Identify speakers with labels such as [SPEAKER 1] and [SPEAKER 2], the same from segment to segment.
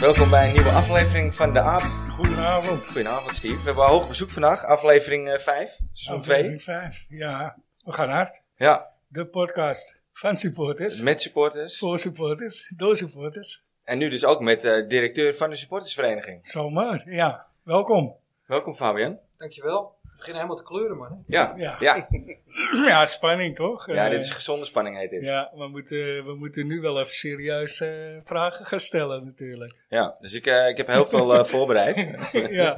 [SPEAKER 1] Welkom bij een nieuwe aflevering van de Aap.
[SPEAKER 2] Goedenavond.
[SPEAKER 1] Goedenavond Steve. We hebben een hoog bezoek vandaag, aflevering 5, seizoen 2.
[SPEAKER 2] Aflevering vijf. Ja, we gaan hard.
[SPEAKER 1] Ja,
[SPEAKER 2] De podcast van supporters,
[SPEAKER 1] met supporters.
[SPEAKER 2] voor supporters, door supporters.
[SPEAKER 1] En nu dus ook met eh, directeur van de supportersvereniging.
[SPEAKER 2] Zomaar, ja. Welkom.
[SPEAKER 1] Welkom Fabian.
[SPEAKER 3] Dankjewel. We beginnen helemaal te kleuren, man.
[SPEAKER 1] Ja, ja.
[SPEAKER 2] Ja.
[SPEAKER 1] ja.
[SPEAKER 2] Ja, spanning toch? Eh,
[SPEAKER 1] dit is gezonde spanning heet dit. Ja.
[SPEAKER 2] Ja, we moeten, we moeten nu wel even serieus eh, vragen gaan stellen natuurlijk.
[SPEAKER 1] dus ik, eh, ik heb heel veel eh, voorbereid.
[SPEAKER 2] ja. ja.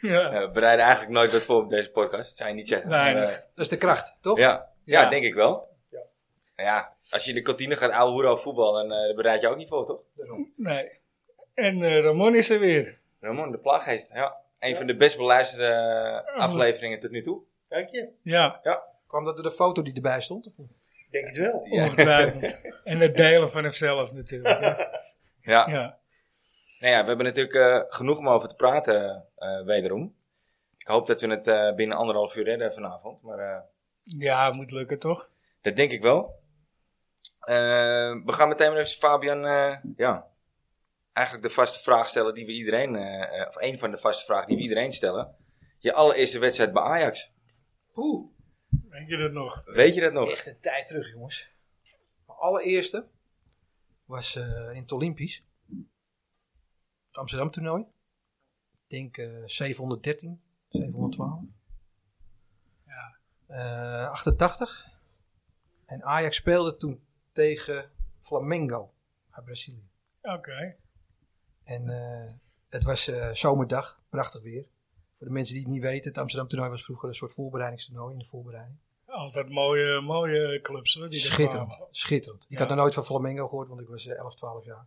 [SPEAKER 1] Ja, we bereiden eigenlijk nooit wat voor op deze podcast, dat zou je niet zeggen.
[SPEAKER 2] Nee,
[SPEAKER 1] Maar,
[SPEAKER 2] nee.
[SPEAKER 1] eh,
[SPEAKER 3] Dat is de kracht, toch?
[SPEAKER 1] ja. Ja,
[SPEAKER 2] Ja.
[SPEAKER 1] denk ik wel.
[SPEAKER 3] Ja.
[SPEAKER 1] Nou ja, als je in de kantine gaat ouwe hoeren over voetbal, dan eh, bereid je ook niet voor, toch?
[SPEAKER 3] Daarom.
[SPEAKER 2] Nee. En eh, Ramon is er weer.
[SPEAKER 1] Ramon, de plaaggeest. Ja. Een van de best beluisterde eh, afleveringen tot nu toe.
[SPEAKER 4] Dank je.
[SPEAKER 2] Ja,
[SPEAKER 3] Kwam dat door de foto die erbij stond? of niet?
[SPEAKER 4] Ik Denk het wel.
[SPEAKER 1] Ja.
[SPEAKER 2] ongetwijfeld. en het delen van hemzelf natuurlijk. Ja.
[SPEAKER 1] Ja.
[SPEAKER 2] ja.
[SPEAKER 1] Nou ja, we hebben natuurlijk eh, genoeg om over te praten, eh, wederom. Ik hoop dat we het eh, binnen anderhalf uur redden vanavond, maar eh,
[SPEAKER 2] Ja, moet lukken toch?
[SPEAKER 1] dat denk ik wel. Eh, we gaan meteen maar even Fabian, eh, ja, eigenlijk de vaste vraag stellen die we iedereen, eh, eh, of één van de vaste vragen die we iedereen stellen. Je allereerste wedstrijd bij Ajax.
[SPEAKER 3] Oeh,
[SPEAKER 2] Weet je dat nog?
[SPEAKER 1] Weet je dat nog?
[SPEAKER 3] echt een tijd terug, jongens. Mijn allereerste was eh, in het Olympisch. Het Amsterdam toernooi. Ik denk eh, 713, 712.
[SPEAKER 2] Ja.
[SPEAKER 3] Eh, 88. En Ajax speelde toen tegen Flamengo uit Brazilië.
[SPEAKER 2] Oké.
[SPEAKER 3] En eh, het was eh, zomerdag, prachtig weer. Voor de mensen die het niet weten, het Amsterdam toernooi was vroeger een soort voorbereidingstoernooi in de voorbereiding.
[SPEAKER 2] Altijd mooie, mooie clubs hoor. Die er
[SPEAKER 3] Schitterend,
[SPEAKER 2] kwamen.
[SPEAKER 3] schitterend. Ik
[SPEAKER 2] Ja.
[SPEAKER 3] had nog nooit van Flamengo gehoord, want ik was eh, 11, 12 jaar.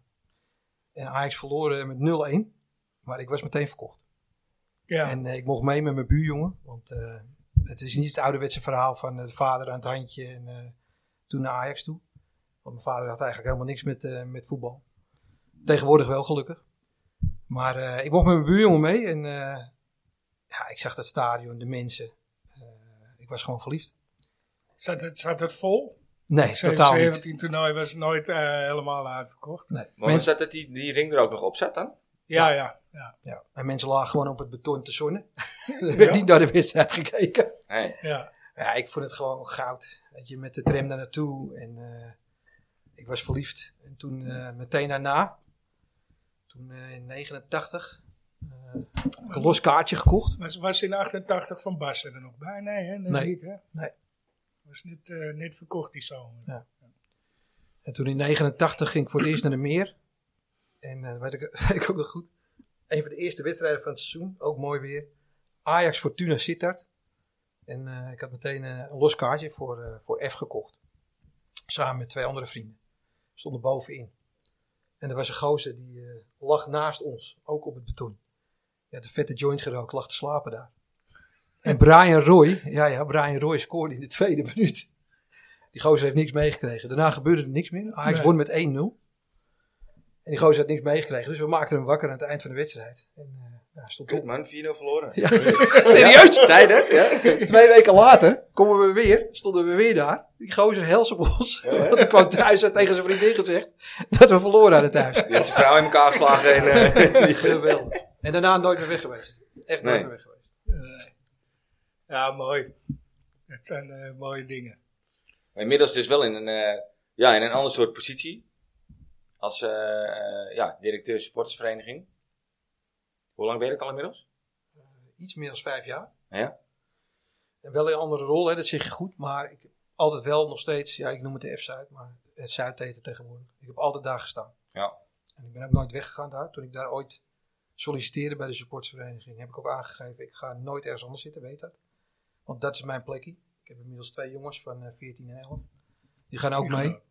[SPEAKER 3] En Ajax verloren met 0-1, maar ik was meteen verkocht.
[SPEAKER 2] Ja.
[SPEAKER 3] En eh, ik mocht mee met mijn buurjongen, want eh, het is niet het ouderwetse verhaal van eh, de vader aan het handje en eh, toen naar Ajax toe. Want mijn vader had eigenlijk helemaal niks met, eh, met voetbal. Tegenwoordig wel, gelukkig. Maar eh, ik mocht met mijn buurjongen mee en eh, ja, ik zag dat stadion, de mensen. Eh, ik was gewoon verliefd.
[SPEAKER 2] zat, het, zat het vol?
[SPEAKER 3] Nee, totaal niet.
[SPEAKER 2] 17 toernooi was nooit eh, helemaal uitverkocht.
[SPEAKER 3] Nee.
[SPEAKER 1] Maar was
[SPEAKER 3] Mensen,
[SPEAKER 1] dat dat die, die ring er ook nog op zat dan?
[SPEAKER 2] Ja, ja. ja,
[SPEAKER 3] ja, en mensen lagen gewoon op het beton te zonnen. er
[SPEAKER 2] Ja.
[SPEAKER 3] werd niet naar de wedstrijd gekeken.
[SPEAKER 1] Nee.
[SPEAKER 2] ja.
[SPEAKER 3] Ja, ik vond het gewoon goud. Dat je met de tram daar naartoe en eh, ik was verliefd. En toen eh, meteen daarna, toen eh, in 89, eh, heb ik een los kaartje gekocht.
[SPEAKER 2] Was, was in 88 van Bassen er nog bij? Nee, hè? Net
[SPEAKER 3] Nee.
[SPEAKER 2] niet, hè?
[SPEAKER 3] Nee.
[SPEAKER 2] Was niet, eh, niet verkocht die zomer.
[SPEAKER 3] Ja. En toen in 89 ging ik voor het eerst naar de meer. En eh weet, ik, weet ik ook nog goed. Een van de eerste wedstrijden van het seizoen, ook mooi weer. Ajax Fortuna Sittard. En eh, ik had meteen eh, een los kaartje voor, eh, voor F gekocht. Samen met twee andere vrienden. Stonden bovenin. En er was een gozer die eh, lag naast ons, ook op het beton. Die had een vette joint gerookt, lag te slapen daar. En Brian Roy, ja ja, Brian Roy scoorde in de tweede minuut. Die gozer heeft niks meegekregen. Daarna gebeurde er niks meer. Ajax
[SPEAKER 2] Nee.
[SPEAKER 3] won met 1-0. En die gozer had niks meegekregen. Dus we maakten hem wakker aan het eind van de wedstrijd. En eh, ja, stond
[SPEAKER 1] Kut
[SPEAKER 3] op.
[SPEAKER 1] man, 4-0 verloren.
[SPEAKER 3] Ja. Serieus?
[SPEAKER 1] Ja, zei dat? Ja.
[SPEAKER 3] Twee weken later komen we weer, stonden we weer daar. Die gozer hels op ons. Want ik kwam thuis en tegen zijn vriendin gezegd dat we verloren hadden thuis.
[SPEAKER 1] Die had zijn vrouw in elkaar geslagen en... eh, die-
[SPEAKER 3] Geweldig. En daarna nooit meer weg geweest. Echt nooit
[SPEAKER 1] Nee.
[SPEAKER 3] meer weg geweest.
[SPEAKER 2] Eh, ja, mooi. Het zijn eh, mooie dingen.
[SPEAKER 1] Maar inmiddels dus wel in een, eh, ja, in een ander soort positie. Als eh, eh, ja, directeur supportersvereniging. Hoe lang ben je dat al inmiddels?
[SPEAKER 3] Iets meer dan vijf jaar.
[SPEAKER 1] Ja.
[SPEAKER 3] En wel in een andere rol, hè, dat zeg je goed. Maar ik heb altijd wel nog steeds, ja ik noem het de F-Zuid, maar het Zuid heet het tegenwoordig. Ik heb altijd daar gestaan.
[SPEAKER 1] Ja.
[SPEAKER 3] En ik ben ook nooit weggegaan daar. Toen ik daar ooit solliciteerde bij de supportsvereniging, heb ik ook aangegeven, ik ga nooit ergens anders zitten, weet dat. Want dat is mijn plekje. Ik heb inmiddels twee jongens van eh, 14 en 11. Die gaan ook
[SPEAKER 2] Die
[SPEAKER 3] mee.
[SPEAKER 2] gaan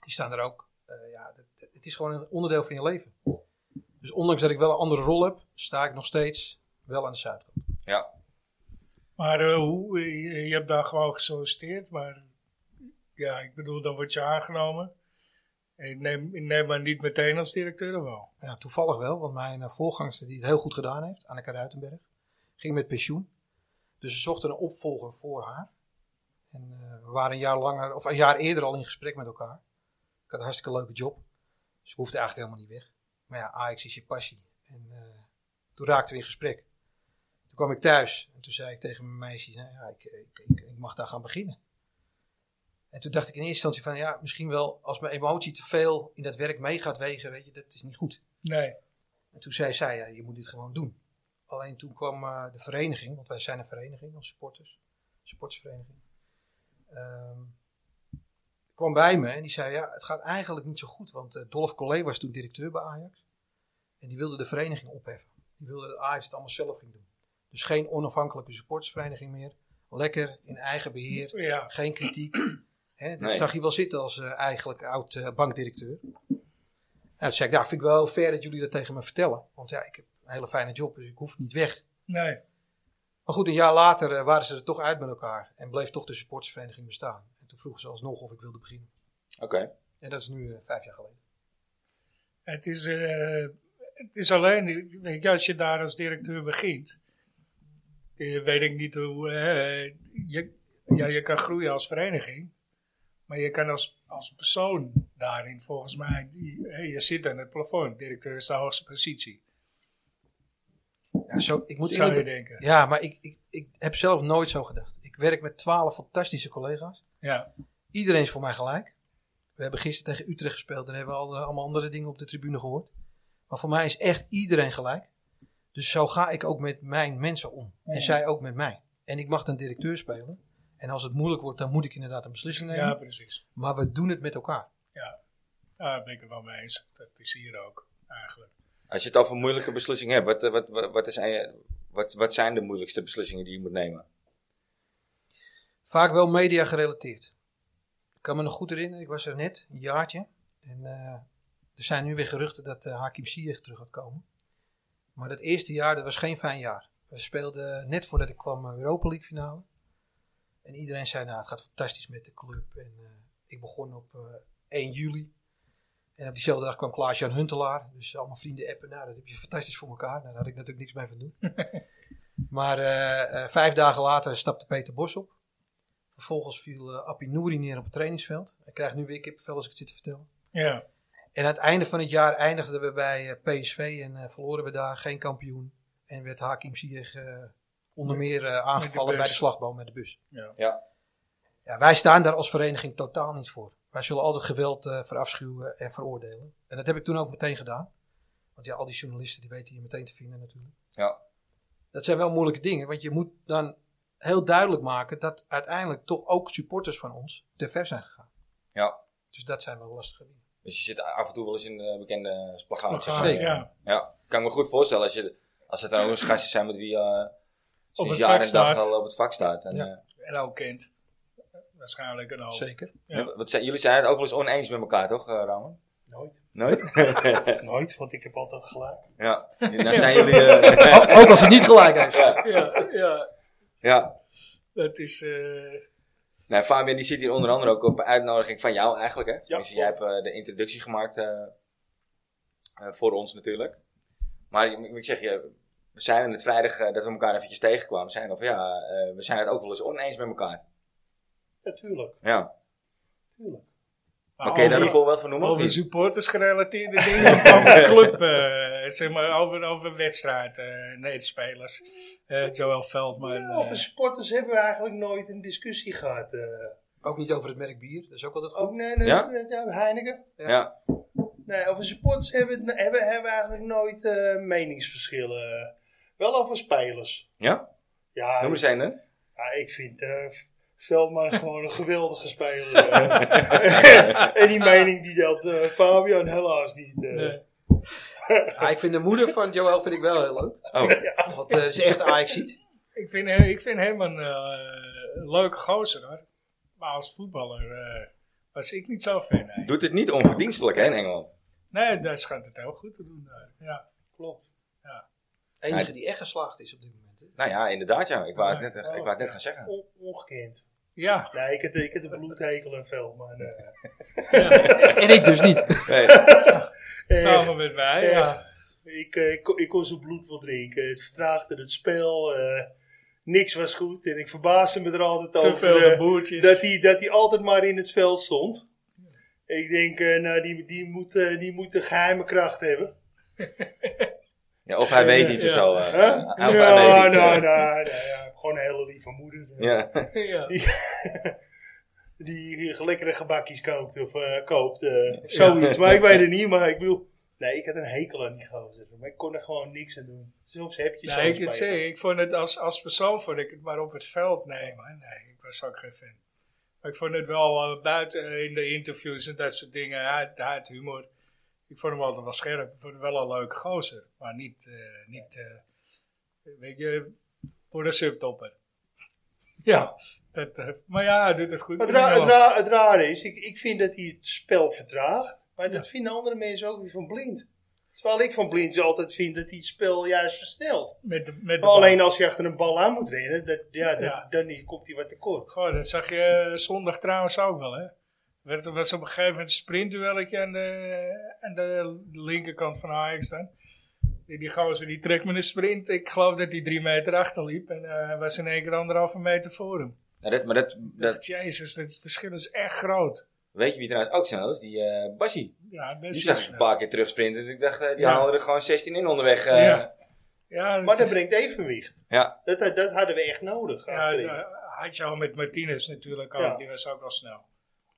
[SPEAKER 3] Die staan er ook. Eh, ja, dat- dat- het is gewoon een onderdeel van je leven. Dus ondanks dat ik wel een andere rol heb, sta ik nog steeds wel aan de zuidkant.
[SPEAKER 2] Maar eh, hoe, eh, je, je hebt daar gewoon gesolliciteerd. Maar ja, ik bedoel, dan word je aangenomen. Ik neem, ik neem maar niet meteen als directeur of wel.
[SPEAKER 3] Ja, toevallig wel, want mijn eh, voorgangster die het heel goed gedaan heeft, Anneke Ruitenberg, ging met pensioen. Dus ze zochten een opvolger voor haar. En eh, we waren een jaar langer, of een jaar eerder al in gesprek met elkaar. Ik had een hartstikke leuke job. Dus ik hoefde eigenlijk helemaal niet weg. Maar ja, Ajax is je passie. En eh, toen raakten we in gesprek. Toen kwam ik thuis en toen zei ik tegen mijn meisje, nou ja, ik, ik, ik, ik mag daar gaan beginnen. En toen dacht ik in eerste instantie van, ja, misschien wel als mijn emotie te veel in dat werk mee gaat wegen, weet je, dat is niet goed.
[SPEAKER 2] Nee.
[SPEAKER 3] En toen zei zij, ja, je moet dit gewoon doen. Alleen toen kwam eh, de vereniging, want wij zijn een vereniging als supporters, sportsvereniging. Ehm kwam bij me en die zei, ja, het gaat eigenlijk niet zo goed. Want eh, Dolph Collé was toen directeur bij Ajax. En die wilde de vereniging opheffen. Die wilde dat Ajax het allemaal zelf ging doen. Dus geen onafhankelijke supportersvereniging meer. Lekker in eigen beheer
[SPEAKER 2] Ja.
[SPEAKER 3] geen kritiek. Hè, dat
[SPEAKER 1] Nee.
[SPEAKER 3] zag hij wel zitten als eh, eigenlijk oud eh, bankdirecteur. Nou, toen zei ik, nou vind ik wel fair dat jullie dat tegen me vertellen. Want ja, ik heb een hele fijne job, dus ik hoef niet weg.
[SPEAKER 2] Nee.
[SPEAKER 3] Maar goed, een jaar later eh, waren ze er toch uit met elkaar. En bleef toch de supportersvereniging bestaan. En toen vroegen ze alsnog of ik wilde beginnen.
[SPEAKER 1] Oké.
[SPEAKER 3] En dat is nu eh, vijf jaar geleden.
[SPEAKER 2] Het is, eh, het is alleen, weet je, als je daar als directeur begint, eh, weet ik niet hoe, eh, je, ja, je kan groeien als vereniging, maar je kan als, als persoon daarin volgens mij, die- eh, je zit aan het plafond, directeur is de hoogste positie,
[SPEAKER 3] Ja, zo, ik moet
[SPEAKER 2] zou
[SPEAKER 3] eerlijk
[SPEAKER 2] je
[SPEAKER 3] be-
[SPEAKER 2] denken.
[SPEAKER 3] Ja, maar ik, ik, ik heb zelf nooit zo gedacht. Ik werk met twaalf fantastische collega's.
[SPEAKER 2] Ja,
[SPEAKER 3] Iedereen is voor mij gelijk. We hebben gisteren tegen Utrecht gespeeld en hebben we alle- allemaal andere dingen op de tribune gehoord. Maar voor mij is echt iedereen gelijk. Dus zo ga ik ook met mijn mensen om. En
[SPEAKER 2] Ja.
[SPEAKER 3] zij ook met mij. En ik mag dan directeur spelen. En als het moeilijk wordt, dan moet ik inderdaad een beslissing nemen.
[SPEAKER 2] ja precies.
[SPEAKER 3] Maar we doen het met elkaar.
[SPEAKER 2] Daar ben ik het wel mee eens. Dat is hier ook, eigenlijk.
[SPEAKER 1] Als je het over moeilijke beslissingen hebt, wat, eh, wat, wat, wat, is, eh, wat, wat zijn de moeilijkste beslissingen die je moet nemen?
[SPEAKER 3] Vaak wel media gerelateerd. Ik kan me nog goed herinneren, ik was er net, een jaartje. En eh, er zijn nu weer geruchten dat eh, Hakim Ziyech terug gaat komen. Maar dat eerste jaar, dat was geen fijn jaar. We speelden net voordat ik kwam eh, Europa League finale. En iedereen zei, nou het gaat fantastisch met de club. En eh, ik begon op eh, 1 juli. En op diezelfde dag kwam Klaas-Jan Huntelaar. Dus allemaal vrienden appen, nou dat heb je fantastisch voor elkaar. Nou, daar had ik natuurlijk niks mee van doen. maar eh, eh, vijf dagen later stapte Peter Bos op. Vervolgens viel eh Appie Nouri neer op het trainingsveld. Hij krijgt nu weer kippenvel als ik het zit te vertellen.
[SPEAKER 2] Ja,
[SPEAKER 3] En aan het einde van het jaar eindigden we bij eh, PSV en eh, verloren we daar geen kampioen. En werd Hakim Ziyech eh, onder meer eh, aangevallen
[SPEAKER 2] bus.
[SPEAKER 3] bij de slagboom met de bus.
[SPEAKER 2] ja.
[SPEAKER 1] Ja,
[SPEAKER 3] Ja, wij staan daar als vereniging totaal niet voor. Wij zullen altijd geweld eh, verafschuwen en veroordelen. En dat heb ik toen ook meteen gedaan. Want ja, al die journalisten die weten je meteen te vinden natuurlijk.
[SPEAKER 1] ja,
[SPEAKER 3] Dat zijn wel moeilijke dingen, want je moet dan heel duidelijk maken dat uiteindelijk toch ook supporters van ons te ver zijn gegaan.
[SPEAKER 1] ja.
[SPEAKER 3] Dus dat zijn wel lastige dingen.
[SPEAKER 1] Dus je zit af en toe wel eens in eh, bekende splagaat.
[SPEAKER 2] Plagaat, ja.
[SPEAKER 1] Ja, kan ik me goed voorstellen als, je, als het dan ook eens gastjes zijn met wie eh sinds
[SPEAKER 2] het
[SPEAKER 1] jaar
[SPEAKER 2] vak
[SPEAKER 1] en dag
[SPEAKER 2] staat.
[SPEAKER 1] al op het vak staat. En,
[SPEAKER 3] Ja.
[SPEAKER 1] eh,
[SPEAKER 2] En ook kind. Waarschijnlijk een hoop.
[SPEAKER 3] Zeker.
[SPEAKER 2] Ja.
[SPEAKER 1] wat zijn, jullie zijn het ook wel eens oneens met elkaar, toch, eh Ramon?
[SPEAKER 4] Nooit.
[SPEAKER 1] Nooit?
[SPEAKER 4] Nooit, want ik heb altijd gelijk.
[SPEAKER 1] ja, nou zijn jullie... eh,
[SPEAKER 3] Ook als het niet gelijk heeft.
[SPEAKER 1] ja,
[SPEAKER 2] Ja, ja,
[SPEAKER 1] ja.
[SPEAKER 2] dat is, eh,
[SPEAKER 1] Nou, Fabian die zit hier onder andere ook op een uitnodiging van jou eigenlijk. Hè? Dus jij
[SPEAKER 4] klopt.
[SPEAKER 1] hebt eh, de introductie gemaakt eh, eh, voor ons natuurlijk. Maar ik, ik zeg je, we zijn het vrijdag eh, dat we elkaar eventjes tegenkwamen. Zijn al van ja, eh, we zijn het ook wel eens oneens met elkaar.
[SPEAKER 4] Natuurlijk,
[SPEAKER 1] Ja.
[SPEAKER 4] tuurlijk.
[SPEAKER 1] Maar kun je daar
[SPEAKER 2] over-
[SPEAKER 1] een voorbeeld van noemen? of
[SPEAKER 2] Over
[SPEAKER 1] niet?
[SPEAKER 2] supporters gerelateerde dingen of over de club, eh, zeg maar, over, over wedstrijd, eh, nee, de spelers. Eh, Joël Veldman.
[SPEAKER 4] Ja,
[SPEAKER 2] eh,
[SPEAKER 4] over sporters hebben we eigenlijk nooit een discussie gehad. eh.
[SPEAKER 3] Ook niet over het merk bier, dat is ook altijd
[SPEAKER 2] Oh.
[SPEAKER 4] ook
[SPEAKER 3] goed.
[SPEAKER 4] nee, nee,
[SPEAKER 1] Ja?
[SPEAKER 4] is- ja, Heineken.
[SPEAKER 3] Ja.
[SPEAKER 1] Ja,
[SPEAKER 4] Nee, over supporters hebben, we- hebben, hebben we eigenlijk nooit eh, meningsverschillen. Wel over spelers.
[SPEAKER 1] ja?
[SPEAKER 4] Ja,
[SPEAKER 1] noem eens één hè?
[SPEAKER 4] ja ik vind eh, Veldman gewoon een geweldige speler. eh. en die mening die deelt eh, Fabian helaas niet. eh.
[SPEAKER 2] Nee.
[SPEAKER 3] Ja, ik vind de moeder van Joël vind ik wel heel leuk.
[SPEAKER 1] Oh,
[SPEAKER 3] Want eh, ze is echt Ajax ziet.
[SPEAKER 2] ik, vind, hem- ik vind hem een eh, leuke gozer hoor. Maar als voetballer eh, was ik niet zo fan. Nee,
[SPEAKER 1] doet het niet onverdienstelijk hè, in Engeland?
[SPEAKER 2] nee daar schijnt het heel goed te doen. daar. Ja.
[SPEAKER 4] Klopt.
[SPEAKER 3] Enige die echt geslaagd is op dit moment. hè.
[SPEAKER 1] Nou ja, inderdaad ja. Ik wou het net, eh,
[SPEAKER 4] Oh,
[SPEAKER 1] ik wou het net
[SPEAKER 4] ja.
[SPEAKER 1] gaan zeggen.
[SPEAKER 4] On- ongekend.
[SPEAKER 2] Ja,
[SPEAKER 4] Nee, ik heb, de- ik heb de bloedhekel aan Veldman. eh.
[SPEAKER 3] En ik dus niet.
[SPEAKER 1] Nee. Eh,
[SPEAKER 4] Echt.
[SPEAKER 2] samen met mij.
[SPEAKER 4] Ja.
[SPEAKER 2] Ja.
[SPEAKER 4] Ik, eh, ik, kon- ik kon zijn bloed wel drinken. Het vertraagde het spel. eh, niks was goed. En ik verbaasde me er altijd
[SPEAKER 2] Te
[SPEAKER 4] over
[SPEAKER 2] veel de
[SPEAKER 4] eh,
[SPEAKER 2] boertjes.
[SPEAKER 4] dat hij dat hij altijd maar in het veld stond. Ik denk, eh, nou, die, die, moet, eh, die moet een geheime kracht hebben.
[SPEAKER 1] Ja, of hij weet iets of
[SPEAKER 2] Ja.
[SPEAKER 1] zo. eh,
[SPEAKER 4] Hè?
[SPEAKER 1] eh, hij-
[SPEAKER 4] Ja,
[SPEAKER 1] of hij weet iets,
[SPEAKER 4] nou,
[SPEAKER 1] eh.
[SPEAKER 4] nou, nou, ja, gewoon een hele lieve moeder. eh,
[SPEAKER 1] Ja.
[SPEAKER 2] ja.
[SPEAKER 4] Die lekkere gebakjes kookt of eh, koopt. eh, of zoiets. Maar ik weet het niet. Maar ik bedoel... Nee, ik had een hekel aan die gozer. Maar ik kon er gewoon niks aan doen. Soms heb je
[SPEAKER 2] Nee, ik, het
[SPEAKER 4] spelen.
[SPEAKER 2] zei, ik vond het als, als persoon vond ik het, maar op het veld, nee man, nee, ik was ook geen fan. Maar ik vond het wel eh, buiten eh, in de interviews en dat soort dingen, hij, had- hij had humor. Ik vond hem altijd wel scherp, ik vond hem wel een leuke gozer, maar niet, eh, niet eh, weet je, voor de subtopper. Ja, dat, eh, maar ja, hij doet het goed.
[SPEAKER 4] Maar
[SPEAKER 2] in
[SPEAKER 4] Het, ra- het,
[SPEAKER 2] Nederland.
[SPEAKER 4] ra- het rare is, ik, ik vind dat hij het spel vertraagt. Maar dat vinden andere mensen ook weer van blind. Terwijl ik van blind altijd vind dat hij het spel juist versnelt.
[SPEAKER 2] met de, met de
[SPEAKER 4] Maar alleen
[SPEAKER 2] bal.
[SPEAKER 4] als je achter een bal aan moet rennen, dat, ja, dat-
[SPEAKER 2] Ja.
[SPEAKER 4] dan niet- komt hij wat tekort.
[SPEAKER 2] Goh, dat zag je eh, zondag trouwens ook wel, hè? Er werd- was op een gegeven moment een sprintduelletje aan de, aan de linkerkant van Ajax dan. Die, die gozer die trekt met een sprint. Ik geloof dat hij drie meter achter liep. En eh, hij was in één keer anderhalve meter voor hem.
[SPEAKER 1] Nou, dat, maar dat, dat
[SPEAKER 2] Jezus, dat verschil is echt groot.
[SPEAKER 1] weet je wie trouwens ook snel is? Die eh Bassie.
[SPEAKER 2] Ja, best
[SPEAKER 1] Die zag
[SPEAKER 2] wel
[SPEAKER 1] ik een
[SPEAKER 2] snel.
[SPEAKER 1] paar keer terugsprinten. Dus ik dacht, eh, die
[SPEAKER 2] Ja.
[SPEAKER 1] halen er gewoon 16 in onderweg. eh.
[SPEAKER 2] Ja. Ja,
[SPEAKER 4] Maar dat
[SPEAKER 2] is-
[SPEAKER 4] brengt evenwicht.
[SPEAKER 1] Ja.
[SPEAKER 4] Dat, dat, dat hadden we echt nodig.
[SPEAKER 2] ja,
[SPEAKER 4] achterin.
[SPEAKER 2] dat had je al met Martinez natuurlijk ook.
[SPEAKER 4] Ja.
[SPEAKER 2] Die was ook wel snel.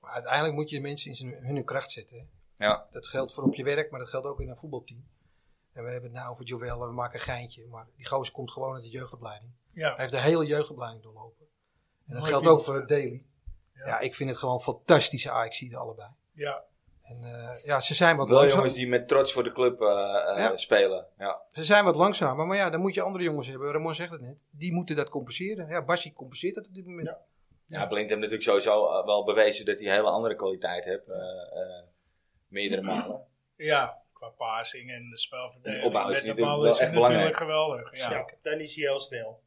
[SPEAKER 3] Maar uiteindelijk moet je mensen in zijn, hun, hun kracht zetten. hè.
[SPEAKER 1] Ja.
[SPEAKER 3] Dat geldt voor op je werk, maar dat geldt ook in een voetbalteam. En we hebben het nou over Joel, we maken een geintje. Maar die gozer komt gewoon uit de jeugdopleiding.
[SPEAKER 2] Ja.
[SPEAKER 3] Hij heeft de hele jeugdopleiding doorlopen. En dat
[SPEAKER 2] Mooi
[SPEAKER 3] geldt
[SPEAKER 2] team.
[SPEAKER 3] ook voor Daly.
[SPEAKER 2] Ja.
[SPEAKER 3] Ja. ik vind het gewoon fantastische AXI'den allebei.
[SPEAKER 2] ja.
[SPEAKER 3] En eh, ja, ze zijn wat
[SPEAKER 1] Wel
[SPEAKER 3] langzaam.
[SPEAKER 1] jongens die met trots voor de club eh, eh,
[SPEAKER 3] Ja.
[SPEAKER 1] spelen. Ja.
[SPEAKER 3] Ze zijn wat langzamer, maar ja, dan moet je andere jongens hebben. Ramon zegt het net. Die moeten dat compenseren. Ja, Bassi compenseert dat op dit moment.
[SPEAKER 1] ja, Blind heeft natuurlijk sowieso eh, wel bewezen dat hij hele andere kwaliteit heeft. eh, eh, meerdere malen.
[SPEAKER 2] ja, qua passing en de spelverdeling.
[SPEAKER 1] De opbouw is
[SPEAKER 2] Met de
[SPEAKER 1] natuurlijk
[SPEAKER 2] bal
[SPEAKER 1] wel
[SPEAKER 2] is het
[SPEAKER 1] echt belangrijk.
[SPEAKER 2] natuurlijk geweldig. Ja.
[SPEAKER 4] Dus Ja, dan is hij heel snel.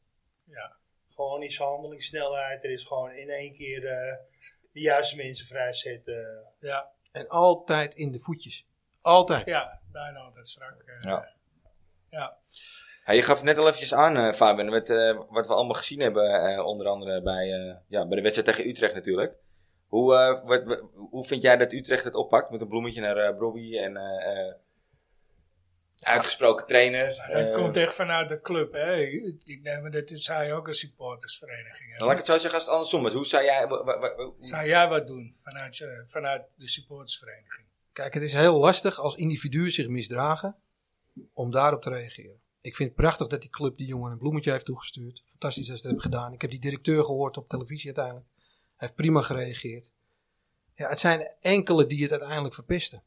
[SPEAKER 2] Ja.
[SPEAKER 4] Gewoon is zijn handelingssnelheid. Er is gewoon in één keer eh, de juiste mensen vrijzetten.
[SPEAKER 2] ja.
[SPEAKER 3] En altijd in de voetjes. Altijd.
[SPEAKER 2] Ja, bijna altijd strak. eh.
[SPEAKER 1] Ja.
[SPEAKER 2] ja.
[SPEAKER 1] Ja, je gaf het net al eventjes aan, eh, Fabian, met, eh, wat we allemaal gezien hebben, eh, onder andere bij, eh, ja, bij de wedstrijd tegen Utrecht natuurlijk. Hoe, eh, wat, wat- hoe vind jij dat Utrecht het oppakt met een bloemetje naar eh Bobby en eh, eh, uitgesproken trainer?
[SPEAKER 2] Dat
[SPEAKER 1] eh,
[SPEAKER 2] komt echt vanuit de club. Hè. Ik ik neem aan dat u- zij ook een supportersvereniging
[SPEAKER 1] nou, laat ik
[SPEAKER 2] hebben.
[SPEAKER 1] het zo zeggen als het andersom is. Hoe zou jij... wa- wa- wa- hoe-
[SPEAKER 2] Zou jij wat doen vanuit, je, vanuit de supportersvereniging?
[SPEAKER 3] Kijk, het is heel lastig als individuen zich misdragen om daarop te reageren. Ik vind het prachtig dat die club die jongen een bloemetje heeft toegestuurd. Fantastisch dat ze dat hebben gedaan. Ik heb die directeur gehoord op televisie uiteindelijk. Hij heeft prima gereageerd. Ja, het zijn enkele die het uiteindelijk verpesten.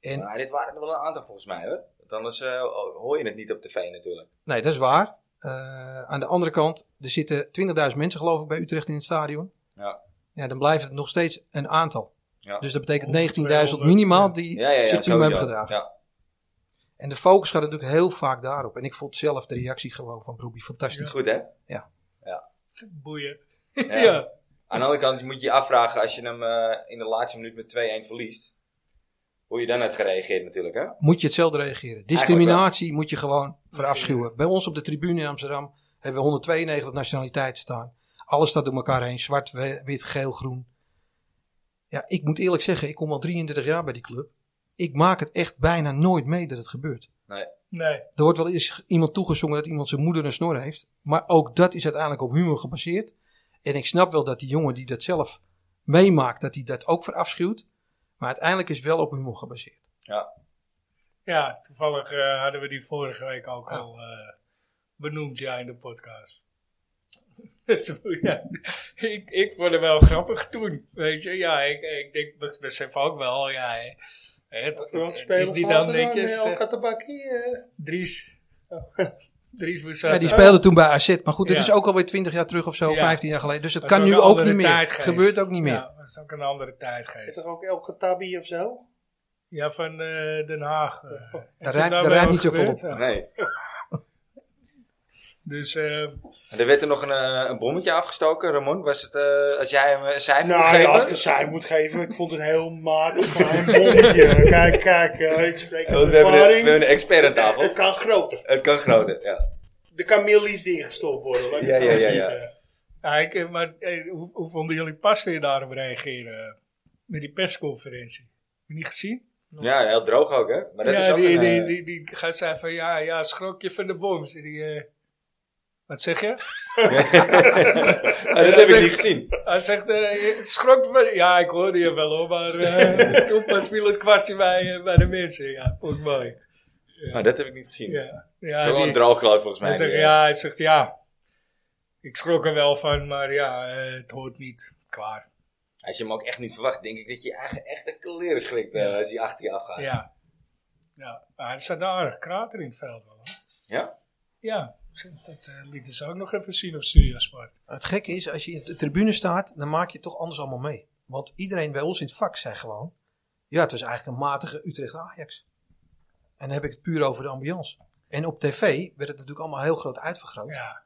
[SPEAKER 3] En
[SPEAKER 1] Nou, dit waren er wel een aantal volgens mij hoor. Want anders eh, hoor je het niet op tv natuurlijk.
[SPEAKER 3] Nee, dat is waar. Eh, aan de andere kant, er zitten 20.000 mensen geloof ik bij Utrecht in het stadion.
[SPEAKER 1] Ja.
[SPEAKER 3] Ja, dan blijft het nog steeds een aantal.
[SPEAKER 1] Ja.
[SPEAKER 3] Dus dat betekent
[SPEAKER 2] 200,
[SPEAKER 3] 19.000 minimaal
[SPEAKER 2] ja.
[SPEAKER 3] die
[SPEAKER 1] Ja, ja, ja,
[SPEAKER 3] zich prima
[SPEAKER 1] sowieso.
[SPEAKER 3] hebben gedragen.
[SPEAKER 1] Ja.
[SPEAKER 3] En de focus gaat natuurlijk heel vaak daarop. En ik vond zelf de reactie gewoon van Broeby fantastisch.
[SPEAKER 1] Goed hè?
[SPEAKER 2] Boeien.
[SPEAKER 1] Ja.
[SPEAKER 2] Ja.
[SPEAKER 1] Aan de andere kant moet je je afvragen als je hem eh, in de laatste minuut met 2-1 verliest. Hoe je dan hebt gereageerd natuurlijk hè?
[SPEAKER 3] Moet je hetzelfde reageren. Discriminatie moet je gewoon verafschuwen. Bij ons op de tribune in Amsterdam hebben we 192 nationaliteiten staan. Alles staat door elkaar heen. Zwart, we- wit, geel, groen. Ja, ik moet eerlijk zeggen, ik kom al 33 jaar bij die club. Ik maak het echt bijna nooit mee dat het gebeurt.
[SPEAKER 2] Nee.
[SPEAKER 3] Er wordt wel eens iemand toegezongen dat iemand zijn moeder een snor heeft. Maar ook dat is uiteindelijk op humor gebaseerd. En ik snap wel dat die jongen die dat zelf meemaakt, dat hij dat ook verafschuwt. Maar uiteindelijk is het wel op humor gebaseerd.
[SPEAKER 2] Ja, toevallig eh, hadden we die vorige week ook
[SPEAKER 3] Ja.
[SPEAKER 2] al eh, benoemd, ja, in de podcast. Het is moe- ja, ik, ik vond het wel grappig toen, weet je. Ja, ik, ik denk, ik besef ook wel, ja, hè. het,
[SPEAKER 4] Welke
[SPEAKER 2] het
[SPEAKER 4] speler
[SPEAKER 2] is niet
[SPEAKER 4] gaat
[SPEAKER 2] dan
[SPEAKER 4] er
[SPEAKER 2] netjes.
[SPEAKER 4] El
[SPEAKER 2] eh,
[SPEAKER 4] Katabaki, eh?
[SPEAKER 2] Dries.
[SPEAKER 4] Oh.
[SPEAKER 2] Dries
[SPEAKER 3] Ja,
[SPEAKER 2] Boussata.
[SPEAKER 3] die speelde toen bij AZ. Maar goed, het
[SPEAKER 2] Ja.
[SPEAKER 3] is ook alweer 20 jaar terug of zo,
[SPEAKER 2] Ja.
[SPEAKER 3] 15 jaar geleden. Dus het
[SPEAKER 2] Dat is
[SPEAKER 3] kan nu
[SPEAKER 2] een
[SPEAKER 3] ook
[SPEAKER 2] andere
[SPEAKER 3] niet meer.
[SPEAKER 2] tijdgeest.
[SPEAKER 3] Gebeurt ook niet meer.
[SPEAKER 2] Ja, dat is ook een andere
[SPEAKER 4] Is
[SPEAKER 2] tijdgeest.
[SPEAKER 4] er ook El Katabi of zo?
[SPEAKER 2] Ja, van eh, Den Haag.
[SPEAKER 1] Oh.
[SPEAKER 2] eh. Is het
[SPEAKER 3] rijmt-
[SPEAKER 2] daarbij
[SPEAKER 3] daar rijmt
[SPEAKER 2] ook
[SPEAKER 3] niet zoveel
[SPEAKER 2] gebeurd? Ja.
[SPEAKER 1] Nee.
[SPEAKER 2] Dus eh,
[SPEAKER 1] Er werd er nog een, eh, een bommetje afgestoken, Ramon. Was het, eh, als jij hem een cijfer moet
[SPEAKER 4] Nou
[SPEAKER 1] geven?
[SPEAKER 4] ja, als ik een cijfer moet geven, ik vond het een heel matig, maar een bommetje. Kijk, kijk, eh, ik
[SPEAKER 1] Ja,
[SPEAKER 4] spreek uit
[SPEAKER 1] want we, hebben een, we
[SPEAKER 4] ervaring.
[SPEAKER 1] hebben een expert aan tafel.
[SPEAKER 4] Het kan groter.
[SPEAKER 1] Het kan groter, ja.
[SPEAKER 4] Er kan meer liefde ingestopt worden. laat ik het
[SPEAKER 1] Ja, ja,
[SPEAKER 4] zo
[SPEAKER 1] ja, ja.
[SPEAKER 4] zeggen.
[SPEAKER 2] ja, ik, eh, maar eh, hoe, hoe vonden jullie pas weer daarop reageren? eh, Met die persconferentie. Heb je niet gezien?
[SPEAKER 1] Ja, heel droog ook, hè? Maar dat is
[SPEAKER 2] ja,
[SPEAKER 1] ook
[SPEAKER 2] die,
[SPEAKER 1] een,
[SPEAKER 2] die,
[SPEAKER 1] eh,
[SPEAKER 2] die, die gaat zeggen van ja, ja, schrok je van de bom. Zei die, eh, wat zeg je?
[SPEAKER 1] Ah, dat heb ik niet gezien.
[SPEAKER 2] Hij zegt, eh, schrok van, ja, ik hoorde je wel hoor, maar eh, toen pas viel het kwartje bij, eh, bij de mensen. Ja, vond ik mooi.
[SPEAKER 1] Ah, dat heb ik niet gezien. Het
[SPEAKER 2] Ja, ja,
[SPEAKER 1] is wel een
[SPEAKER 2] die-
[SPEAKER 1] droog geloof volgens mij.
[SPEAKER 2] hij zegt,
[SPEAKER 1] die, eh,
[SPEAKER 2] ja, hij zegt ja, ik schrok er wel van, maar ja, eh, het hoort niet. Klaar.
[SPEAKER 1] Als je hem ook echt niet verwacht, denk ik dat je eigen echt een kleren schrikt eh, als hij achter je afgaat.
[SPEAKER 2] Ja. ja. Maar er staat een aardig krater in het veld wel. hoor.
[SPEAKER 1] Ja?
[SPEAKER 2] Ja, dat eh, lieten ze ook nog even zien op Studio Sport.
[SPEAKER 3] Het gekke is, als je in de tribune staat, dan maak je het toch anders allemaal mee. Want iedereen bij ons in het vak zei gewoon, ja, het was eigenlijk een matige Utrecht-Ajax. En dan heb ik het puur over de ambiance. En op tv werd het natuurlijk allemaal heel groot uitvergroot.
[SPEAKER 2] Ja.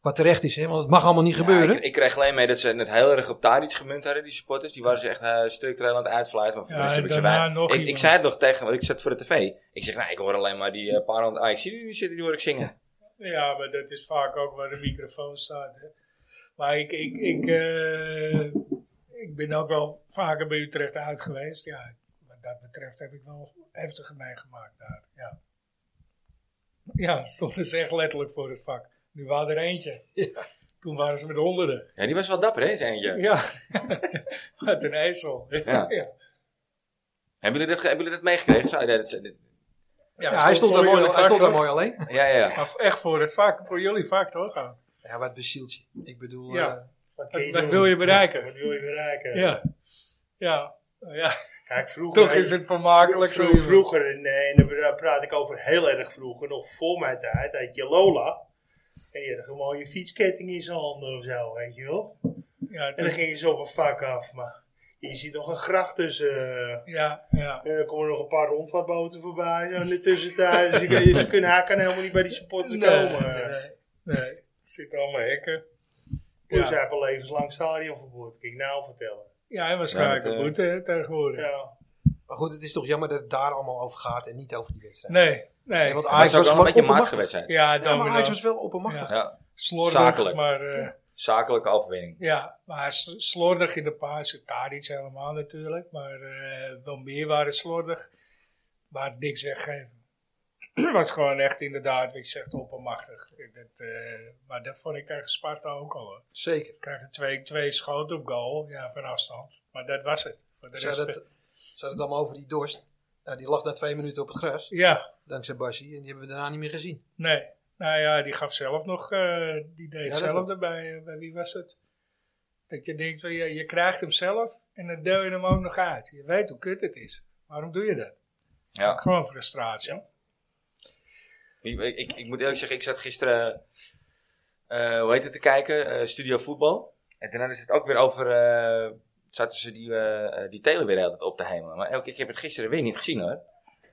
[SPEAKER 3] Wat terecht is, hè, want het mag allemaal niet
[SPEAKER 1] Ja,
[SPEAKER 3] gebeuren.
[SPEAKER 1] ik, ik kreeg alleen mee dat ze het heel erg op daar iets gemunt hadden, die supporters. Die waren ze echt eh, structureel aan het uitfluiten. Maar voor de
[SPEAKER 2] Ja,
[SPEAKER 1] rest heb ik ze
[SPEAKER 2] daarna
[SPEAKER 1] weinig-
[SPEAKER 2] nog
[SPEAKER 1] ik, ik
[SPEAKER 2] iemand.
[SPEAKER 1] zei het nog tegen, want ik zat voor de tv. Ik zeg, nou, ik hoor alleen maar die eh, paar honderd ah, ik zie die niet zitten, die hoor ik zingen.
[SPEAKER 2] Ja, maar dat is vaak ook waar de microfoon staat. Hè. Maar ik, ik, ik, eh, ik ben ook wel vaker bij Utrecht uit geweest. Ja, wat dat betreft heb ik wel heftige meegemaakt daar. Ja, ja stond dus echt letterlijk voor het vak. Nu waren er eentje. Toen waren ze met honderden.
[SPEAKER 1] Ja, die was wel dapper, hè, zijn eentje.
[SPEAKER 2] Ja, wat een IJssel.
[SPEAKER 1] Ja.
[SPEAKER 2] ja.
[SPEAKER 1] Hebben jullie dat, ge- hebben jullie dat meegekregen? Zou- dat- dat-
[SPEAKER 2] Ja,
[SPEAKER 3] Ja, hij stond, daar
[SPEAKER 2] voor
[SPEAKER 3] mooi,
[SPEAKER 2] jullie
[SPEAKER 3] hij
[SPEAKER 2] vak,
[SPEAKER 3] stond daar
[SPEAKER 2] hoor.
[SPEAKER 3] mooi alleen.
[SPEAKER 1] ja, ja, ja.
[SPEAKER 2] Maar echt voor het vak, voor jullie vak toch?
[SPEAKER 3] Ja, wat bezielt je. Ik bedoel,
[SPEAKER 2] Ja.
[SPEAKER 3] eh,
[SPEAKER 4] Wat, kun
[SPEAKER 2] Wat,
[SPEAKER 4] je
[SPEAKER 2] wat
[SPEAKER 4] doen?
[SPEAKER 2] wil je bereiken?
[SPEAKER 4] Wat wil je bereiken?
[SPEAKER 2] Ja, ja, ja.
[SPEAKER 4] Kijk, vroeger...
[SPEAKER 2] Toch is het vermakelijk zo.
[SPEAKER 4] Vroeger, vroeger nee, en dan pra- praat ik over heel erg vroeger, nog voor mijn tijd, had je Lola. En die had gewoon je fietsketting in zijn handen of zo, weet je wel.
[SPEAKER 2] Ja, het
[SPEAKER 4] En dan
[SPEAKER 2] is-
[SPEAKER 4] gingen ze op een vak af, maar je ziet nog een gracht tussen. eh,
[SPEAKER 2] ja, ja.
[SPEAKER 4] en dan komen er nog een paar rondvaartboten voorbij zo in de tussentijd. dus je, kan- je- ze kunnen, hij kan helemaal niet bij die supporters komen.
[SPEAKER 2] nee, nee. Er zitten allemaal hekken.
[SPEAKER 4] Dus hij
[SPEAKER 2] Ja,
[SPEAKER 4] heeft een levenslang stadionverbod, kan ik nou vertellen.
[SPEAKER 2] ja en waarschijnlijk
[SPEAKER 1] Ja,
[SPEAKER 2] een
[SPEAKER 1] dat, eh,
[SPEAKER 2] boete hè, tegenwoordig.
[SPEAKER 4] Ja.
[SPEAKER 3] maar goed, het is toch jammer dat het daar allemaal over gaat en niet over die wedstrijd.
[SPEAKER 2] Nee, nee.
[SPEAKER 3] Nee,
[SPEAKER 1] Maar
[SPEAKER 3] want
[SPEAKER 1] het
[SPEAKER 3] Ajax
[SPEAKER 1] is ook
[SPEAKER 3] was
[SPEAKER 1] wel een
[SPEAKER 3] gewoon
[SPEAKER 1] beetje een matige
[SPEAKER 3] oppermachtig.
[SPEAKER 1] wedstrijd.
[SPEAKER 2] ja,
[SPEAKER 3] Ja,
[SPEAKER 2] dan
[SPEAKER 3] maar Ajax was wel oppermachtig.
[SPEAKER 2] Ja.
[SPEAKER 1] Ja,
[SPEAKER 2] slordig,
[SPEAKER 1] zakelijk.
[SPEAKER 2] maar... eh, ja.
[SPEAKER 1] zakelijke overwinning.
[SPEAKER 2] maar s- slordig in de paas. Daar iets helemaal natuurlijk. Maar eh, wel meer waren slordig. Maar niks weggeven. Het was gewoon echt inderdaad, wat je zegt, oppermachtig. Dat, eh, maar dat vond ik tegen Sparta ook al. hoor.
[SPEAKER 3] Zeker.
[SPEAKER 2] krijgen twee, twee schoten op goal, ja, van afstand. Maar dat was het. Voor de
[SPEAKER 3] Ze hadden
[SPEAKER 2] rest,
[SPEAKER 3] het, ze hadden het allemaal over die dorst. Nou, die lag na twee minuten op het gras,
[SPEAKER 2] eh, ja,
[SPEAKER 3] dankzij Bassi. En die hebben we daarna niet meer gezien.
[SPEAKER 2] nee. Nou ja, die gaf zelf nog, eh, die deed
[SPEAKER 3] dat
[SPEAKER 2] zelf
[SPEAKER 3] klopt.
[SPEAKER 2] erbij. eh, bij wie was het? Dat je denkt, van, ja, je krijgt hem zelf en dan deel je hem ook nog uit. Je weet hoe kut het is. Waarom doe je dat?
[SPEAKER 1] Ja.
[SPEAKER 2] Gewoon frustratie.
[SPEAKER 1] Ik, ik, ik- ik moet eerlijk zeggen, ik zat gisteren, eh, hoe heet het, te kijken, eh, Studio Voetbal. En daarna is het ook weer over, eh, zaten ze die, eh eh, die telen weer altijd op te hemelen. Maar elke keer heb het gisteren weer niet gezien hoor.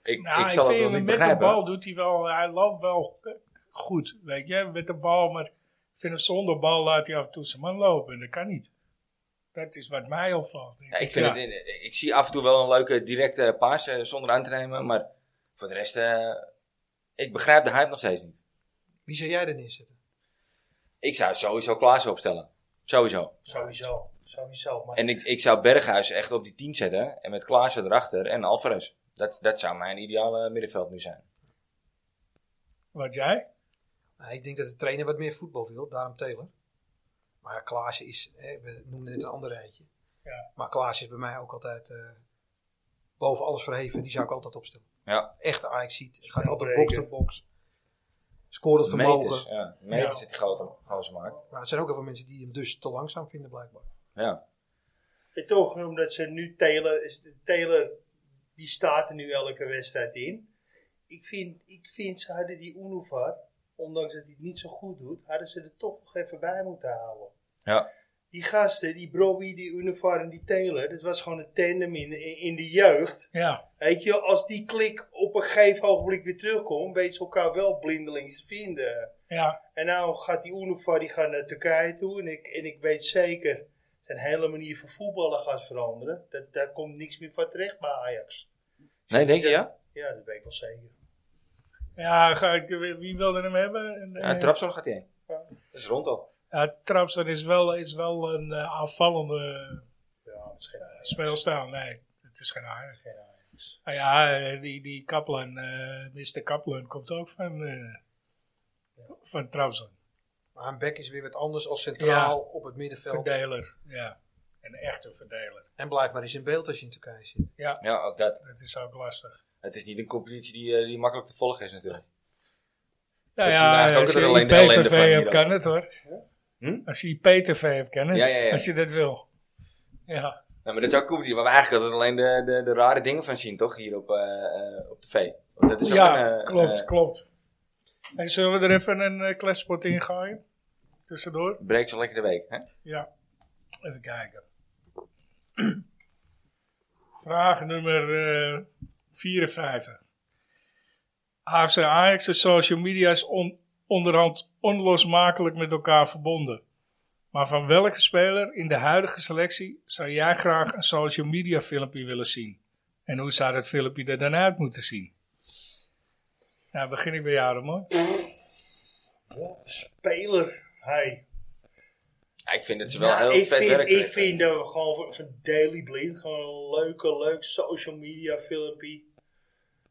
[SPEAKER 1] Ik,
[SPEAKER 2] Nou,
[SPEAKER 1] ik zal het wel
[SPEAKER 2] hem
[SPEAKER 1] niet
[SPEAKER 2] met
[SPEAKER 1] begrijpen.
[SPEAKER 2] de bal doet hij wel, hij loopt wel eh, goed, weet je, met de bal, maar ik vind hem zonder bal laat hij af en toe zijn man lopen en dat kan niet. Dat is wat mij opvalt.
[SPEAKER 1] Ja, ik, vind Het, eh, ik zie af en toe wel een leuke directe paas eh, zonder aan te nemen. Maar voor de rest, eh, ik begrijp de hype nog steeds niet.
[SPEAKER 3] Wie zou jij er neerzetten?
[SPEAKER 1] Ik zou sowieso Klaas opstellen. Sowieso.
[SPEAKER 4] Sowieso, sowieso. Maar
[SPEAKER 1] En ik, ik zou Berghuis echt op die 10 zetten. En met Klaassen erachter en Alvarez. Dat, dat zou mijn ideale middenveld nu zijn.
[SPEAKER 2] Wat jij?
[SPEAKER 3] Nou, ik denk dat de trainer wat meer voetbal wil, daarom Taylor. Maar Klaassen is, hè, we noemden het een ander rijtje.
[SPEAKER 2] Ja.
[SPEAKER 3] Maar Klaassen is bij mij ook altijd eh, boven alles verheven. Die zou ik altijd opstellen.
[SPEAKER 1] Ja.
[SPEAKER 3] Echte Ajax ziet, gaat
[SPEAKER 4] Ja,
[SPEAKER 3] altijd
[SPEAKER 4] breken.
[SPEAKER 3] box tot box. Scoort het vermogen.
[SPEAKER 1] Meters, ja. Meters
[SPEAKER 2] Ja.
[SPEAKER 1] zit die grote gozer maakt.
[SPEAKER 3] Maar het zijn ook heel veel mensen die hem dus te langzaam vinden blijkbaar.
[SPEAKER 1] Ja.
[SPEAKER 4] En toch, omdat ze nu Taylor, is Taylor die staat er nu elke wedstrijd in. Ik vind, ik vind ze hadden die Unuvar, ondanks dat hij het niet zo goed doet, hadden ze er toch nog even bij moeten houden.
[SPEAKER 1] Ja.
[SPEAKER 4] Die gasten, die Broby, die Unuvar en die Taylor, dat was gewoon een tandem in, in, in de jeugd.
[SPEAKER 2] Ja,
[SPEAKER 4] Weet je, als die klik op een gegeven ogenblik weer terugkomt, weten ze elkaar wel blindelings te vinden.
[SPEAKER 2] ja,
[SPEAKER 4] En nou gaat die Unuvar die gaat naar Turkije toe. En ik, en ik weet zeker, zijn hele manier van voetballen gaat veranderen. Dat, daar komt niks meer van terecht bij Ajax.
[SPEAKER 1] Nee, denk je ja?
[SPEAKER 4] Ja, dat weet ik wel zeker.
[SPEAKER 2] ja ga ik- wie wilde hem hebben? En,
[SPEAKER 1] Ja,
[SPEAKER 2] eh,
[SPEAKER 1] Trapzon gaat hij in. Dat is rond al.
[SPEAKER 2] ja, Trapston is wel, is wel een eh, aanvallende
[SPEAKER 4] Ja, dat is geen Ajax.
[SPEAKER 2] speelstijl. Nee, het is geen aardig.
[SPEAKER 4] Geen Ajax.
[SPEAKER 2] Nou ja, eh, die, die Kaplan, eh Mr. Kaplan, komt ook van, eh van Trabzon.
[SPEAKER 3] Maar een back is weer wat anders als centraal op het middenveld.
[SPEAKER 2] Verdeler, ja. Een echte verdeler.
[SPEAKER 3] En blijf maar eens in beeld als je in Turkije zit.
[SPEAKER 2] Ja,
[SPEAKER 1] Ja, ook dat.
[SPEAKER 2] dat is ook lastig.
[SPEAKER 1] Het is niet een competitie die, eh, die makkelijk te volgen is natuurlijk.
[SPEAKER 2] Nou
[SPEAKER 1] zien eigenlijk
[SPEAKER 2] ja,
[SPEAKER 1] Dus ook
[SPEAKER 2] als
[SPEAKER 1] dat
[SPEAKER 2] je
[SPEAKER 1] er alleen de ellende
[SPEAKER 2] IPTV
[SPEAKER 1] van hier
[SPEAKER 2] hebt,
[SPEAKER 1] ook.
[SPEAKER 2] kan het hoor.
[SPEAKER 1] Hm?
[SPEAKER 2] Als je IPTV hebt, kan het.
[SPEAKER 1] Ja, ja, ja.
[SPEAKER 2] Als je dat wil. Ja.
[SPEAKER 1] Nou, maar dat is ook een competitie waar we eigenlijk altijd alleen de, de, de rare dingen van zien, toch? Hier op, eh eh, op tv. Want dat is ook
[SPEAKER 2] ja,
[SPEAKER 1] een, eh,
[SPEAKER 2] klopt,
[SPEAKER 1] eh,
[SPEAKER 2] klopt. En zullen we er even een eh, kletspot in gooien? Tussendoor?
[SPEAKER 1] eh, breekt zo lekker de week, hè?
[SPEAKER 2] Ja. Even kijken. Vraag nummer eh, 54. AFC Ajax de social media is on- onderhand onlosmakelijk met elkaar verbonden. Maar van welke speler in de huidige selectie zou jij graag een social media filmpje willen zien? En hoe zou dat filmpje er dan uit moeten zien? Nou, begin ik bij jou, Ramon.
[SPEAKER 4] Wat een speler hij.
[SPEAKER 1] Ja, ik vind dat ze wel
[SPEAKER 4] Nou,
[SPEAKER 1] heel
[SPEAKER 4] ik
[SPEAKER 1] vet
[SPEAKER 4] vind,
[SPEAKER 1] werk
[SPEAKER 4] Ik
[SPEAKER 1] leveren.
[SPEAKER 4] vind dat we gewoon van, van Daily Blind gewoon een leuke, leuk social media filmpje.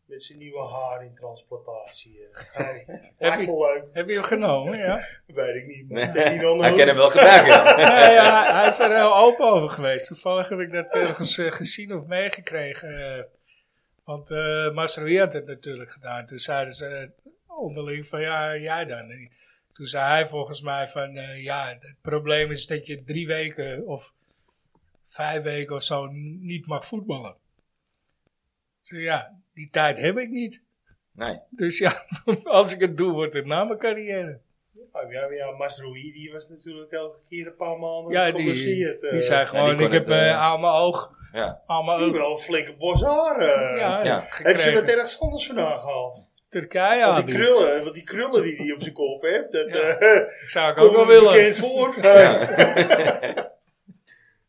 [SPEAKER 4] Met zijn nieuwe haar in transplantatie. eh. Hey, lijkt
[SPEAKER 2] je-
[SPEAKER 4] me leuk.
[SPEAKER 2] Heb je hem genomen? Ja.
[SPEAKER 4] Weet ik niet. Maar
[SPEAKER 1] Nee,
[SPEAKER 4] ik denk
[SPEAKER 1] Hij kan hem
[SPEAKER 4] niet
[SPEAKER 1] wel gebruiken. ja.
[SPEAKER 2] Ja, ja, hij is daar heel open over geweest. Toevallig heb ik dat ergens eh, gezien of meegekregen. eh. want eh Masrui had het natuurlijk gedaan. Toen zeiden ze eh, onderling van ja, jij dan. En toen zei hij volgens mij van eh, ja, het probleem is dat je drie weken of vijf weken of zo niet mag voetballen. Dus ja, die tijd heb ik niet.
[SPEAKER 1] Nee.
[SPEAKER 2] Dus ja, als ik het doe, wordt het na mijn carrière.
[SPEAKER 4] Oh, ja, maar ja, Masrohi die was natuurlijk elke keer een paar maanden
[SPEAKER 1] Oh,
[SPEAKER 2] Ja, die,
[SPEAKER 4] geblesseerd. eh.
[SPEAKER 2] die zei gewoon,
[SPEAKER 1] kon
[SPEAKER 2] ik heb
[SPEAKER 1] het, eh,
[SPEAKER 2] eh, aan mijn oog
[SPEAKER 1] Ja.
[SPEAKER 2] Allemaal
[SPEAKER 4] Die
[SPEAKER 2] ook.
[SPEAKER 4] wel een flinke bos haar. eh.
[SPEAKER 2] Ja,
[SPEAKER 1] Ja.
[SPEAKER 2] dat
[SPEAKER 4] Hebben ze
[SPEAKER 2] gekregen.
[SPEAKER 4] dat ergens anders vandaan gehaald?
[SPEAKER 2] Turkije
[SPEAKER 4] Want
[SPEAKER 2] had
[SPEAKER 4] die
[SPEAKER 2] die.
[SPEAKER 4] krullen, want die krullen die hij op zijn kop heeft, dat
[SPEAKER 2] Ja.
[SPEAKER 4] eh,
[SPEAKER 2] Zou ik ook
[SPEAKER 4] komt
[SPEAKER 2] wel
[SPEAKER 4] hem
[SPEAKER 2] willen.
[SPEAKER 4] bekend voor. Eh,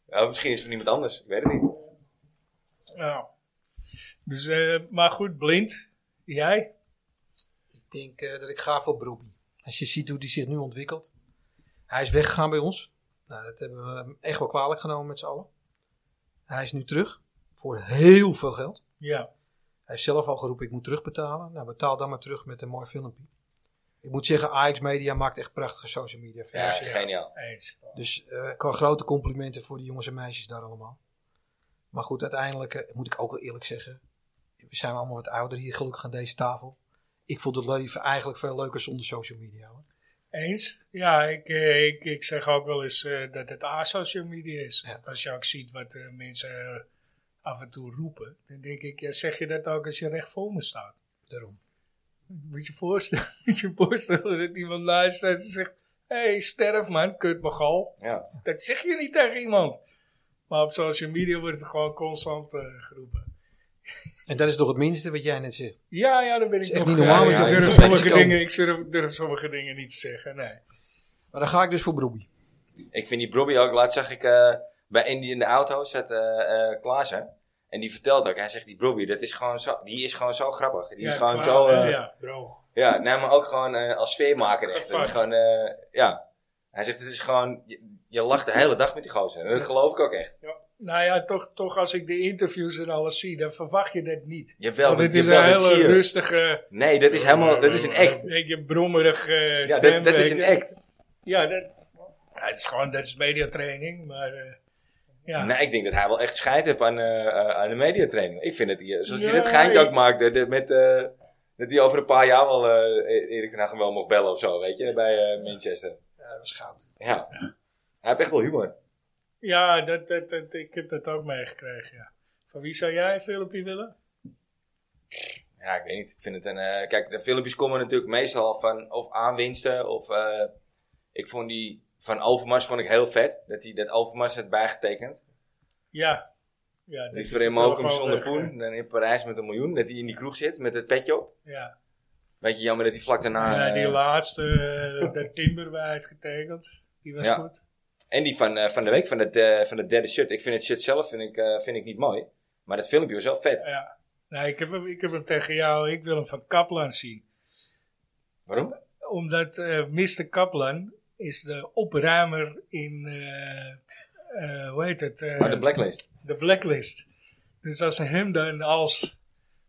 [SPEAKER 1] Ja, misschien is het van iemand anders. Ik weet het niet.
[SPEAKER 2] Ja. Dus, eh, maar goed, blind. Jij?
[SPEAKER 3] Ik denk eh, dat ik ga voor Broby. Als je ziet hoe die zich nu ontwikkelt. Hij is weggegaan bij ons. Nou, dat hebben we hem echt wel kwalijk genomen met z'n allen. Hij is nu terug. Voor heel veel geld.
[SPEAKER 2] Ja.
[SPEAKER 3] Hij heeft zelf al geroepen, ik moet terugbetalen. Nou, betaal dan maar terug met een mooi filmpje. Ik moet zeggen, Ajax Media maakt echt prachtige social media
[SPEAKER 1] Ja,
[SPEAKER 3] video's.
[SPEAKER 1] geniaal.
[SPEAKER 2] Eens.
[SPEAKER 3] Dus eh, ik kan grote complimenten voor die jongens en meisjes daar allemaal. Maar goed, uiteindelijk eh, moet ik ook wel eerlijk zeggen. We zijn allemaal wat ouder hier, gelukkig aan deze tafel. Ik vond het leven eigenlijk veel leuker zonder social media. Hoor.
[SPEAKER 2] Eens? Ja, ik, eh, ik, ik zeg ook wel eens eh, dat het asocial media is.
[SPEAKER 3] Ja.
[SPEAKER 2] Want als je ook ziet wat eh, mensen eh, af en toe roepen, dan denk ik, ja, zeg je dat ook als je recht voor me staat?
[SPEAKER 3] Daarom.
[SPEAKER 2] Moet je voorstellen, moet je voorstellen dat iemand naast staat en zegt, hé, hey, sterf man, kut me gal.
[SPEAKER 1] Ja.
[SPEAKER 2] Dat zeg je niet tegen iemand. Maar op social media wordt het gewoon constant eh, geroepen.
[SPEAKER 3] En dat is toch het minste wat jij net zegt.
[SPEAKER 2] Ja, ja, dan ben ik
[SPEAKER 3] Is echt
[SPEAKER 2] nog-
[SPEAKER 3] niet
[SPEAKER 2] ja,
[SPEAKER 3] normaal,
[SPEAKER 1] want je
[SPEAKER 2] ik
[SPEAKER 1] hoeft
[SPEAKER 2] durf
[SPEAKER 1] er
[SPEAKER 2] sommige
[SPEAKER 3] niet te
[SPEAKER 2] dingen, Ik durf, durf sommige dingen niet te zeggen, nee.
[SPEAKER 3] Maar dan ga ik dus voor Broby.
[SPEAKER 1] Ik vind die Broby ook. Laatst zag ik eh, bij Indy in de auto zat eh, eh, Klaas, hè. En die vertelt ook. Hij zegt, die Broby, dat is gewoon zo, die is gewoon zo grappig. Die is
[SPEAKER 2] Ja,
[SPEAKER 1] gewoon
[SPEAKER 2] maar,
[SPEAKER 1] zo... eh,
[SPEAKER 2] eh, ja,
[SPEAKER 4] Bro.
[SPEAKER 1] Ja, nee, maar ook gewoon eh, als sfeermaker echt. Dat is gewoon, eh, ja. Hij zegt, het is gewoon, je, je lacht de hele dag met die gozer. En dat geloof ik ook echt.
[SPEAKER 2] nou ja, toch, toch als ik de interviews en alles zie, dan verwacht je dat niet.
[SPEAKER 1] Jawel,
[SPEAKER 2] Want
[SPEAKER 1] dit
[SPEAKER 2] dit is een hele
[SPEAKER 1] zie je.
[SPEAKER 2] rustige, eh,
[SPEAKER 1] Nee, dat is helemaal, dat is een echt.
[SPEAKER 2] een beetje brommerig eh
[SPEAKER 1] Ja,
[SPEAKER 2] stem,
[SPEAKER 1] dat, dat is
[SPEAKER 2] weet
[SPEAKER 1] een
[SPEAKER 2] je.
[SPEAKER 1] act.
[SPEAKER 2] Ja, dat, ja, het is gewoon, dat is mediatraining, maar eh, ja.
[SPEAKER 1] Nee, ik denk dat hij wel echt scheid heeft aan, eh, eh, aan de mediatraining. Ik vind dat hij, eh, zoals hij
[SPEAKER 4] Ja,
[SPEAKER 1] dat geintje
[SPEAKER 4] ik-
[SPEAKER 1] ook maakt, eh, dat met, eh, dat hij over een paar jaar wel eh, Erik ten Hag hem wel mocht bellen of zo, weet je, bij eh, Manchester.
[SPEAKER 3] Ja, dat was goud.
[SPEAKER 1] Ja. Hij heeft echt wel humor.
[SPEAKER 2] Ja, dat, dat, dat- ik heb dat ook meegekregen, ja. Van wie zou jij een filmpje willen?
[SPEAKER 1] Ja, ik weet niet. Ik vind het een. eh, kijk, de filmpjes komen natuurlijk meestal van of aanwinsten of. eh, ik vond die van Overmars vond ik heel vet. Dat hij dat Overmars had bijgetekend.
[SPEAKER 2] Ja. ja dat
[SPEAKER 1] Die
[SPEAKER 2] is
[SPEAKER 1] voor hem
[SPEAKER 2] wel
[SPEAKER 1] ook hem
[SPEAKER 2] gewoon
[SPEAKER 1] zonder
[SPEAKER 2] weg,
[SPEAKER 1] poen. Dan in Parijs met een miljoen. Dat hij in die kroeg zit met het petje op.
[SPEAKER 2] hè. Ja.
[SPEAKER 1] Weet je, jammer dat hij vlak daarna.
[SPEAKER 2] Ja, die
[SPEAKER 1] eh,
[SPEAKER 2] laatste, eh, dat Timberwijd getekend, die was
[SPEAKER 1] Ja.
[SPEAKER 2] goed.
[SPEAKER 1] en die van, eh, van de week, van dat, eh, van dat derde shirt. Ik vind het shirt zelf vind ik, eh, vind ik niet mooi. Maar dat filmpje was wel vet.
[SPEAKER 2] Ja. Nou, ik, heb hem, ik heb hem tegen jou, ik wil hem van Kaplan zien.
[SPEAKER 1] Waarom?
[SPEAKER 2] Omdat eh Mr. Kaplan is de opruimer in, eh, eh, hoe heet het? eh,
[SPEAKER 1] Maar Oh, de blacklist.
[SPEAKER 2] de blacklist. Dus als ze hem dan als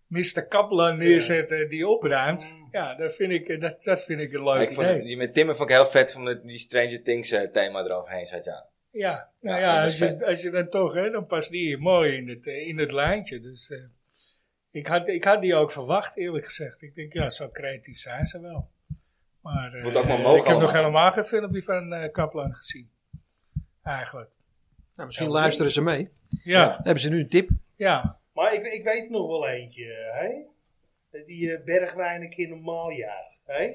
[SPEAKER 2] Mr. Kaplan neerzetten die opruimt, ja, dat vind ik, eh, dat, dat vind ik een leuk
[SPEAKER 1] Mm. ik vond,
[SPEAKER 2] idee.
[SPEAKER 1] die met Timmer vond ik heel vet, omdat die Stranger Things eh, thema eroverheen zat, ja.
[SPEAKER 2] Ja, nou
[SPEAKER 1] Ja,
[SPEAKER 2] ja,
[SPEAKER 1] dat
[SPEAKER 2] als
[SPEAKER 1] is
[SPEAKER 2] je,
[SPEAKER 1] vet.
[SPEAKER 2] als je dan toch, hè, dan past die mooi in het, eh, in het lijntje. Dus eh, ik, had, ik had die ook verwacht, eerlijk gezegd. Ik denk, ja, zo creatief zijn ze wel. Maar eh,
[SPEAKER 1] Moet ook maar mogen
[SPEAKER 2] ik heb nog
[SPEAKER 1] allemaal.
[SPEAKER 2] helemaal geen filmpje van eh, Kaplan gezien. Eigenlijk.
[SPEAKER 3] Nou, misschien luisteren ze mee.
[SPEAKER 2] Ja,
[SPEAKER 3] Hebben ze nu een tip?
[SPEAKER 2] ja.
[SPEAKER 4] Maar ik, ik weet nog wel eentje, eh, hè? Die eh, Bergwijn een keer normaal jaagt, hè?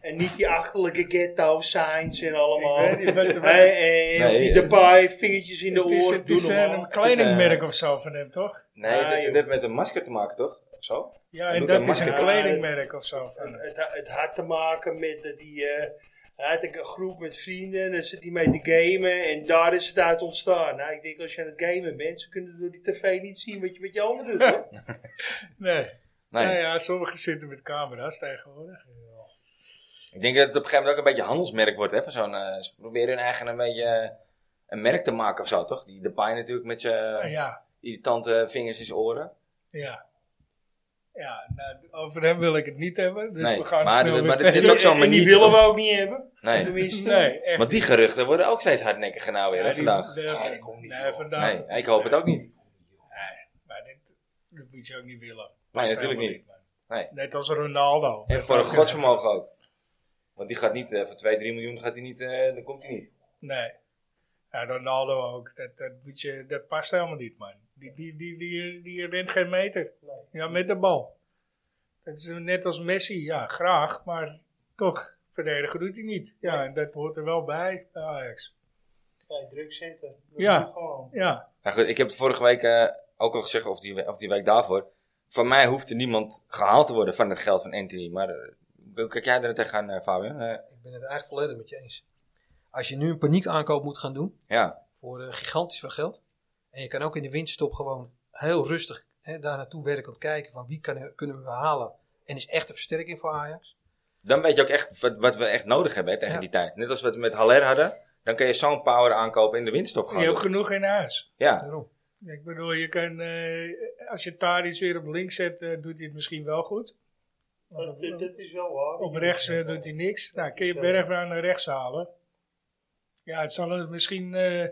[SPEAKER 4] En niet die achterlijke ghetto signs en allemaal.
[SPEAKER 2] Ik weet niet wat- wat-
[SPEAKER 4] Hé, hé,
[SPEAKER 1] Nee,
[SPEAKER 4] die
[SPEAKER 1] eh.
[SPEAKER 4] erbij, vingertjes in de
[SPEAKER 2] Het is,
[SPEAKER 4] oren,
[SPEAKER 2] het
[SPEAKER 4] doe
[SPEAKER 2] is eh,
[SPEAKER 4] normaal.
[SPEAKER 2] een kledingmerk
[SPEAKER 1] eh,
[SPEAKER 2] of zo van hem, toch?
[SPEAKER 1] Nee,
[SPEAKER 4] Ah,
[SPEAKER 1] dat is-
[SPEAKER 4] joh.
[SPEAKER 1] dat heeft met een masker te maken, toch? Of zo?
[SPEAKER 2] Ja,
[SPEAKER 1] Doet
[SPEAKER 2] en
[SPEAKER 1] een
[SPEAKER 2] dat is een
[SPEAKER 1] masker.
[SPEAKER 2] kledingmerk of zo van hem.
[SPEAKER 4] Het, ha- het had te maken met eh, die. eh, hij had een groep met vrienden en dan zit hij mee te gamen en daar is het uit ontstaan. Nou, ik denk als je aan het gamen bent, ze kunnen door die tv niet zien wat je met je handen doet. hoor.
[SPEAKER 2] Nee.
[SPEAKER 1] Nee.
[SPEAKER 2] Nou ja, sommigen zitten met camera's tegenwoordig.
[SPEAKER 1] Ik denk dat het op een gegeven moment ook een beetje handelsmerk wordt, hè? Van zo'n, eh, ze proberen hun eigen een beetje eh, een merk te maken of zo, toch? Die Depay natuurlijk met zijn
[SPEAKER 2] Nou Ja,
[SPEAKER 1] irritante vingers in zijn oren.
[SPEAKER 2] ja. Ja, nou, over hem wil ik het niet hebben, dus
[SPEAKER 1] Nee,
[SPEAKER 2] we gaan
[SPEAKER 1] maar
[SPEAKER 2] snel
[SPEAKER 1] dit-
[SPEAKER 2] weer
[SPEAKER 1] maar dit is
[SPEAKER 2] verder.
[SPEAKER 1] ook zo'n
[SPEAKER 4] En die
[SPEAKER 1] manier,
[SPEAKER 4] willen
[SPEAKER 1] toch?
[SPEAKER 4] we ook niet hebben.
[SPEAKER 1] Nee.
[SPEAKER 4] Tenminste.
[SPEAKER 2] Nee, echt.
[SPEAKER 1] Want die geruchten worden ook steeds hardnekkiger nou weer,
[SPEAKER 2] Ja,
[SPEAKER 1] hè,
[SPEAKER 2] die-
[SPEAKER 1] vandaag.
[SPEAKER 2] de-
[SPEAKER 4] Ja, dat komt niet
[SPEAKER 2] nee,
[SPEAKER 4] door.
[SPEAKER 2] vandaag.
[SPEAKER 1] Nee, ik hoop het ook niet.
[SPEAKER 2] Nee, maar dit, dat moet je ook niet willen.
[SPEAKER 1] Nee,
[SPEAKER 2] Past
[SPEAKER 1] natuurlijk
[SPEAKER 2] helemaal
[SPEAKER 1] niet.
[SPEAKER 2] man.
[SPEAKER 1] Nee.
[SPEAKER 2] Net als Ronaldo.
[SPEAKER 1] En
[SPEAKER 2] Dat
[SPEAKER 1] voor een
[SPEAKER 2] ook,
[SPEAKER 1] godsvermogen ook. Want die gaat niet, eh, voor 2, 3 miljoen gaat hij niet, eh, dan komt hij niet.
[SPEAKER 2] eh, Nee. Ja, Ronaldo ook. Dat, dat, moet je, dat past helemaal niet, man. Die, die, die, die, die rent geen meter. Ja, met de bal. Dat is net als Messi. Ja, graag, maar toch. Verdedigen doet hij niet. Ja, en dat hoort er wel bij, bij Ajax.
[SPEAKER 4] Nee, druk zetten. Dat
[SPEAKER 2] Ja.
[SPEAKER 4] moet gewoon.
[SPEAKER 2] Ja,
[SPEAKER 1] Nou goed, ik heb het vorige week eh, ook al gezegd, of die, we- of die week daarvoor. Van mij hoeft er niemand gehaald te worden van het geld van Anthony. Maar eh, hoe kijk jij er tegenaan, eh, Fabian? Eh,
[SPEAKER 3] Ik ben het eigenlijk volledig met je eens. Als je nu een paniekaankoop moet gaan doen,
[SPEAKER 1] ja,
[SPEAKER 3] voor eh, gigantisch veel geld. En je kan ook in de winterstop gewoon heel rustig hè, daar naartoe werkend kijken van wie kan, kunnen we halen. En is echt een versterking voor Ajax.
[SPEAKER 1] dan weet je ook echt wat, wat we echt nodig hebben hè, tegen
[SPEAKER 3] Ja.
[SPEAKER 1] die tijd. Net als wat we met Haller hadden. Dan kan je zo'n power aankopen in de winststop
[SPEAKER 2] je
[SPEAKER 1] gaan.
[SPEAKER 2] hebt
[SPEAKER 1] doen.
[SPEAKER 2] genoeg in huis.
[SPEAKER 1] Ja,
[SPEAKER 3] Daarom.
[SPEAKER 2] Ik bedoel, je kan, eh, als je Tadic weer op links zet, eh, doet hij het misschien wel goed. Want
[SPEAKER 4] Dat, eh,
[SPEAKER 2] op-
[SPEAKER 4] dat, dat is wel waar.
[SPEAKER 2] Op rechts eh, doet hij niks. Nou, kun je Bergwijn naar rechts halen. Ja, het zal er misschien eh,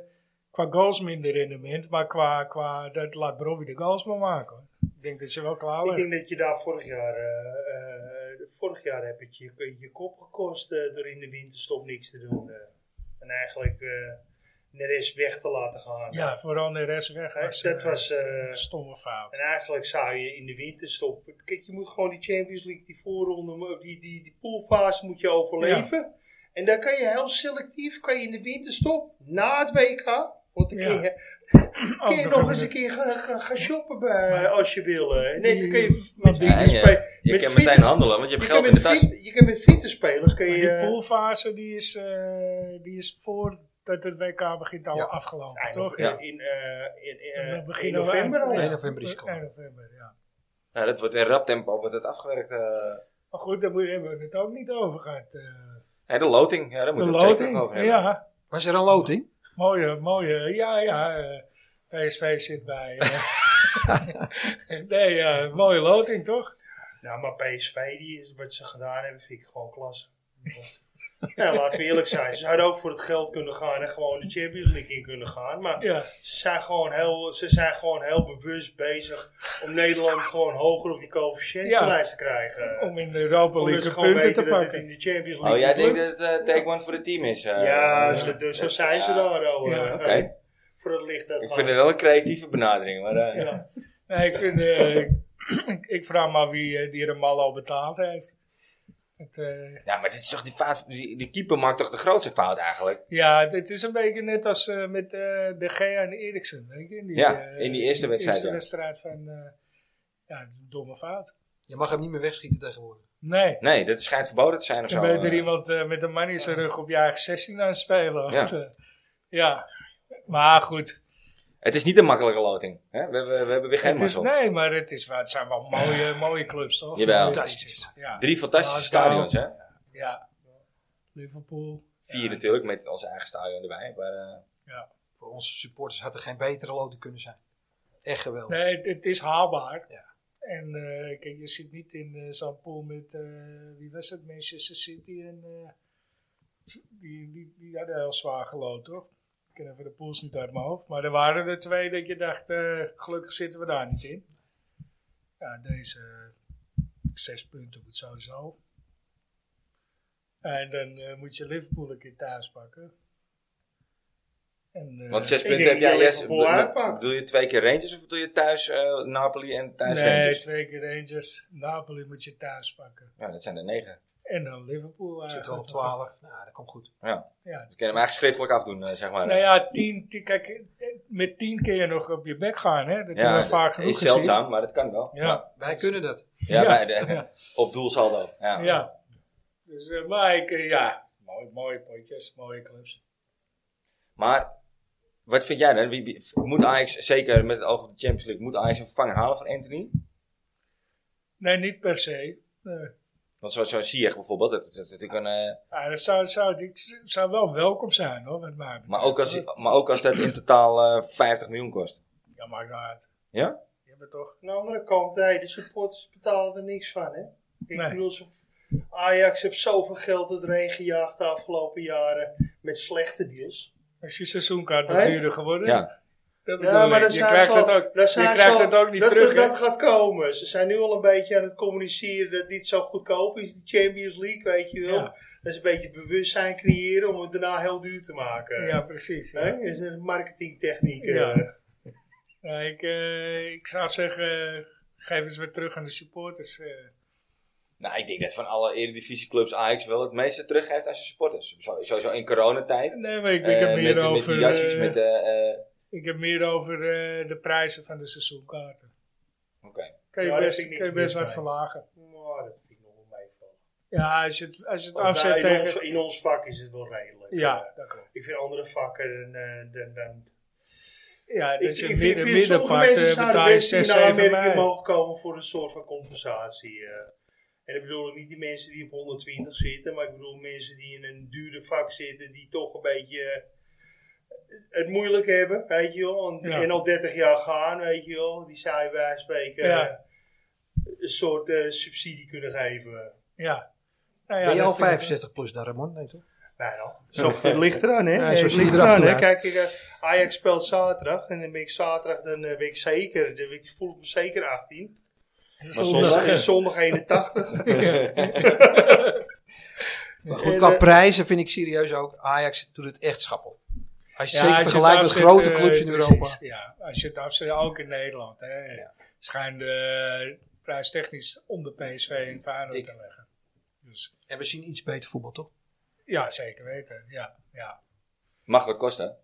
[SPEAKER 2] qua goals minder rendement, maar qua, qua dat laat Bobby de goals maar maken. hoor. Ik denk dat ze wel klaar
[SPEAKER 4] Ik
[SPEAKER 2] waren.
[SPEAKER 4] denk dat je daar vorig jaar, eh, eh, vorig jaar heb het je, je kop gekost eh, door in de winterstop niks te doen. eh. en eigenlijk eh de rest weg te laten gaan.
[SPEAKER 2] Ja, vooral de rest weg.
[SPEAKER 4] Hè,
[SPEAKER 2] Was,
[SPEAKER 4] dat
[SPEAKER 2] eh,
[SPEAKER 4] was, eh,
[SPEAKER 2] een stomme fout.
[SPEAKER 4] en eigenlijk zou je in de winterstop, kijk je moet gewoon die Champions League, die voorronde, maar die, die, die poolfase moet je overleven. En dan kan je heel selectief, kan je in de winterstop, na het WK, want dan kun
[SPEAKER 2] Ja. Oh,
[SPEAKER 4] je
[SPEAKER 2] Ook
[SPEAKER 4] kun je nog eens
[SPEAKER 2] een-
[SPEAKER 4] een keer gaan, gaan, gaan shoppen bij, eh, als je wil. hè. Nee, dan kun je met
[SPEAKER 2] Ja,
[SPEAKER 1] ja,
[SPEAKER 4] fietsen
[SPEAKER 1] ja.
[SPEAKER 4] spelen.
[SPEAKER 1] je
[SPEAKER 4] met
[SPEAKER 1] kan
[SPEAKER 4] fiets-
[SPEAKER 1] meteen handelen, want je hebt
[SPEAKER 4] Je kan,
[SPEAKER 1] geld in de
[SPEAKER 4] met
[SPEAKER 1] tas.
[SPEAKER 4] fiets- je kan met fietsenspelers kun
[SPEAKER 2] Maar
[SPEAKER 4] je...
[SPEAKER 2] die
[SPEAKER 4] eh,
[SPEAKER 2] poolfase die is, eh, die is voordat het WK begint al
[SPEAKER 3] Ja.
[SPEAKER 2] afgelopen,
[SPEAKER 4] ja,
[SPEAKER 2] toch?
[SPEAKER 4] nog in, in, eh, in, eh,
[SPEAKER 2] En dan
[SPEAKER 4] in
[SPEAKER 2] beginnen we
[SPEAKER 4] november
[SPEAKER 2] eind-
[SPEAKER 4] al.
[SPEAKER 2] ja,
[SPEAKER 3] Nee, november is het klaar.
[SPEAKER 2] eind november, ja.
[SPEAKER 1] Nou, dat wordt in rap tempo wordt het afgewerkt. eh.
[SPEAKER 2] Maar goed, daar moet- hebben we het ook niet over gehad. eh.
[SPEAKER 1] Ja, de loting, ja, daar
[SPEAKER 2] de
[SPEAKER 1] moeten we het zeker nog over
[SPEAKER 2] loting,
[SPEAKER 1] hebben.
[SPEAKER 2] ja.
[SPEAKER 3] Was er een loting?
[SPEAKER 2] Mooie, mooie, ja, ja. eh, PSV zit bij. eh. nee, ja, mooie loting toch?
[SPEAKER 4] Nou, maar PSV, die is, wat ze gedaan hebben, vind ik gewoon klasse. ja, laten we eerlijk zijn. Ze hadden ook voor het geld kunnen gaan en gewoon de Champions League in kunnen gaan. Maar
[SPEAKER 2] Ja,
[SPEAKER 4] ze, zijn gewoon heel, ze zijn gewoon heel bewust bezig om Nederland gewoon hoger op die coëfficiëntenlijst te krijgen.
[SPEAKER 2] om in de Europa
[SPEAKER 4] Omdat
[SPEAKER 1] dus
[SPEAKER 4] ze
[SPEAKER 2] League
[SPEAKER 4] gewoon
[SPEAKER 2] punten
[SPEAKER 4] weten
[SPEAKER 2] te
[SPEAKER 4] dat het
[SPEAKER 2] pakken.
[SPEAKER 4] in de Champions League
[SPEAKER 1] Oh, jij
[SPEAKER 4] niet
[SPEAKER 1] denkt
[SPEAKER 4] lukt.
[SPEAKER 1] dat het eh, take one voor het team is? eh?
[SPEAKER 4] Ja,
[SPEAKER 1] Eh,
[SPEAKER 4] zo, dus zo zijn ze
[SPEAKER 1] Ja.
[SPEAKER 4] daar al.
[SPEAKER 2] Ja,
[SPEAKER 4] eh,
[SPEAKER 1] Oké,
[SPEAKER 4] eh, Voor het licht dat
[SPEAKER 1] ik
[SPEAKER 4] gaat.
[SPEAKER 1] vind het wel een creatieve benadering. Maar, eh,
[SPEAKER 4] Ja.
[SPEAKER 2] Nee, ik, vind, eh, ik- ik vraag maar wie eh, die Ramallo betaald heeft. Het, eh,
[SPEAKER 1] Ja, maar dit is toch die, fout, die, die keeper maakt toch de grootste fout eigenlijk?
[SPEAKER 2] Ja, het is een beetje net als eh, met eh, De Gea en Eriksen. Weet je? In die,
[SPEAKER 1] Ja,
[SPEAKER 2] eh,
[SPEAKER 1] in die eerste wedstrijd,
[SPEAKER 2] eerste
[SPEAKER 1] ja.
[SPEAKER 2] wedstrijd van, eh, ja, het is een domme fout.
[SPEAKER 3] Je mag hem niet meer wegschieten tegenwoordig.
[SPEAKER 2] Nee,
[SPEAKER 1] Nee, dat schijnt verboden te zijn of zo.
[SPEAKER 2] dan ben je er
[SPEAKER 1] eh.
[SPEAKER 2] iemand eh, met een man in zijn rug op je eigen 16 aan het
[SPEAKER 1] Ja.
[SPEAKER 2] spelen. Want, eh, ja, maar goed.
[SPEAKER 1] Het is niet een makkelijke loting. Hè? We, hebben, we hebben weer geen
[SPEAKER 2] Het is,
[SPEAKER 1] mazzel.
[SPEAKER 2] nee, maar het, is, wel- het zijn wel mooie, eh, mooie clubs, toch?
[SPEAKER 1] Jawel.
[SPEAKER 2] Mooie
[SPEAKER 3] Fantastisch.
[SPEAKER 2] clubjes, Ja,
[SPEAKER 1] Drie fantastische
[SPEAKER 2] Glasgow.
[SPEAKER 1] stadions, hè?
[SPEAKER 2] ja. Liverpool.
[SPEAKER 1] Vier
[SPEAKER 2] Ja.
[SPEAKER 1] natuurlijk, met ons eigen stadion erbij. Maar, eh,
[SPEAKER 3] Voor onze supporters had er geen betere loting kunnen zijn. echt geweldig.
[SPEAKER 2] Nee, Eh, het, het is haalbaar.
[SPEAKER 3] Ja.
[SPEAKER 2] En eh, kijk, je zit niet in eh, zo'n pool met, eh, wie was het, Manchester City en eh, die, die, die hadden heel zwaar gelood, toch? Ik ken even de pools niet uit mijn hoofd, maar er waren er twee dat je dacht, eh, gelukkig zitten we daar niet in. Ja, deze eh, zes punten moet sowieso. En dan eh, moet je Liverpool een keer thuis pakken. En, eh,
[SPEAKER 1] Want zes
[SPEAKER 4] Ik
[SPEAKER 1] punten
[SPEAKER 4] denk
[SPEAKER 1] heb jij
[SPEAKER 4] dat je
[SPEAKER 1] les.
[SPEAKER 4] Liverpool uitpakt.
[SPEAKER 1] Bedoel je twee keer Rangers of bedoel je thuis eh, Napoli en thuis
[SPEAKER 2] Nee,
[SPEAKER 1] Rangers?
[SPEAKER 2] twee keer Rangers. Napoli moet je thuis pakken.
[SPEAKER 1] Ja, dat zijn er negen.
[SPEAKER 2] En dan Liverpool. eh,
[SPEAKER 3] Zit
[SPEAKER 2] eigenlijk
[SPEAKER 3] wel op
[SPEAKER 2] nog.
[SPEAKER 3] 12. Nou, dat komt goed.
[SPEAKER 1] Ja.
[SPEAKER 2] Ja.
[SPEAKER 1] Dus kun je hem eigenlijk schriftelijk afdoen, eh, zeg maar.
[SPEAKER 2] Nou ja, tien, tien- kijk, eh, met tien kun je nog op je bek gaan. Hè? Dat
[SPEAKER 1] Ja,
[SPEAKER 2] hebben we vaak genoeg
[SPEAKER 1] is
[SPEAKER 2] gezien.
[SPEAKER 1] zeldzaam, maar dat kan wel.
[SPEAKER 2] Ja,
[SPEAKER 3] Wij kunnen dat.
[SPEAKER 1] Ja,
[SPEAKER 2] Ja.
[SPEAKER 1] bij de-
[SPEAKER 2] Ja.
[SPEAKER 1] op doelsaldo. Ja.
[SPEAKER 2] ja. Dus, eh, maar ik, eh, ja, mooi, mooie potjes, mooie clubs.
[SPEAKER 1] Maar wat vind jij dan? Wie, wie- moet Ajax, zeker met het oog op de Champions League, moet Ajax een vervanger halen van Anthony?
[SPEAKER 2] Nee, niet per se. Nee.
[SPEAKER 1] Want zoals zo Ziyech bijvoorbeeld, dat, dat is natuurlijk een... eh,
[SPEAKER 2] Ah, dat zou, zou, die zou wel welkom zijn, hoor, wat mij betreft.
[SPEAKER 1] maar, ook als, maar ook als dat in totaal eh 50 miljoen kost.
[SPEAKER 2] Ja, maakt nou uit.
[SPEAKER 1] Ja?
[SPEAKER 2] Je hebt het toch...
[SPEAKER 4] Aan de andere kant, hey, de supporters betalen er niks van, hè? Ik
[SPEAKER 2] Nee.
[SPEAKER 4] bedoel, ze- Ajax heeft zoveel geld er doorheen gejaagd de afgelopen jaren met slechte deals.
[SPEAKER 2] Als je seizoenkaart wat
[SPEAKER 4] Hè?
[SPEAKER 2] duurder geworden.
[SPEAKER 1] Ja.
[SPEAKER 2] Dat bedoel
[SPEAKER 4] Ja, maar
[SPEAKER 2] ik.
[SPEAKER 4] dat
[SPEAKER 2] je
[SPEAKER 4] zijn
[SPEAKER 2] krijgt,
[SPEAKER 4] ze
[SPEAKER 2] het
[SPEAKER 4] al-
[SPEAKER 2] ook,
[SPEAKER 4] dat
[SPEAKER 2] je
[SPEAKER 4] zijn ze
[SPEAKER 2] krijgt
[SPEAKER 4] al-
[SPEAKER 2] het ook niet
[SPEAKER 4] dat,
[SPEAKER 2] terug,
[SPEAKER 4] dat, dat
[SPEAKER 2] hè?
[SPEAKER 4] gaat komen. Ze zijn nu al een beetje aan het communiceren dat dit zo goedkoop is, de Champions League, weet je wel.
[SPEAKER 2] Ja.
[SPEAKER 4] Dat is een beetje bewustzijn creëren om het daarna heel duur te maken.
[SPEAKER 2] Ja, precies. ja.
[SPEAKER 4] Hè? Dat is een marketingtechniek. eh.
[SPEAKER 2] Ja. Ja, ik, eh, ik zou zeggen, eh, geef eens weer terug aan de supporters. eh.
[SPEAKER 1] Nou, ik denk dat van alle eredivisieclubs Ajax wel het meeste teruggeeft aan zijn supporters. Zo- Sowieso in coronatijd.
[SPEAKER 2] Nee, maar ik, ik
[SPEAKER 1] Eh,
[SPEAKER 2] heb
[SPEAKER 1] met,
[SPEAKER 2] meer
[SPEAKER 1] met
[SPEAKER 2] over,
[SPEAKER 1] die jasjes,
[SPEAKER 2] eh,
[SPEAKER 1] met... eh, eh,
[SPEAKER 2] ik heb meer over eh, de prijzen van de seizoenkaarten.
[SPEAKER 1] Oké.
[SPEAKER 2] Kan je
[SPEAKER 4] Ja, daar vind
[SPEAKER 2] best,
[SPEAKER 4] ik niks
[SPEAKER 2] kan je best
[SPEAKER 4] mis
[SPEAKER 2] wat
[SPEAKER 4] bij.
[SPEAKER 2] verlagen.
[SPEAKER 4] Maar dat vind ik nog wel meevallen.
[SPEAKER 2] Ja, als je het, als je het
[SPEAKER 4] Want
[SPEAKER 2] afzet
[SPEAKER 4] wij in, ons,
[SPEAKER 2] tegen...
[SPEAKER 4] in ons vak is het wel redelijk. eh.
[SPEAKER 2] Ja, dat klopt.
[SPEAKER 4] Ik vind andere vakken dan... eh, dan, dan
[SPEAKER 2] Ja, dus dat je
[SPEAKER 4] ik, ik,
[SPEAKER 2] midden,
[SPEAKER 4] vind, sommige
[SPEAKER 2] middenpart eh,
[SPEAKER 4] mensen zouden
[SPEAKER 2] betaal je
[SPEAKER 4] best
[SPEAKER 2] 6,
[SPEAKER 4] in
[SPEAKER 2] 7
[SPEAKER 4] aanmerking
[SPEAKER 2] mei.
[SPEAKER 4] mogen komen voor een soort van compensatie. eh. En ik bedoel ik niet die mensen die op 120 zitten, maar ik bedoel mensen die in een duurder vak zitten, die toch een beetje eh, het moeilijk hebben, weet je wel. En,
[SPEAKER 2] Ja.
[SPEAKER 4] en al 30 jaar gaan, weet je wel. Die zou je bij wijze van spreken
[SPEAKER 2] Ja.
[SPEAKER 4] eh, een soort eh, subsidie kunnen geven.
[SPEAKER 2] Ja. Nou ja,
[SPEAKER 3] Ben je
[SPEAKER 2] dat
[SPEAKER 3] al
[SPEAKER 2] vind ik-
[SPEAKER 3] 65 plus daar, Ramon? Nee, toch?
[SPEAKER 4] Bijna. Nou Zo het ligt eraan, hè?
[SPEAKER 3] Ja,
[SPEAKER 4] Het
[SPEAKER 3] zo zie je
[SPEAKER 4] ligt
[SPEAKER 3] eraf
[SPEAKER 4] eraan,
[SPEAKER 3] toe
[SPEAKER 4] hè?
[SPEAKER 3] uit.
[SPEAKER 4] Kijk, ik, eh, Ajax speelt zaterdag. En dan ben ik zaterdag, dan eh, ben ik zeker, dan ben ik, voel ik me zeker 18.
[SPEAKER 1] Maar
[SPEAKER 4] Zondag,
[SPEAKER 1] zondag...
[SPEAKER 4] zondag 81.
[SPEAKER 3] Maar goed,
[SPEAKER 4] En,
[SPEAKER 3] qua
[SPEAKER 4] eh,
[SPEAKER 3] prijzen vind ik serieus ook. Ajax doet het echt schappel. Als je het zeker
[SPEAKER 2] als je
[SPEAKER 3] vergelijkt
[SPEAKER 2] het
[SPEAKER 3] met
[SPEAKER 2] afzet,
[SPEAKER 3] grote
[SPEAKER 2] eh,
[SPEAKER 3] clubs in
[SPEAKER 2] precies,
[SPEAKER 3] Europa.
[SPEAKER 2] Ja, als je het afzet, ook in Nederland. Hè.
[SPEAKER 3] Ja.
[SPEAKER 2] Schijnt de prijstechnisch onder PSV en Feyenoord
[SPEAKER 3] Dik.
[SPEAKER 2] te leggen. Dus,
[SPEAKER 3] En we zien iets beter voetbal, toch?
[SPEAKER 2] ja, zeker weten. Ja, ja.
[SPEAKER 1] Mag wat kosten.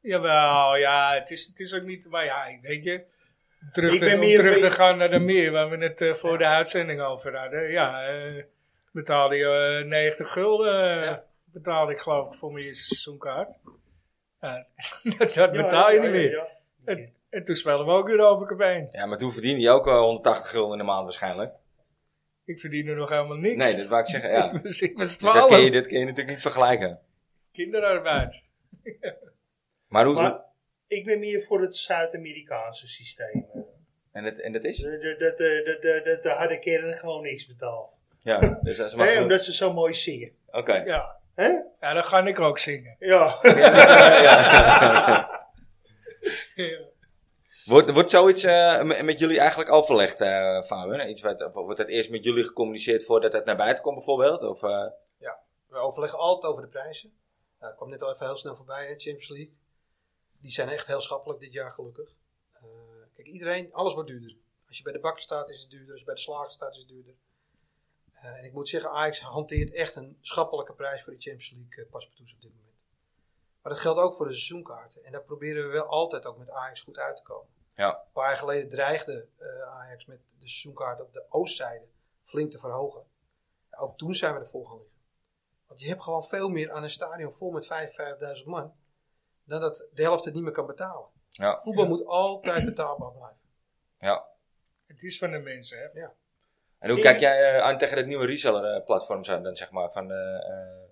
[SPEAKER 2] Jawel, ja, het is, het is ook niet... Maar ja, weet je... Terug
[SPEAKER 4] Ik
[SPEAKER 2] te,
[SPEAKER 4] ben
[SPEAKER 2] om
[SPEAKER 4] meer-
[SPEAKER 2] terug te
[SPEAKER 4] ik-
[SPEAKER 2] gaan naar de meer, waar we het eh, voor de uitzending over hadden. Ja, eh, betaalde je eh, 90 gulden. eh,
[SPEAKER 3] Ja.
[SPEAKER 2] Betaalde ik geloof ik voor mijn eerste seizoenkaart. Ja, dat dat betaal je
[SPEAKER 4] Ja,
[SPEAKER 2] niet
[SPEAKER 4] ja, ja,
[SPEAKER 2] meer.
[SPEAKER 4] ja.
[SPEAKER 2] En, en toen speelden we ook Europa Cup 1.
[SPEAKER 1] Ja, maar toen verdiende je ook eh, 180 gulden in de maand waarschijnlijk.
[SPEAKER 2] Ik verdien er nog helemaal niks.
[SPEAKER 1] Nee, dat wou ik zeggen, ja.
[SPEAKER 2] Dus ik was
[SPEAKER 1] Dus dat kun
[SPEAKER 2] 12.
[SPEAKER 1] je, dat kun je natuurlijk niet vergelijken.
[SPEAKER 2] Kinderarbeid.
[SPEAKER 1] Maar hoe...
[SPEAKER 4] Maar ik ben meer voor het Zuid-Amerikaanse systeem. eh.
[SPEAKER 1] en, dat, en dat is?
[SPEAKER 4] De- de- Dat de, de, de, de, de harde kern gewoon niks betaalt.
[SPEAKER 1] Ja, dus als ze maar...
[SPEAKER 4] Hè,
[SPEAKER 1] genoeg-
[SPEAKER 4] omdat ze zo mooi zingen.
[SPEAKER 1] Oké.
[SPEAKER 2] Ja.
[SPEAKER 4] Hè?
[SPEAKER 2] ja, dan ga ik ook zingen.
[SPEAKER 4] Ja.
[SPEAKER 1] Wordt, wordt zoiets eh, me- met jullie eigenlijk overlegd, eh Fabian? Iets wat, wordt dat eerst met jullie gecommuniceerd voordat het naar buiten komt, bijvoorbeeld? Of, eh,
[SPEAKER 3] We overleggen altijd over de prijzen. Nou, dat kwam net al even heel snel voorbij, hè, Champions League. Die zijn echt heel schappelijk dit jaar, gelukkig. Eh, kijk, iedereen, alles wordt duurder. Als je bij de bakker staat, is het duurder. Als je bij de slager staat, is het duurder. Eh, en ik moet zeggen, Ajax hanteert echt een schappelijke prijs voor de Champions League eh paspartouts op dit moment. Maar dat geldt ook voor de seizoenkaarten. En daar proberen we wel altijd ook met Ajax goed uit te komen.
[SPEAKER 1] Ja.
[SPEAKER 3] Een paar jaar geleden dreigde eh, Ajax met de seizoenkaarten op de oostzijde flink te verhogen. Ja, ook toen zijn we ervoor gaan liggen. Want je hebt gewoon veel meer aan een stadion vol met 55.000 man. Dan dat de helft het niet meer kan betalen.
[SPEAKER 1] Ja.
[SPEAKER 3] Voetbal moet altijd betaalbaar blijven.
[SPEAKER 1] ja.
[SPEAKER 2] Het is van de mensen, hè.
[SPEAKER 1] En hoe kijk jij eh, aan tegen het nieuwe reseller-platform dan, zeg maar, van de, eh,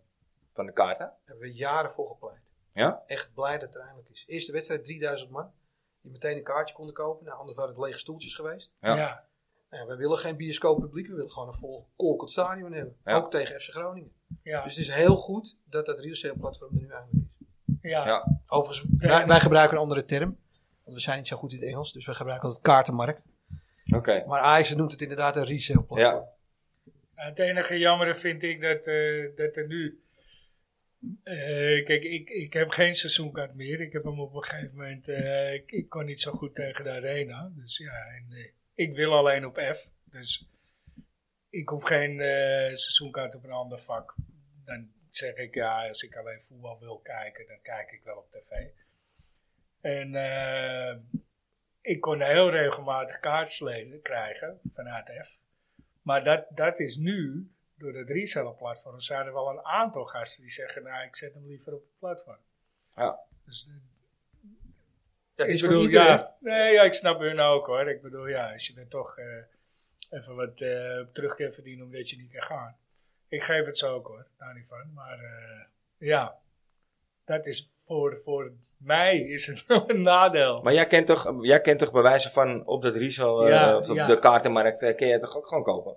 [SPEAKER 1] van de kaarten?
[SPEAKER 3] Daar hebben we jaren voor gepleit.
[SPEAKER 1] Ja?
[SPEAKER 3] Echt blij dat het eindelijk is. Eerste wedstrijd 3000 man. Die meteen een kaartje konden kopen. Nou, anders waren het lege stoeltjes geweest.
[SPEAKER 1] Ja.
[SPEAKER 2] ja.
[SPEAKER 3] Nou, we willen geen bioscoop publiek. We willen gewoon een vol kolkend stadion hebben.
[SPEAKER 1] Ja.
[SPEAKER 3] Ook tegen FC Groningen.
[SPEAKER 2] ja,
[SPEAKER 3] Dus het is heel goed dat dat resale platform er nu eigenlijk is.
[SPEAKER 2] ja.
[SPEAKER 1] Ja.
[SPEAKER 3] Overigens, wij, wij gebruiken een andere term. Want we zijn niet zo goed in het Engels. Dus we gebruiken altijd kaartenmarkt.
[SPEAKER 1] Oké.
[SPEAKER 3] Maar Ajax noemt het inderdaad een resale platform.
[SPEAKER 1] Ja.
[SPEAKER 2] Nou, Het enige jammere vind ik dat, eh, dat er nu. eh, kijk, ik, ik heb geen seizoenkaart meer. Ik heb hem op een gegeven moment. eh, ik, ik kon niet zo goed tegen de arena. Dus ja, en, eh, ik wil alleen op F. Dus ik hoef geen eh, seizoenkaart op een ander vak. Dan zeg ik ja, als ik alleen voetbal wil kijken, dan kijk ik wel op tv. En eh, ik kon heel regelmatig kaartsleden krijgen vanuit F. Maar dat, dat is nu, door dat reseller-platform, zijn er wel een aantal gasten die zeggen: Nou, ik zet hem liever op het platform.
[SPEAKER 1] Ja.
[SPEAKER 2] Dus, eh,
[SPEAKER 3] Ja, het
[SPEAKER 2] ik
[SPEAKER 3] is voor
[SPEAKER 2] bedoel,
[SPEAKER 3] iedereen.
[SPEAKER 2] ja, nee, ja, ik snap hun ook hoor. Ik bedoel, ja, als je er toch eh, even wat eh, terug kan verdienen omdat je niet kan gaan. Ik geef het zo ook hoor, daar niet van. Maar eh, ja, dat is voor, voor mij is het een nadeel.
[SPEAKER 1] Maar jij kent, toch, jij kent toch bewijzen van op dat Riesel, eh,
[SPEAKER 2] Ja,
[SPEAKER 1] of op
[SPEAKER 2] ja.
[SPEAKER 1] de kaartenmarkt, eh, kun je het toch ook gewoon kopen?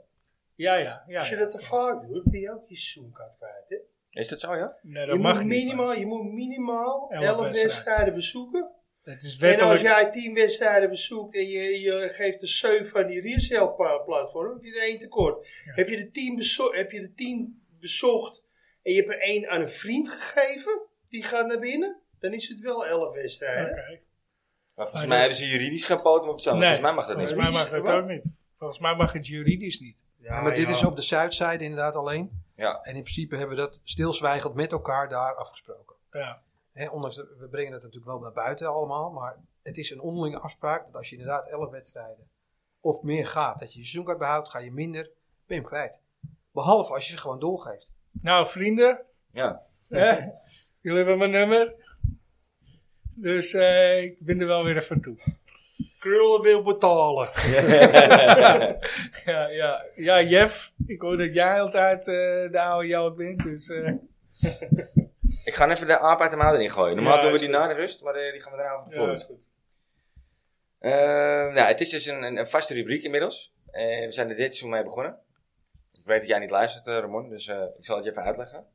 [SPEAKER 2] ja, ja, ja.
[SPEAKER 4] Als je
[SPEAKER 2] ja.
[SPEAKER 4] dat te vaak doet, ben je ook je seizoenkaart kwijt. Hè?
[SPEAKER 1] Is dat zo, ja?
[SPEAKER 2] Nee, dat
[SPEAKER 4] Je,
[SPEAKER 2] mag
[SPEAKER 4] moet
[SPEAKER 2] niet.
[SPEAKER 4] minimaal, je moet minimaal
[SPEAKER 2] Elf
[SPEAKER 4] 11
[SPEAKER 2] wedstrijden.
[SPEAKER 4] wedstrijden bezoeken.
[SPEAKER 2] maar Dat is
[SPEAKER 4] En nou,
[SPEAKER 2] wettelijk.
[SPEAKER 4] als jij 10 wedstrijden bezoekt en je, je geeft de 7 van die resale-platform, heb je er één tekort.
[SPEAKER 2] Ja.
[SPEAKER 4] Heb, je de 10 bezo- heb je de 10 bezocht en je hebt er één aan een vriend gegeven, die gaat naar binnen, dan is het wel 11 wedstrijden.
[SPEAKER 2] Oké.
[SPEAKER 1] Maar volgens
[SPEAKER 2] Maar
[SPEAKER 1] mij
[SPEAKER 2] Ah, dat-
[SPEAKER 1] hebben ze juridisch geen poten op hetzelfde.
[SPEAKER 2] Nee. Oh,
[SPEAKER 1] Volgens mij mag dat
[SPEAKER 2] Volgens
[SPEAKER 1] niet.
[SPEAKER 2] mij mag
[SPEAKER 4] Juridisch,
[SPEAKER 2] dat ook niet. Volgens mij mag het juridisch niet.
[SPEAKER 3] Ja, maar dit is op de Zuidzijde inderdaad alleen.
[SPEAKER 1] Ja.
[SPEAKER 3] En in principe hebben we dat stilzwijgend met elkaar daar afgesproken.
[SPEAKER 2] Ja,
[SPEAKER 3] Hè, ondanks dat we brengen het natuurlijk wel naar buiten allemaal. Maar het is een onderlinge afspraak dat als je inderdaad 11 wedstrijden of meer gaat, dat je je seizoenkaart behoudt, ga je minder, ben je hem kwijt. Behalve als je ze gewoon doorgeeft.
[SPEAKER 2] nou vrienden,
[SPEAKER 1] Ja.
[SPEAKER 2] hè, jullie hebben mijn nummer. Dus eh, ik ben er wel weer even toe.
[SPEAKER 4] Krullen wil betalen.
[SPEAKER 2] Ja, ja, ja, Jeff, ik hoor dat jij altijd eh, de oude jou bent. Dus, eh,
[SPEAKER 1] ik ga even de aap uit de mouw erin gooien. Normaal
[SPEAKER 2] Ja,
[SPEAKER 1] doen we
[SPEAKER 2] is
[SPEAKER 1] die
[SPEAKER 2] goed.
[SPEAKER 1] na de rust, maar eh, die gaan we daarna voor.
[SPEAKER 2] ja, is
[SPEAKER 1] Ja.
[SPEAKER 2] goed.
[SPEAKER 1] nou, het is dus een, een, een vaste rubriek inmiddels. Eh, we zijn er dit seizoen mee begonnen. Ik weet dat jij niet luistert, eh, Ramon, dus eh, ik zal het je even uitleggen.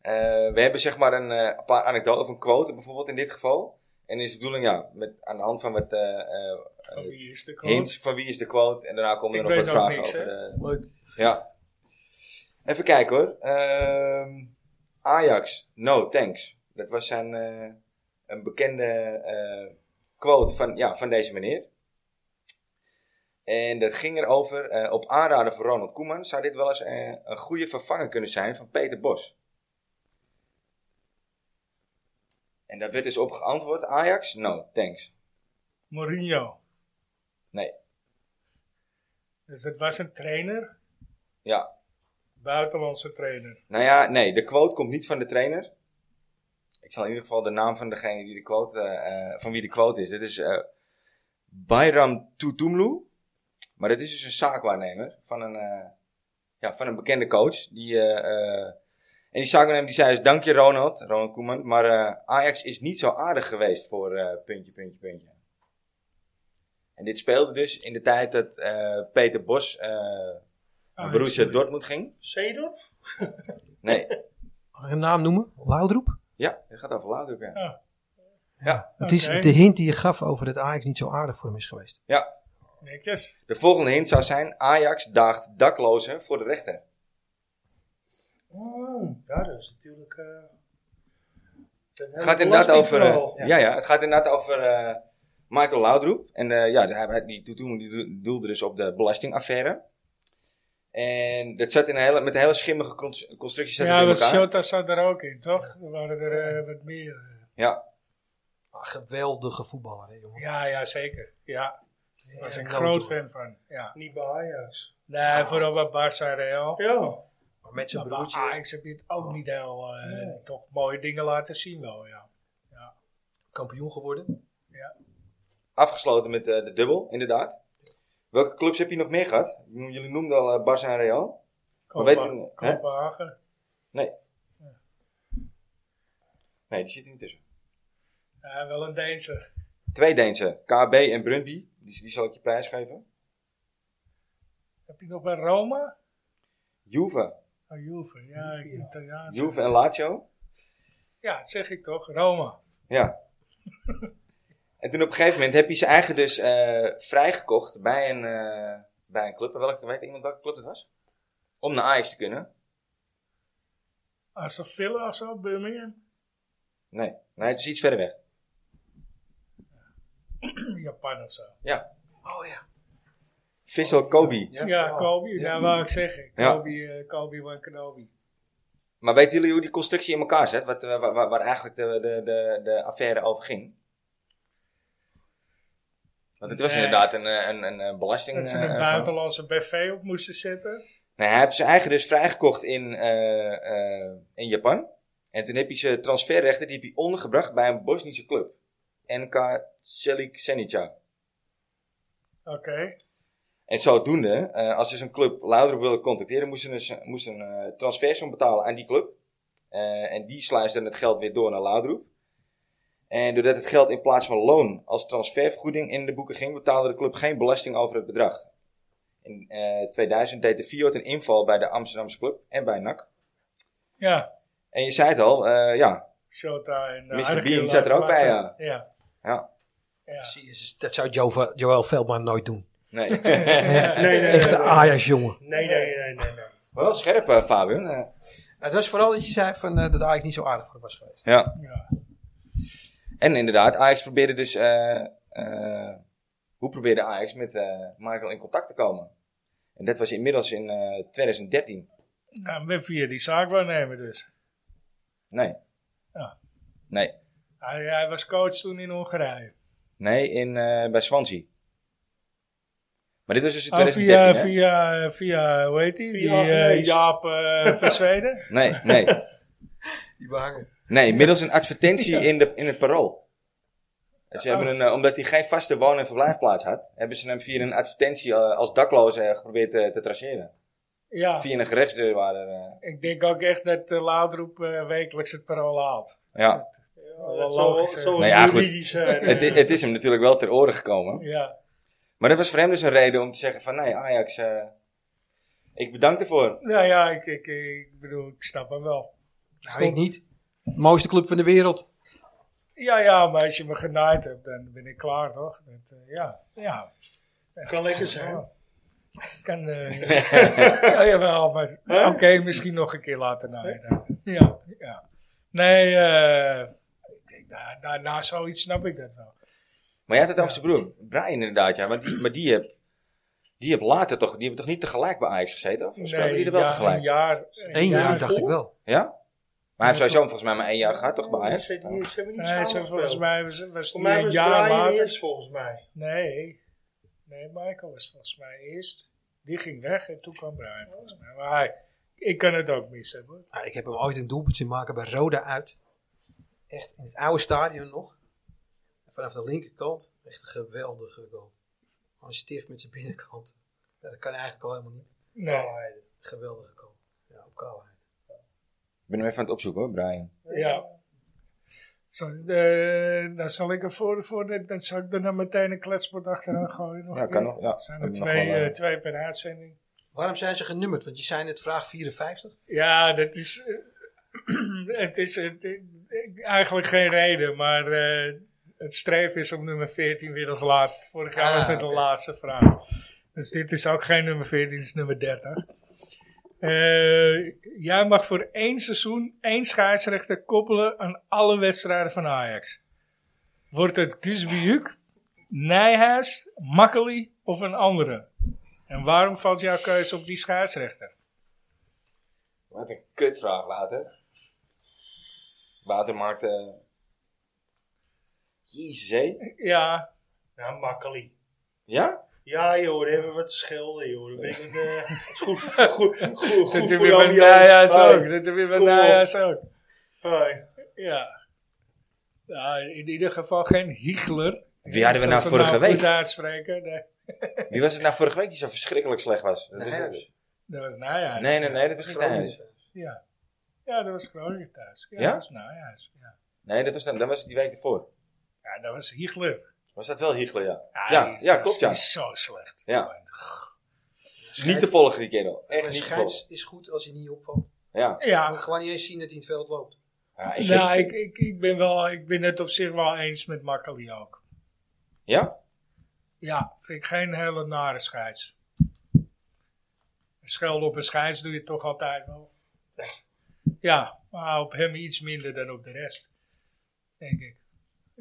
[SPEAKER 1] Eh, we hebben zeg maar een eh, paar anekdoten of een quote bijvoorbeeld in dit geval. En is de bedoeling, ja, met, aan de hand van wat eh, eh,
[SPEAKER 2] Van wie is de koning?
[SPEAKER 1] hints van wie is de quote. En daarna komen er
[SPEAKER 2] Ik
[SPEAKER 1] nog wat
[SPEAKER 2] weet ook
[SPEAKER 1] vragen
[SPEAKER 2] niks,
[SPEAKER 1] over.
[SPEAKER 2] hè?
[SPEAKER 1] eh,
[SPEAKER 3] Leuk.
[SPEAKER 1] Ja. Even kijken hoor. Ehm, Ajax, no thanks. Dat was zijn, eh, een bekende eh, quote van, ja, van deze meneer. En dat ging erover, eh, op aanraden van Ronald Koeman zou dit wel eens eh, een goede vervanger kunnen zijn van Peter Bos. En daar werd dus op geantwoord, Ajax, no thanks.
[SPEAKER 2] Mourinho.
[SPEAKER 1] Nee.
[SPEAKER 2] Dus het was een trainer,
[SPEAKER 1] Ja,
[SPEAKER 2] buitenlandse trainer.
[SPEAKER 1] Nou ja, nee, de quote komt niet van de trainer. Ik zal in ieder geval de naam van degene die de quote, eh, eh, van wie de quote is. Dit is eh, Bayram Tutumlu. Maar dat is dus een zaakwaarnemer van een, eh, ja, van een bekende coach. Die, eh, eh, en die zaakwaarnemer die zei dus, dank je Ronald, Ronald Koeman. Maar eh, Ajax is niet zo aardig geweest voor eh, puntje, puntje, puntje. En dit speelde dus in de tijd dat eh, Peter Bos eh naar
[SPEAKER 2] Ah,
[SPEAKER 1] Borussia
[SPEAKER 2] sorry.
[SPEAKER 1] Dortmund ging.
[SPEAKER 4] Zeedorf?
[SPEAKER 1] Nee,
[SPEAKER 3] Mag ik een naam noemen? Woudroep?
[SPEAKER 1] ja, dat gaat over later. Ja.
[SPEAKER 3] Het is
[SPEAKER 2] Oké.
[SPEAKER 3] de hint die je gaf over dat Ajax niet zo aardig voor hem is geweest.
[SPEAKER 1] Ja,
[SPEAKER 2] Netjes.
[SPEAKER 1] de volgende hint zou zijn: Ajax daagt daklozen voor de rechter.
[SPEAKER 4] Mm, ja, dat is natuurlijk... eh, dat
[SPEAKER 1] Het
[SPEAKER 4] hele
[SPEAKER 1] gaat inderdaad over. eh,
[SPEAKER 4] belastingverhaal.
[SPEAKER 1] ja, ja, het gaat inderdaad over eh, Michael Laudroep. En eh, ja, hij- hij- die toen die doe- doelde dus op de belastingaffaire. En dat zat in een hele, met een hele schimmige cons- constructie zat
[SPEAKER 2] Ja,
[SPEAKER 1] het in
[SPEAKER 2] want
[SPEAKER 1] elkaar.
[SPEAKER 2] Shota zat er ook in, toch? Er waren er eh, wat meer.
[SPEAKER 1] Ja,
[SPEAKER 3] Ah, geweldige voetballer, hè, jongen.
[SPEAKER 2] Ja, ja, zeker. Ja, ik was een
[SPEAKER 3] Ja,
[SPEAKER 2] groot
[SPEAKER 3] toch.
[SPEAKER 2] fan van. Ja.
[SPEAKER 4] Niet bij Ajax.
[SPEAKER 2] Nee, vooral bij Barça Real.
[SPEAKER 4] Ja.
[SPEAKER 3] Maar met zijn
[SPEAKER 2] Maar bij
[SPEAKER 3] broertje
[SPEAKER 2] Ajax heb je het ook niet heel... eh,
[SPEAKER 4] Nee.
[SPEAKER 2] Toch mooie dingen laten zien wel, ja.
[SPEAKER 3] kampioen geworden.
[SPEAKER 1] afgesloten met eh, de dubbel, inderdaad. Welke clubs heb je nog meer gehad? Jullie noemden al eh, Barça en Real. Maar weet je-
[SPEAKER 2] Kopenha-
[SPEAKER 1] hè?
[SPEAKER 2] Kopenhagen.
[SPEAKER 1] Nee, die zit er niet tussen.
[SPEAKER 2] Ja, wel een Deense.
[SPEAKER 1] Twee Deense, KB en Brunby. Die, die zal ik je prijs geven.
[SPEAKER 2] Heb je nog bij Roma?
[SPEAKER 1] Juve.
[SPEAKER 2] Oh, Juve, ja, ik Italiaans.
[SPEAKER 1] Juve en Lazio.
[SPEAKER 2] Ja, dat zeg ik toch, Roma.
[SPEAKER 1] Ja. en toen op een gegeven moment heb je ze eigen dus eh, vrijgekocht bij een, eh, bij een club. En Welke, weet iemand welke club het was? Om naar Ajax te kunnen.
[SPEAKER 2] Aston Villa of zo, Birmingham.
[SPEAKER 1] Nee, nee het is iets verder weg.
[SPEAKER 2] Japan of zo.
[SPEAKER 1] Ja.
[SPEAKER 3] Oh ja.
[SPEAKER 1] Vissel Kobe.
[SPEAKER 2] Ja,
[SPEAKER 3] oh.
[SPEAKER 2] Kobe,
[SPEAKER 3] Ja.
[SPEAKER 2] ja, wou ik zeggen.
[SPEAKER 1] Ja.
[SPEAKER 2] Kobe, eh, Kobe van Kenobi.
[SPEAKER 1] Maar weten jullie hoe die constructie in elkaar zit? Wat, eh, waar, waar- waar eigenlijk de, de, de, de affaire over ging? Want het was
[SPEAKER 2] Nee.
[SPEAKER 1] inderdaad een, eh, een, een, eh, belasting...
[SPEAKER 2] Dat ze
[SPEAKER 1] eh,
[SPEAKER 2] een
[SPEAKER 1] van-
[SPEAKER 2] buitenlandse BV op moesten zetten.
[SPEAKER 1] Nee, hij heeft zijn eigen dus vrijgekocht in, eh, eh, in Japan. En toen heb je zijn transferrechten die heb je ondergebracht bij een Bosnische club. NK Celik Senica.
[SPEAKER 2] Oké.
[SPEAKER 1] En zodoende, eh, als ze zo'n club louder willen contacteren, moesten ze dus- moesten een eh, transfersom betalen aan die club. Eh, en die sluist dan het geld weer door naar Laudroep. En doordat het geld in plaats van loon als transfervergoeding in de boeken ging, betaalde de club geen belasting over het bedrag. In eh, 2000 deed de Fiat een inval bij de Amsterdamse club en bij NAC.
[SPEAKER 2] Ja,
[SPEAKER 1] En je zei het al, eh, ja.
[SPEAKER 2] Shota en... eh,
[SPEAKER 1] Mr.
[SPEAKER 2] Argyle
[SPEAKER 1] Bean zat er ook bij,
[SPEAKER 2] laatste- Ja.
[SPEAKER 1] Ja.
[SPEAKER 2] Ja.
[SPEAKER 3] Zie je, ze- Dat zou Joel, Joel Veldman nooit doen.
[SPEAKER 1] Nee.
[SPEAKER 4] nee, nee,
[SPEAKER 3] Echte
[SPEAKER 4] nee.
[SPEAKER 3] Ajax jongen.
[SPEAKER 4] Nee, nee, nee, nee. nee.
[SPEAKER 1] Maar wel scherp, eh, Fabian. Eh,
[SPEAKER 3] Nou, het was vooral dat je zei van, eh, dat Ajax niet zo aardig voor hem was geweest.
[SPEAKER 1] ja.
[SPEAKER 2] Ja.
[SPEAKER 1] En inderdaad, Ajax probeerde dus... eh, eh, hoe probeerde Ajax met eh, Michael in contact te komen? En dat was inmiddels in eh, 2013.
[SPEAKER 2] Nou, met via die zaak waarnemen dus.
[SPEAKER 1] Nee.
[SPEAKER 2] Ja.
[SPEAKER 1] Nee.
[SPEAKER 2] Hij, hij was coach toen in Hongarije.
[SPEAKER 1] Nee, in, eh, bij Swansea. Maar dit was dus in
[SPEAKER 2] Oh, via,
[SPEAKER 1] 2013, hè?
[SPEAKER 2] via, via, hoe heet die? Die
[SPEAKER 4] Via
[SPEAKER 2] eh,
[SPEAKER 4] Agnees.
[SPEAKER 2] Jaap eh, van Zweden.
[SPEAKER 1] Nee, nee.
[SPEAKER 3] Die behangen.
[SPEAKER 1] Nee, middels een advertentie in, de, in het parool. En Ze hebben een, eh, omdat hij geen vaste woon- en verblijfplaats had, hebben ze hem via een advertentie eh, als dakloze eh, geprobeerd eh, te traceren.
[SPEAKER 2] Ja,
[SPEAKER 1] Via een gerechtsdeurwaarder. eh.
[SPEAKER 2] ik denk ook echt dat uh, wekelijks het parool haalt.
[SPEAKER 1] ja.
[SPEAKER 2] wel
[SPEAKER 4] Dat zal-
[SPEAKER 2] logisch, hè.
[SPEAKER 4] zal
[SPEAKER 1] Nou ja, goed.
[SPEAKER 4] juridisch eh, zijn.
[SPEAKER 1] Het, i- het is hem natuurlijk wel ter oren gekomen.
[SPEAKER 2] eh. Ja,
[SPEAKER 1] Maar dat was voor hem dus een reden om te zeggen van, nee Ajax, eh, ik bedank ervoor.
[SPEAKER 2] nou ja, ik, ik, ik bedoel, ik snap hem wel.
[SPEAKER 3] Nou, ik niet. Mooiste club van de wereld.
[SPEAKER 2] Ja, ja, maar als je me genaaid hebt, dan ben ik klaar, toch? Dat, eh, ja, ja.
[SPEAKER 4] kan lekker zijn.
[SPEAKER 2] Oh. Ik kan, eh ja, jawel, maar oké, misschien nog een keer later naaien. Ja, ja. Nee, eh ik denk, na, na, na zoiets snap ik dat wel.
[SPEAKER 1] Maar jij had het over zijn broer, Brian inderdaad, ja. Maar die, maar die heb, die heb later toch, die hebben toch niet tegelijk bij Ajax gezeten? Of speelden die er wel
[SPEAKER 2] ja,
[SPEAKER 1] tegelijk?
[SPEAKER 2] Een jaar.
[SPEAKER 3] Eén jaar dacht ik
[SPEAKER 4] voor?
[SPEAKER 3] wel.
[SPEAKER 1] Ja? Maar hij heeft sowieso volgens mij maar één jaar gehad toch bij
[SPEAKER 4] Nee,
[SPEAKER 1] Ajax?
[SPEAKER 4] Ze, die- ze hebben niet
[SPEAKER 2] Nee,
[SPEAKER 4] samen
[SPEAKER 2] ze, volgens
[SPEAKER 4] gespeeld.
[SPEAKER 2] mij was, was
[SPEAKER 4] Voor
[SPEAKER 2] die
[SPEAKER 4] mij
[SPEAKER 2] een
[SPEAKER 4] was
[SPEAKER 2] jaar
[SPEAKER 4] Brian
[SPEAKER 2] later.
[SPEAKER 4] eerst volgens mij.
[SPEAKER 2] Nee, nee, Michael was volgens mij eerst. Die ging weg en toen kwam Brian volgens mij. Maar hij, ik kan het ook mis hebben.
[SPEAKER 3] Nou, ik heb hem ooit een doelpunt zien maken bij Roda uit. Echt in het oude stadion nog. Vanaf de linkerkant. Echt een geweldige goal. Gewoon stift met zijn binnenkant. Ja, dat kan eigenlijk al helemaal niet.
[SPEAKER 2] Nee.
[SPEAKER 4] Kaalheide.
[SPEAKER 3] Geweldige goal. Ja, op Kouwheid.
[SPEAKER 1] Ik ben hem even aan het opzoeken hoor, Brian.
[SPEAKER 2] Ja. Zo, eh, dan zal ik er voor, voor de- dan zal ik er dan meteen een kletsbord achteraan gooien. Nog
[SPEAKER 1] Ja, kan nog, ja.
[SPEAKER 2] Zijn er
[SPEAKER 1] Hebben we
[SPEAKER 2] twee,
[SPEAKER 1] nog wel,
[SPEAKER 2] eh,
[SPEAKER 1] eh,
[SPEAKER 2] twee per uitzending?
[SPEAKER 3] Waarom zijn ze genummerd? Want je zei net vraag 54.
[SPEAKER 2] Ja, dat is. eh, het is eh, eigenlijk geen reden, maar eh, het streven is om nummer 14 weer als laatste. Vorig jaar
[SPEAKER 3] Ah,
[SPEAKER 2] was dit de
[SPEAKER 3] oké.
[SPEAKER 2] laatste vraag. Dus dit is ook geen nummer 14, het is nummer 30. Eh, jij mag voor één seizoen één scheidsrechter koppelen aan alle wedstrijden van Ajax. Wordt het Kusbiuk, Nijhuis, Makkely of een andere? En waarom valt jouw keuze op die scheidsrechter?
[SPEAKER 1] Wat een kutvraag, Water. Water maakt... eh Jezus, hé.
[SPEAKER 2] Ja,
[SPEAKER 4] Nou, makkelijk.
[SPEAKER 1] Ja?
[SPEAKER 4] Ja joh, daar hebben we wat te schilderen joh. Dan ben ik met, eh, het is goed, goed, goed, goed,
[SPEAKER 2] dat
[SPEAKER 4] goed
[SPEAKER 2] heb
[SPEAKER 4] voor
[SPEAKER 2] je
[SPEAKER 4] jou.
[SPEAKER 2] bij
[SPEAKER 4] Joost.
[SPEAKER 2] Nijhuis
[SPEAKER 4] Hoi.
[SPEAKER 2] ook. Dat heb je bij
[SPEAKER 4] Kom op.
[SPEAKER 2] Nijhuis ook.
[SPEAKER 4] Hoi.
[SPEAKER 2] Ja. ja. In ieder geval geen Hiegler.
[SPEAKER 1] Wie hadden we
[SPEAKER 2] Zoals
[SPEAKER 1] nou vorige
[SPEAKER 2] goed
[SPEAKER 1] week?
[SPEAKER 2] uitspreken. Nee,
[SPEAKER 1] Wie was het nou vorige week die zo verschrikkelijk slecht was? Dat is-
[SPEAKER 3] Nijhuis.
[SPEAKER 2] dat was Nijhuis.
[SPEAKER 1] Nee, nee, nee, dat was niet Nijhuis.
[SPEAKER 3] Groningen.
[SPEAKER 2] Ja. ja, dat was Groningen thuis. Ja,
[SPEAKER 1] Ja?
[SPEAKER 2] dat was Nijhuis. Ja.
[SPEAKER 1] Nee, dat was, dan, dat was die week ervoor.
[SPEAKER 2] ja, dat was Hiegler.
[SPEAKER 1] Was dat wel Hiegler, ja.
[SPEAKER 2] Ah,
[SPEAKER 1] Ja,
[SPEAKER 2] die is
[SPEAKER 1] ja,
[SPEAKER 2] zo-
[SPEAKER 1] klopt, ja.
[SPEAKER 2] die is zo slecht.
[SPEAKER 1] Ja. Niet te volgen die kerel. Echt
[SPEAKER 3] Een
[SPEAKER 1] niet te volgen.
[SPEAKER 3] scheids is goed als hij niet opvalt.
[SPEAKER 1] Ja.
[SPEAKER 3] Hij
[SPEAKER 2] Ja,
[SPEAKER 3] wil gewoon niet eens zien dat hij in het veld loopt.
[SPEAKER 1] Ja, ik-
[SPEAKER 2] nou, ik, ik, ik, ben wel, ik ben het op zich wel eens met Makkeli ook.
[SPEAKER 1] ja?
[SPEAKER 2] Ja, vind ik geen hele nare scheids. Schelden op een scheids doe je toch altijd wel. Ja, maar op hem iets minder dan op de rest. Denk ik.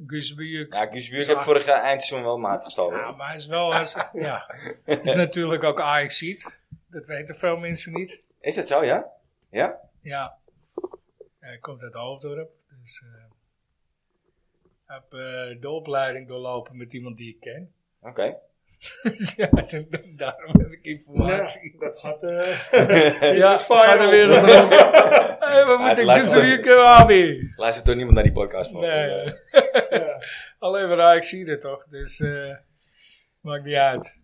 [SPEAKER 2] Guus Buurk.
[SPEAKER 1] Ja, Guus Buurk heeft vorig jaar eindseizoen wel maat gestolen.
[SPEAKER 2] Ja, maar hij is wel... Hij is, ja. is natuurlijk ook ajax Dat weten veel mensen niet.
[SPEAKER 1] Is dat zo, ja? Ja?
[SPEAKER 2] Ja. Hij komt uit Hoofddorp. Dus eh, ik heb eh, de opleiding doorlopen met iemand die ik ken.
[SPEAKER 1] Oké.
[SPEAKER 2] dus ja, dan- dan- daarom heb ik informatie.
[SPEAKER 4] Ja, dat gaat. eh
[SPEAKER 2] Ja,
[SPEAKER 4] ja,
[SPEAKER 2] gaat de wereld rond. Hey,
[SPEAKER 1] Ja, het
[SPEAKER 2] wat moet ik
[SPEAKER 1] lijkt
[SPEAKER 2] dus
[SPEAKER 1] wel-
[SPEAKER 2] weer kunnen aanbieden?
[SPEAKER 1] Luistert toch niemand naar die podcast? man?
[SPEAKER 2] Nee.
[SPEAKER 4] Ja.
[SPEAKER 2] Alleen maar ik zie het toch. Dus eh, maakt niet uit.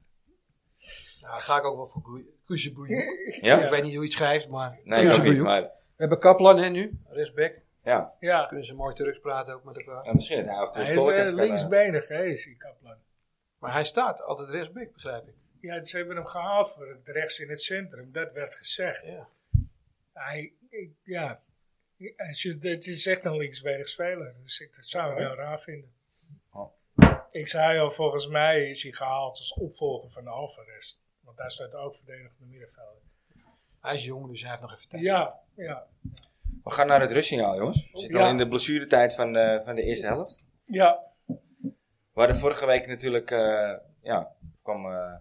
[SPEAKER 3] Nou, daar ga ik ook wel voor Kuzeboeien.
[SPEAKER 1] Ja?
[SPEAKER 3] Ik weet niet hoe je het schrijft, maar...
[SPEAKER 1] Nee, ik ook niet.
[SPEAKER 3] Kuzebue.
[SPEAKER 1] Maar
[SPEAKER 3] We hebben Kaplan hè, nu, rechtsback.
[SPEAKER 1] ja.
[SPEAKER 2] Ja.
[SPEAKER 3] Kunnen ze mooi Turks praten ook met elkaar.
[SPEAKER 1] Ja, misschien het avond.
[SPEAKER 2] Hij is eh, linksbenig, hè, is die Kaplan.
[SPEAKER 3] Maar hij staat altijd rechtsback, begrijp ik.
[SPEAKER 2] Ja, ze hebben hem gehaald voor het rechts in het centrum. Dat werd gezegd.
[SPEAKER 3] Ja.
[SPEAKER 2] Hij, ik- ja, als je, het is echt een linksbenig speler. Dus ik, dat zou ik wel raar vinden.
[SPEAKER 1] Oh.
[SPEAKER 2] Ik zei al, volgens mij is hij gehaald als opvolger van Alvarez. Want daar staat ook verdedigende middenvelder.
[SPEAKER 3] Hij is jong, dus hij heeft nog even tijd.
[SPEAKER 2] Ja, ja,
[SPEAKER 1] We gaan naar het rustsignaal, jongens. We zitten
[SPEAKER 2] Oh, Ja.
[SPEAKER 1] al in de blessuretijd van de, van de eerste helft.
[SPEAKER 2] ja.
[SPEAKER 1] We hadden vorige week natuurlijk... eh, ja, kwam eh,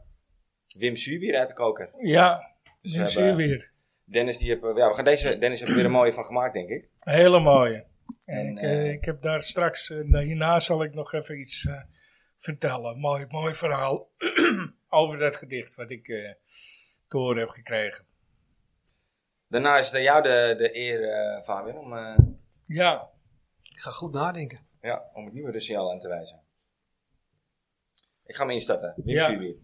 [SPEAKER 1] Wim Subier uit de koker.
[SPEAKER 2] Ja,
[SPEAKER 1] Dus
[SPEAKER 2] nu
[SPEAKER 1] we
[SPEAKER 2] zie je
[SPEAKER 1] hebben-
[SPEAKER 2] weer.
[SPEAKER 1] Dennis, die hebben... Ja, we gaan deze... Dennis heeft er weer een mooie van gemaakt, denk ik.
[SPEAKER 2] Een hele mooie. En,
[SPEAKER 1] En,
[SPEAKER 2] ik,
[SPEAKER 1] eh,
[SPEAKER 2] eh, ik heb daar straks, eh, hierna zal ik nog even iets eh, vertellen. Mooi, mooi verhaal over dat gedicht wat ik eh te horen heb gekregen.
[SPEAKER 1] Daarna is het aan jou de, de eer, eh, Fabian, om, eh,
[SPEAKER 2] Ja,
[SPEAKER 3] Ik ga goed nadenken.
[SPEAKER 1] ja, om het nieuwe rustsignaal aan te wijzen. Ik ga me instarten. Wim
[SPEAKER 2] Ja.
[SPEAKER 1] Subier.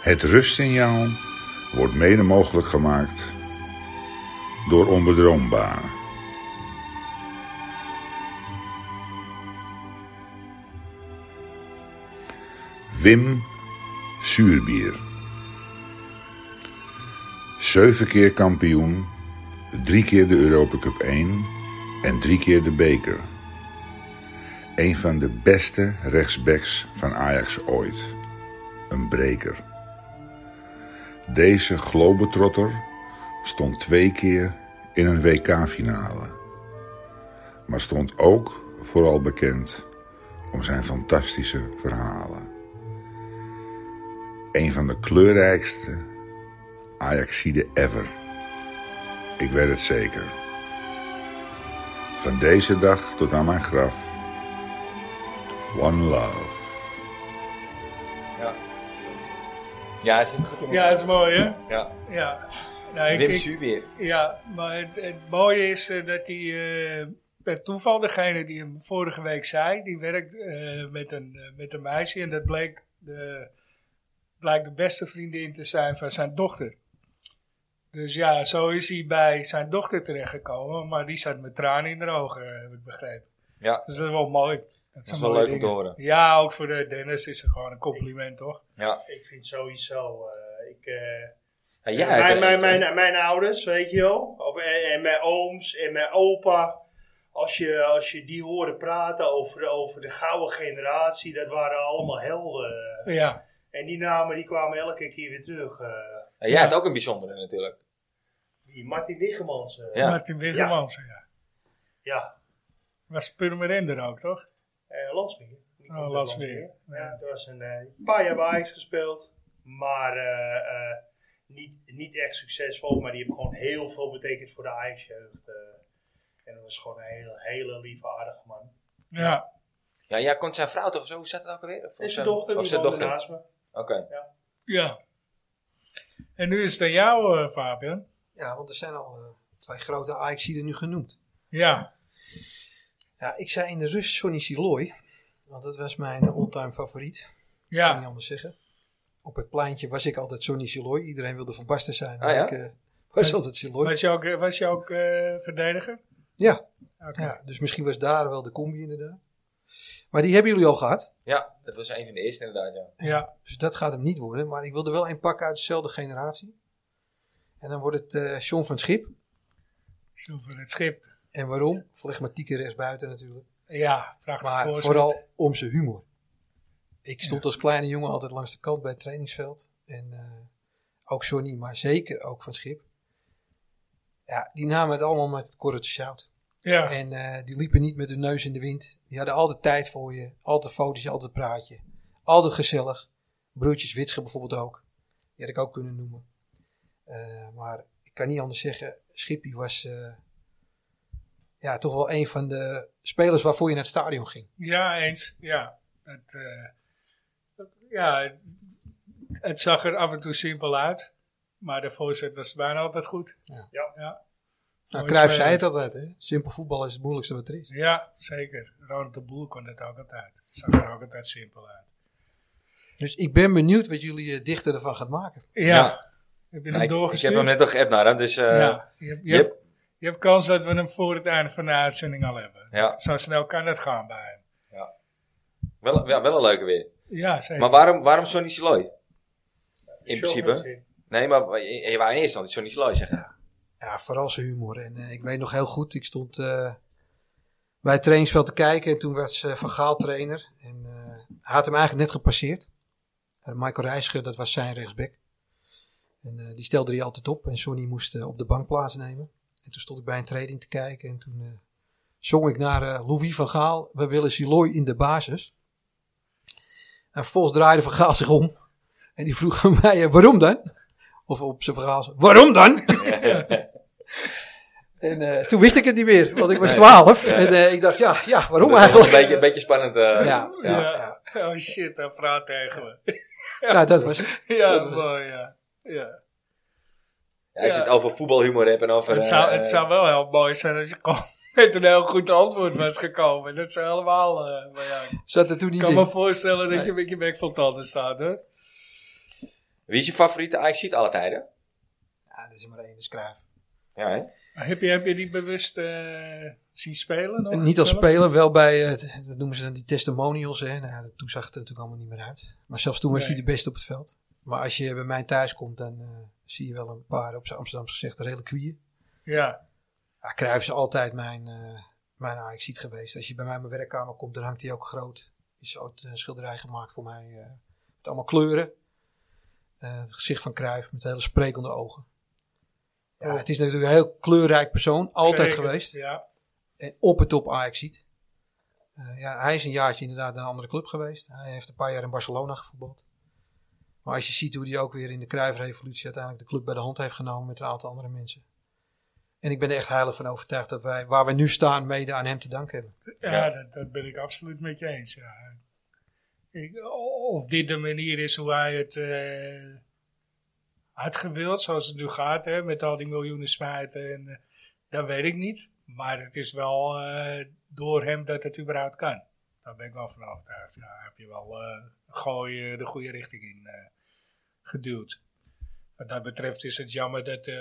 [SPEAKER 5] Het rustsignaal wordt mede mogelijk gemaakt door onbedroombaar. Wim Zuurbier. Zeven keer kampioen, drie keer de Europa Cup 1 en drie keer de beker. Een van de beste rechtsbacks van Ajax ooit. Een breker. Deze globetrotter stond twee keer in een WK-finale. Maar stond ook vooral bekend om zijn fantastische verhalen. Een van de kleurrijkste Ajaxide ever. Ik weet het zeker. Van deze dag tot aan mijn graf. One love.
[SPEAKER 1] Ja. Ja, hij zit goed in
[SPEAKER 2] ja
[SPEAKER 1] elkaar.
[SPEAKER 2] dat is mooi hè?
[SPEAKER 1] Ja.
[SPEAKER 2] Ja, nou, ik,
[SPEAKER 1] Wim
[SPEAKER 2] ik-
[SPEAKER 1] Zuurbier.
[SPEAKER 2] ja maar het, het mooie is eh, dat hij eh, per toeval, degene die hem vorige week zei, die werkt eh, met, een, eh, met een meisje en dat bleek de, blijkt de beste vriendin te zijn van zijn dochter. Dus ja, zo is hij bij zijn dochter terechtgekomen, maar die zat met tranen in de ogen, eh, heb ik begrepen.
[SPEAKER 1] Ja.
[SPEAKER 2] Dus dat is wel mooi. Dat
[SPEAKER 1] is
[SPEAKER 2] zijn
[SPEAKER 1] wel
[SPEAKER 2] mooie
[SPEAKER 1] leuk om te
[SPEAKER 2] dingen.
[SPEAKER 1] horen.
[SPEAKER 2] Ja, ook voor de Dennis is het gewoon een compliment, toch?
[SPEAKER 1] Ja.
[SPEAKER 4] Ik vind sowieso. eh, ik, eh,
[SPEAKER 1] ja jij hebt
[SPEAKER 4] mijn,
[SPEAKER 1] er
[SPEAKER 4] mijn,
[SPEAKER 1] eentje.
[SPEAKER 4] mijn, mijn ouders, weet je wel. Of, en, en mijn ooms en mijn opa. Als je, als je die hoorde praten over, over de gouden generatie, dat waren allemaal helden.
[SPEAKER 2] Ja,
[SPEAKER 4] En die namen die kwamen elke keer weer terug. eh.
[SPEAKER 1] Ja, jij hebt ook een bijzondere natuurlijk.
[SPEAKER 4] die Martin Wiggemans. eh,
[SPEAKER 1] Ja.
[SPEAKER 2] Martin Wiggemans, ja.
[SPEAKER 4] ja.
[SPEAKER 2] Was Purmerender ook, toch?
[SPEAKER 4] Eh, Landsmeer. Die
[SPEAKER 2] Oh,
[SPEAKER 4] komt uit
[SPEAKER 2] Landsmeer.
[SPEAKER 4] Ja,
[SPEAKER 2] Ja.
[SPEAKER 4] er was een eh, paar jaar bij Ajax gespeeld. Maar eh, eh, niet, niet echt succesvol. Maar die heeft gewoon heel veel betekend voor de Ajax-jeugd. eh. en dat was gewoon een hele, hele lieve, aardige man.
[SPEAKER 2] Ja.
[SPEAKER 1] Ja, jij kent zijn vrouw toch zo? Hoe zat het ook alweer? Of
[SPEAKER 4] En zijn
[SPEAKER 1] zijn-
[SPEAKER 4] dochter,
[SPEAKER 1] of
[SPEAKER 4] die
[SPEAKER 1] zijn
[SPEAKER 4] woonde
[SPEAKER 1] dochter.
[SPEAKER 4] naast me.
[SPEAKER 1] Oké.
[SPEAKER 2] Ja. En nu is het aan jou, eh, Fabian.
[SPEAKER 3] Ja, want er zijn al eh, twee grote Ajaxiden nu genoemd.
[SPEAKER 2] Ja.
[SPEAKER 3] Ja, ik zei in de rust Sonny Siloy. Want dat was mijn eh, all-time favoriet. kan
[SPEAKER 2] Ja.
[SPEAKER 3] niet anders zeggen. Op het pleintje was ik altijd Sonny Siloy. Iedereen wilde van Basten zijn.
[SPEAKER 1] Ah,
[SPEAKER 3] Maar
[SPEAKER 1] ja?
[SPEAKER 3] ik eh, Was altijd Siloy.
[SPEAKER 2] Was je ook, was je ook eh, verdediger?
[SPEAKER 3] Ja.
[SPEAKER 2] Oké.
[SPEAKER 3] ja, dus misschien was daar wel de combi inderdaad. Maar die hebben jullie al gehad.
[SPEAKER 1] Ja, dat was een van de eerste inderdaad, ja.
[SPEAKER 2] Ja.
[SPEAKER 3] Dus dat gaat hem niet worden. Maar ik wilde wel een pakken uit dezelfde generatie. En dan wordt het eh John van het Schip.
[SPEAKER 2] Sjoerd van het schip.
[SPEAKER 3] En waarom? Flegmatieke rechtsbuiten natuurlijk.
[SPEAKER 2] Ja, prachtig
[SPEAKER 3] Maar
[SPEAKER 2] voorzet.
[SPEAKER 3] vooral om zijn humor. Ik stond als kleine jongen altijd langs de kant bij het trainingsveld. En eh, ook Johnny, maar zeker ook van Schip. Ja, die namen het allemaal met het korreltje zout.
[SPEAKER 2] Ja,
[SPEAKER 3] En eh, die liepen niet met hun neus in de wind. Die hadden altijd tijd voor je. Altijd foto's, altijd praatje. Altijd gezellig. Broertjes Witsche bijvoorbeeld ook. Die had ik ook kunnen noemen. Eh, maar ik kan niet anders zeggen. Schippie was eh, ja, toch wel een van de spelers waarvoor je naar het stadion ging.
[SPEAKER 2] ja eens. Ja. Het, eh, ja, het- het zag er af en toe simpel uit. Maar de voorzet was bijna altijd goed.
[SPEAKER 3] Nou,
[SPEAKER 2] Mooi
[SPEAKER 3] Cruijff
[SPEAKER 2] speler.
[SPEAKER 3] zei het altijd. Hè? Simpel voetbal is het moeilijkste wat er is.
[SPEAKER 2] Ja, zeker. Ronald de Boer kon dat ook altijd. Zag er ook altijd simpel uit.
[SPEAKER 3] Dus ik ben benieuwd wat jullie eh, dichter ervan gaat maken.
[SPEAKER 2] Ja.
[SPEAKER 1] Ja.
[SPEAKER 2] Heb je
[SPEAKER 1] Ja,
[SPEAKER 2] hem
[SPEAKER 1] ik, ik
[SPEAKER 2] doorgestuurd?
[SPEAKER 1] heb hem net al geappt naar hem, dus eh,
[SPEAKER 2] ja. Je, hebt- je,
[SPEAKER 1] je
[SPEAKER 2] hebt- je hebt kans dat we hem voor het einde van de uitzending al hebben.
[SPEAKER 1] ja,
[SPEAKER 2] Zo snel kan het gaan bij hem.
[SPEAKER 1] wel, ja, wel een leuke weer.
[SPEAKER 2] Ja, zeker.
[SPEAKER 1] Maar waarom, waarom Sonny Siloy? In
[SPEAKER 4] Zo gaat
[SPEAKER 1] principe.
[SPEAKER 4] het.
[SPEAKER 1] Nee, maar je, je wou in eerste instantie Sonny Siloy zeggen.
[SPEAKER 3] Ja, vooral zijn humor. En eh, ik weet nog heel goed, ik stond eh, bij het trainingsveld te kijken. En toen was eh, Van Gaal trainer. En eh, hij had hem eigenlijk net gepasseerd. En Michael Reiziger, dat was zijn rechtsback. En eh, die stelde hij altijd op. En Sonny moest eh, op de bank plaatsnemen. En toen stond ik bij een training te kijken. En toen eh, zong ik naar eh, Louis van Gaal. We willen Siloy in de basis. En vervolgens draaide Van Gaal zich om. En die vroeg aan mij, eh, waarom dan? Of op zijn verhaal, waarom dan? En eh, toen wist ik het niet meer, want ik was
[SPEAKER 1] Nee.
[SPEAKER 3] 12.
[SPEAKER 1] Ja.
[SPEAKER 3] En eh, ik dacht, ja, ja waarom
[SPEAKER 1] Dat is wel
[SPEAKER 3] eigenlijk?
[SPEAKER 1] Een beetje, een beetje spannend. eh,
[SPEAKER 3] Ja,
[SPEAKER 1] ja.
[SPEAKER 3] ja, ja.
[SPEAKER 2] Ja. Oh shit, hij praat tegen me.
[SPEAKER 3] Nou, dat was het.
[SPEAKER 2] Ja, mooi, ja. ja.
[SPEAKER 1] Als je het over voetbalhumor hebt en over...
[SPEAKER 2] Het, zou,
[SPEAKER 1] eh,
[SPEAKER 2] het zou wel heel mooi zijn als je gewoon met een heel goed antwoord was gekomen. Dat zou helemaal... eh, maar ja, ik
[SPEAKER 3] Zat er toen niet
[SPEAKER 2] kan me
[SPEAKER 3] in.
[SPEAKER 2] voorstellen dat
[SPEAKER 3] Nee.
[SPEAKER 2] je een beetje bek van tanden staat, hoor.
[SPEAKER 1] Wie is je favoriete Ajax-ziet alle tijden?
[SPEAKER 3] Ja, dat is maar één, dus dat is Cruijff.
[SPEAKER 1] Ja, hè?
[SPEAKER 2] Heb je, heb je die bewust eh, zien spelen? nog?
[SPEAKER 3] En Niet als
[SPEAKER 2] Willem?
[SPEAKER 3] speler, wel bij, eh, t- dat noemen ze dan die testimonials. Hè. Nou, ja, toen zag het er natuurlijk allemaal niet meer uit. Maar zelfs toen was hij
[SPEAKER 2] Nee.
[SPEAKER 3] de beste op het veld. Maar als je bij mij thuis komt, dan eh, zie je wel een paar op zijn Amsterdamse gezegd reliquieën.
[SPEAKER 2] Ja,
[SPEAKER 3] Ja, Cruijff is altijd mijn, eh mijn Ajaxiet geweest. Als je bij mij in mijn werkkamer komt, dan hangt hij ook groot. Is ooit een schilderij gemaakt voor mij. eh, met allemaal kleuren. Eh, het gezicht van Cruijff met hele sprekende ogen. Ja,
[SPEAKER 2] Oh.
[SPEAKER 3] het is natuurlijk een heel kleurrijk persoon. Altijd
[SPEAKER 2] zeker.
[SPEAKER 3] geweest.
[SPEAKER 2] Ja,
[SPEAKER 3] En op het top Ajaxiet. Eh ja, hij is een jaartje inderdaad naar een andere club geweest. Hij heeft een paar jaar in Barcelona gevoetbald. Maar als je ziet hoe hij ook weer in de Cruijff-revolutie uiteindelijk de club bij de hand heeft genomen met een aantal andere mensen. En ik ben er echt heilig van overtuigd dat wij, waar we nu staan, mede aan hem te danken hebben.
[SPEAKER 2] ja,
[SPEAKER 1] Ja.
[SPEAKER 2] Dat, dat ben ik absoluut met je eens. Ja. Ik, of dit de manier is hoe hij het eh had gewild, zoals het nu gaat, hè, met al die miljoenen smijten, en, eh, dat weet ik niet. Maar het is wel eh, door hem dat het überhaupt kan. Daar ben ik wel van overtuigd. Ja, heb je wel eh gooi, eh, de goede richting in eh, geduwd. Wat dat betreft is het jammer dat, eh,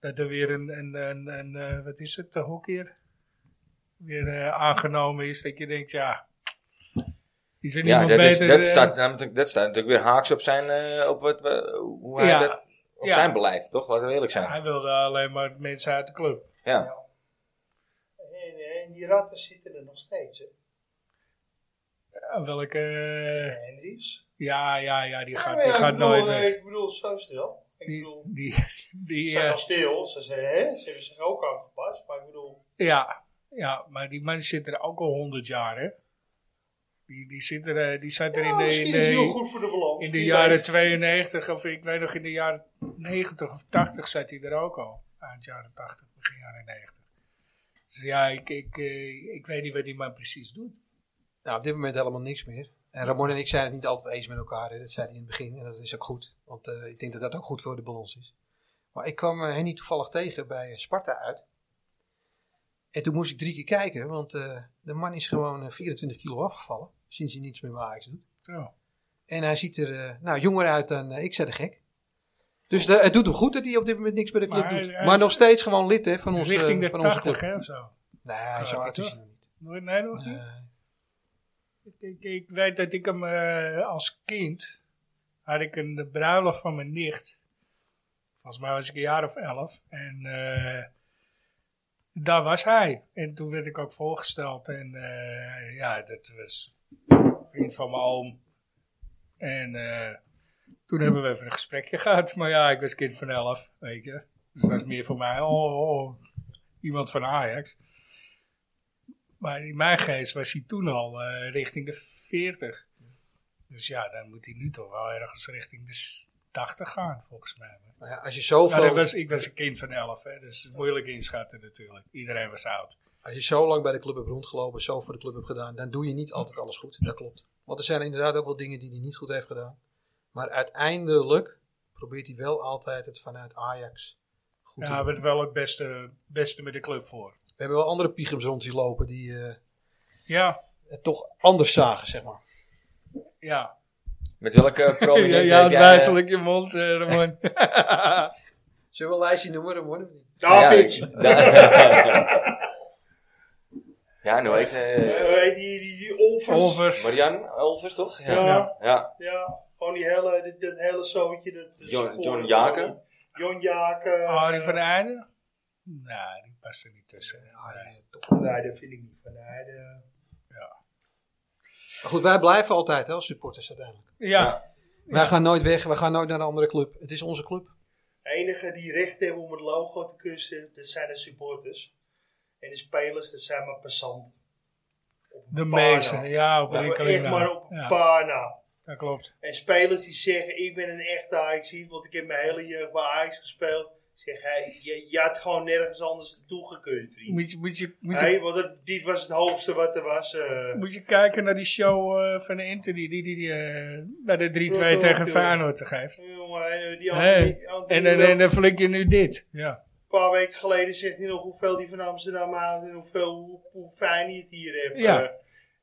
[SPEAKER 2] dat er weer een, een, een, een eh, wat is het, de hockeyer? weer eh, aangenomen is, dat je denkt, ja, is er
[SPEAKER 1] ja
[SPEAKER 2] niemand
[SPEAKER 1] dat, is,
[SPEAKER 2] beter?
[SPEAKER 1] dat,
[SPEAKER 2] eh,
[SPEAKER 1] staat, namelijk- dat staat natuurlijk weer haaks op zijn... eh, op wat, we- hoe hij
[SPEAKER 2] Ja.
[SPEAKER 1] dat- op
[SPEAKER 2] Ja.
[SPEAKER 1] zijn beleid, toch? Laten we eerlijk zijn.
[SPEAKER 2] eh, Hij wilde alleen maar mensen uit de club.
[SPEAKER 1] Ja.
[SPEAKER 4] En, en die ratten zitten er nog steeds, hè?
[SPEAKER 2] Ja, welke, eh,
[SPEAKER 4] Hendricks.
[SPEAKER 2] ja, ja, ja, die gaat,
[SPEAKER 4] Ja, maar
[SPEAKER 2] die
[SPEAKER 4] ja,
[SPEAKER 2] gaat
[SPEAKER 4] ik bedoel,
[SPEAKER 2] nooit
[SPEAKER 4] eh,
[SPEAKER 2] weg.
[SPEAKER 4] Ik bedoel, zo stil. Ik
[SPEAKER 2] Die,
[SPEAKER 4] bedoel,
[SPEAKER 2] die,
[SPEAKER 4] ze
[SPEAKER 2] die,
[SPEAKER 4] zijn
[SPEAKER 2] eh,
[SPEAKER 4] al stil. Ze, zijn, hè, ze hebben zich ook aangepast. Maar ik bedoel,
[SPEAKER 2] ja, ja, maar die man zit er ook al honderd jaar, hè. Die, die, zit er, eh, die zat er
[SPEAKER 4] ja,
[SPEAKER 2] in de, in
[SPEAKER 4] misschien is het heel
[SPEAKER 2] de,
[SPEAKER 4] goed voor de balans.
[SPEAKER 2] in de
[SPEAKER 4] Wie
[SPEAKER 2] jaren
[SPEAKER 4] weet.
[SPEAKER 2] 92, of ik weet nog in de jaren 90 of 80 zat hij er ook al. Eind jaren 80, begin jaren 90. Dus ja, ik, ik, eh, ik weet niet wat die man precies doet.
[SPEAKER 3] Nou, op dit moment helemaal niks meer. En Ramon en ik zijn het niet altijd eens met elkaar. Hè. Dat zei hij in het begin. En dat is ook goed. Want eh, ik denk dat dat ook goed voor de balans is. Maar ik kwam eh, Henny toevallig tegen bij eh, Sparta uit. En toen moest ik drie keer kijken. Want eh, de man is gewoon eh, 24 kilo afgevallen. Sinds hij niets meer bij Ajax doet.
[SPEAKER 2] Zo.
[SPEAKER 3] En hij ziet er eh, nou, jonger uit dan eh, ik, zei de gek. Dus de- het doet hem goed dat hij op dit moment niks bij de club
[SPEAKER 2] Maar hij-
[SPEAKER 3] doet.
[SPEAKER 2] hij
[SPEAKER 3] maar
[SPEAKER 2] is-
[SPEAKER 3] nog steeds gewoon lid hè, van, ons, eh,
[SPEAKER 2] Richting de
[SPEAKER 3] van onze
[SPEAKER 2] 80
[SPEAKER 3] club.
[SPEAKER 2] hè, of zo.
[SPEAKER 3] Nee, zo
[SPEAKER 2] Ja,
[SPEAKER 3] oud is hij
[SPEAKER 2] toch?
[SPEAKER 3] nog niet.
[SPEAKER 2] Nooit- Nee, nog niet.
[SPEAKER 3] Nee.
[SPEAKER 2] Ik, ik, ik weet dat ik hem eh, als kind had ik een de bruiloft van mijn nicht. Volgens mij was ik een jaar of elf. En eh, daar was hij. En toen werd ik ook voorgesteld. En eh, ja, dat was een vriend van mijn oom. En eh, toen hebben we even een gesprekje gehad. Maar ja, ik was kind van elf, weet je. Dus dat was meer voor mij, oh, oh iemand van Ajax. Maar in mijn geest was hij toen al eh, richting de 40. Dus ja, dan moet hij nu toch wel ergens richting de s- 80 gaan, volgens mij.
[SPEAKER 3] Maar ja, als, je
[SPEAKER 2] Maar
[SPEAKER 3] zoveel,
[SPEAKER 2] dat was, ik was een kind van 11, hè, dus moeilijk inschatten natuurlijk. Iedereen was oud.
[SPEAKER 3] als je zo lang bij de club hebt rondgelopen, zo voor de club hebt gedaan, dan doe je niet altijd alles goed. Dat klopt. Want er zijn inderdaad ook wel dingen die hij niet goed heeft gedaan. Maar uiteindelijk probeert hij wel altijd het vanuit Ajax goed te
[SPEAKER 2] Ja,
[SPEAKER 3] doen.
[SPEAKER 2] werd wel het beste, beste met de club voor.
[SPEAKER 3] We hebben wel andere piegems rond die lopen die eh,
[SPEAKER 2] Ja,
[SPEAKER 3] het toch anders zagen, zeg maar.
[SPEAKER 2] ja.
[SPEAKER 1] Met welke prominente heb jij, eh,
[SPEAKER 2] je mond, eh, Ramon.
[SPEAKER 3] Zullen we een lijstje noemen? Dan worden we niet.
[SPEAKER 4] David!
[SPEAKER 1] Ja, da- ja, en hoe heet eh,
[SPEAKER 4] Eh, weet je, die, die, die olvers.
[SPEAKER 2] Overs.
[SPEAKER 1] Marian Olvers, toch?
[SPEAKER 4] Ja.
[SPEAKER 1] ja.
[SPEAKER 4] Ja, gewoon die hele, dat, dat hele zootje. Dat, dat
[SPEAKER 1] John-
[SPEAKER 4] spoor.
[SPEAKER 1] John Jaken?
[SPEAKER 4] John Jaken.
[SPEAKER 2] Arie Ah, van Eijden? Nou, die past er niet tussen. eh,
[SPEAKER 3] Arie, toch.
[SPEAKER 4] Nee, dat vind ik niet van nee, de-
[SPEAKER 3] Maar goed, wij blijven altijd hè, als supporters uiteindelijk.
[SPEAKER 2] Ja,
[SPEAKER 3] Wij gaan nooit weg, wij gaan nooit naar een andere club. Het is onze club.
[SPEAKER 4] De enige die recht hebben om het logo te kussen, dat zijn de supporters. En de spelers, dat zijn maar passanten. Op een
[SPEAKER 2] de
[SPEAKER 4] paar
[SPEAKER 2] meeste.
[SPEAKER 4] na.
[SPEAKER 2] Ja, op
[SPEAKER 4] Ja,
[SPEAKER 2] een
[SPEAKER 4] maar
[SPEAKER 2] enkeling
[SPEAKER 4] echt
[SPEAKER 2] na.
[SPEAKER 4] maar op een
[SPEAKER 2] Ja,
[SPEAKER 4] paar na.
[SPEAKER 2] dat klopt.
[SPEAKER 4] En spelers die zeggen, ik ben een echte Ajax, want ik heb mijn hele jeugd bij Ajax gespeeld. Zeg, hey, je, je had gewoon nergens anders naartoe gekund, vriend.
[SPEAKER 2] Moet je, moet je, moet je,
[SPEAKER 4] Hey, want het- dit was het hoogste wat er was. eh.
[SPEAKER 2] moet je kijken naar die show eh, van de Inter die, die, die, die, eh, bij de 3-2
[SPEAKER 4] Rotterdam,
[SPEAKER 2] tegen
[SPEAKER 4] joh.
[SPEAKER 2] Feyenoord te geeft.
[SPEAKER 4] Jongen, eh, die
[SPEAKER 2] Hey.
[SPEAKER 4] Anthony- Anthony
[SPEAKER 2] En dan-
[SPEAKER 4] Wel-
[SPEAKER 2] en dan flink je nu dit. Ja.
[SPEAKER 4] Een paar weken geleden zegt hij nog hoeveel hij van Amsterdam houdt en hoeveel, hoe, hoe fijn hij het hier heeft.
[SPEAKER 2] Ja.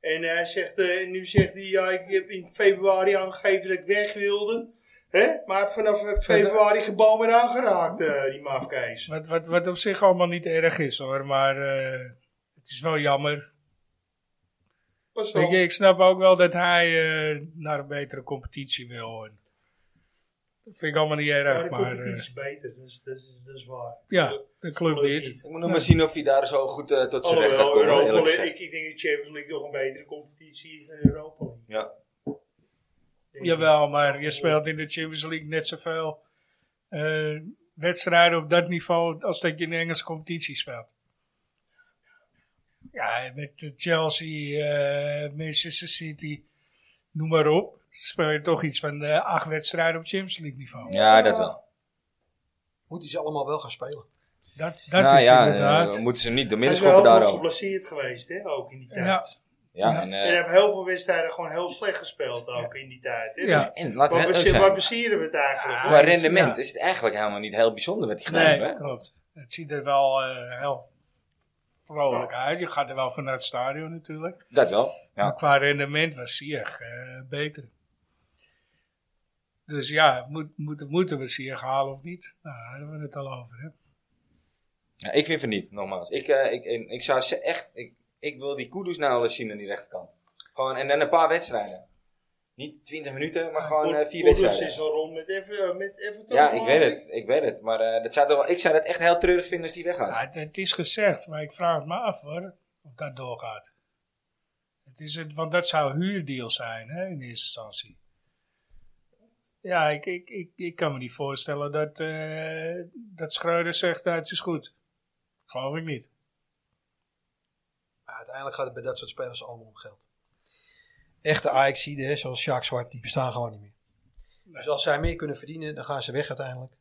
[SPEAKER 4] Eh, en hij zegt, eh, nu zegt hij, ja, ik heb in februari aangegeven dat ik weg wilde. Hè? Maar vanaf eh, februari gebouw weer aangeraakt, eh, die mafkees.
[SPEAKER 2] Wat, wat, wat op zich allemaal niet erg is hoor, maar eh, het is wel jammer.
[SPEAKER 4] Pas
[SPEAKER 2] Ik,
[SPEAKER 4] op.
[SPEAKER 2] ik snap ook wel dat hij eh, naar een betere competitie wil. En dat vind ik allemaal niet
[SPEAKER 4] Maar
[SPEAKER 2] erg,
[SPEAKER 4] de
[SPEAKER 2] maar
[SPEAKER 4] competitie
[SPEAKER 2] eh,
[SPEAKER 4] is beter, dus dat is, dat is waar.
[SPEAKER 2] ja, de club niet.
[SPEAKER 1] Ik moet nog maar zien of hij daar zo goed eh, tot zijn recht gaat
[SPEAKER 4] Alhoewel,
[SPEAKER 1] komen,
[SPEAKER 4] Oh, Europa
[SPEAKER 1] eerlijk
[SPEAKER 4] League,
[SPEAKER 1] gezegd.
[SPEAKER 4] ik, ik denk dat Champions League nog een betere competitie is dan Europa League.
[SPEAKER 1] Ja.
[SPEAKER 4] Denk ik.
[SPEAKER 2] Jawel, maar je speelt in de Champions League net zoveel eh, wedstrijden op dat niveau als dat je in de Engelse competitie speelt. Ja, met eh, Chelsea, eh, Manchester City, noem maar op. Speel je toch iets van eh, acht wedstrijden op Champions League niveau.
[SPEAKER 1] Ja, dat wel.
[SPEAKER 3] Moet hij ze allemaal wel gaan spelen.
[SPEAKER 2] Dat, dat
[SPEAKER 1] nou
[SPEAKER 2] is
[SPEAKER 1] ja,
[SPEAKER 2] inderdaad.
[SPEAKER 1] eh, moeten ze hem niet door
[SPEAKER 4] Hij
[SPEAKER 1] midden
[SPEAKER 4] is wel
[SPEAKER 1] schoppen
[SPEAKER 4] heel veel
[SPEAKER 1] daarom.
[SPEAKER 4] geblesseerd geweest, hè, ook in die tijd.
[SPEAKER 2] ja,
[SPEAKER 1] Ja,
[SPEAKER 2] Ja.
[SPEAKER 1] en,
[SPEAKER 4] En
[SPEAKER 1] eh,
[SPEAKER 4] hebben heel veel wedstrijden gewoon heel slecht gespeeld ook in die tijd. Hè?
[SPEAKER 2] ja.
[SPEAKER 1] en laten we
[SPEAKER 4] Wat,
[SPEAKER 1] eerlijk
[SPEAKER 4] basi-
[SPEAKER 1] zijn.
[SPEAKER 4] wat baseren we het eigenlijk?
[SPEAKER 2] Ja.
[SPEAKER 1] Qua rendement
[SPEAKER 2] Ja.
[SPEAKER 1] is het eigenlijk helemaal niet heel bijzonder wat hij gedaan heeft,
[SPEAKER 2] Nee,
[SPEAKER 1] hè?
[SPEAKER 2] klopt. Het ziet er wel eh, heel vrolijk uit. Je gaat er wel vanuit het stadion natuurlijk.
[SPEAKER 1] Dat wel.
[SPEAKER 2] Maar
[SPEAKER 1] Ja.
[SPEAKER 2] qua rendement was Sieg eh, beter. Dus ja, moet, moet, moeten we Sieg halen of niet? Nou, daar hebben we het al over. Hè?
[SPEAKER 1] Ja, ik vind het niet, nogmaals. Ik, eh, ik, ik, ik zou ze echt... Ik, ik wil die kudos nou wel eens zien aan die rechterkant. Gewoon, en dan een paar wedstrijden. Niet 20 minuten, maar gewoon eh, vier
[SPEAKER 4] Kudus
[SPEAKER 1] wedstrijden.
[SPEAKER 4] is al rond met, Ever- eh, met Everton.
[SPEAKER 1] Ja, ik weet
[SPEAKER 4] geloof
[SPEAKER 1] het. Ik weet het. Maar eh, dat zou toch wel, ik zou dat echt heel treurig vinden als die weggaat.
[SPEAKER 2] Nou, het, het is gezegd, maar ik vraag het me af hoor, of dat doorgaat. Het is het, want dat zou een huurdeal zijn hè, in eerste instantie. Ja, ik, ik, ik, ik kan me niet voorstellen dat, eh dat Schreuder zegt, dat het is goed. Geloof ik niet.
[SPEAKER 3] Maar uiteindelijk gaat het bij dat soort spelers allemaal om geld. Echte Ajaxiden, hè, zoals Sjaak Zwart, die bestaan gewoon niet meer. Dus als zij meer kunnen verdienen, dan gaan ze weg uiteindelijk.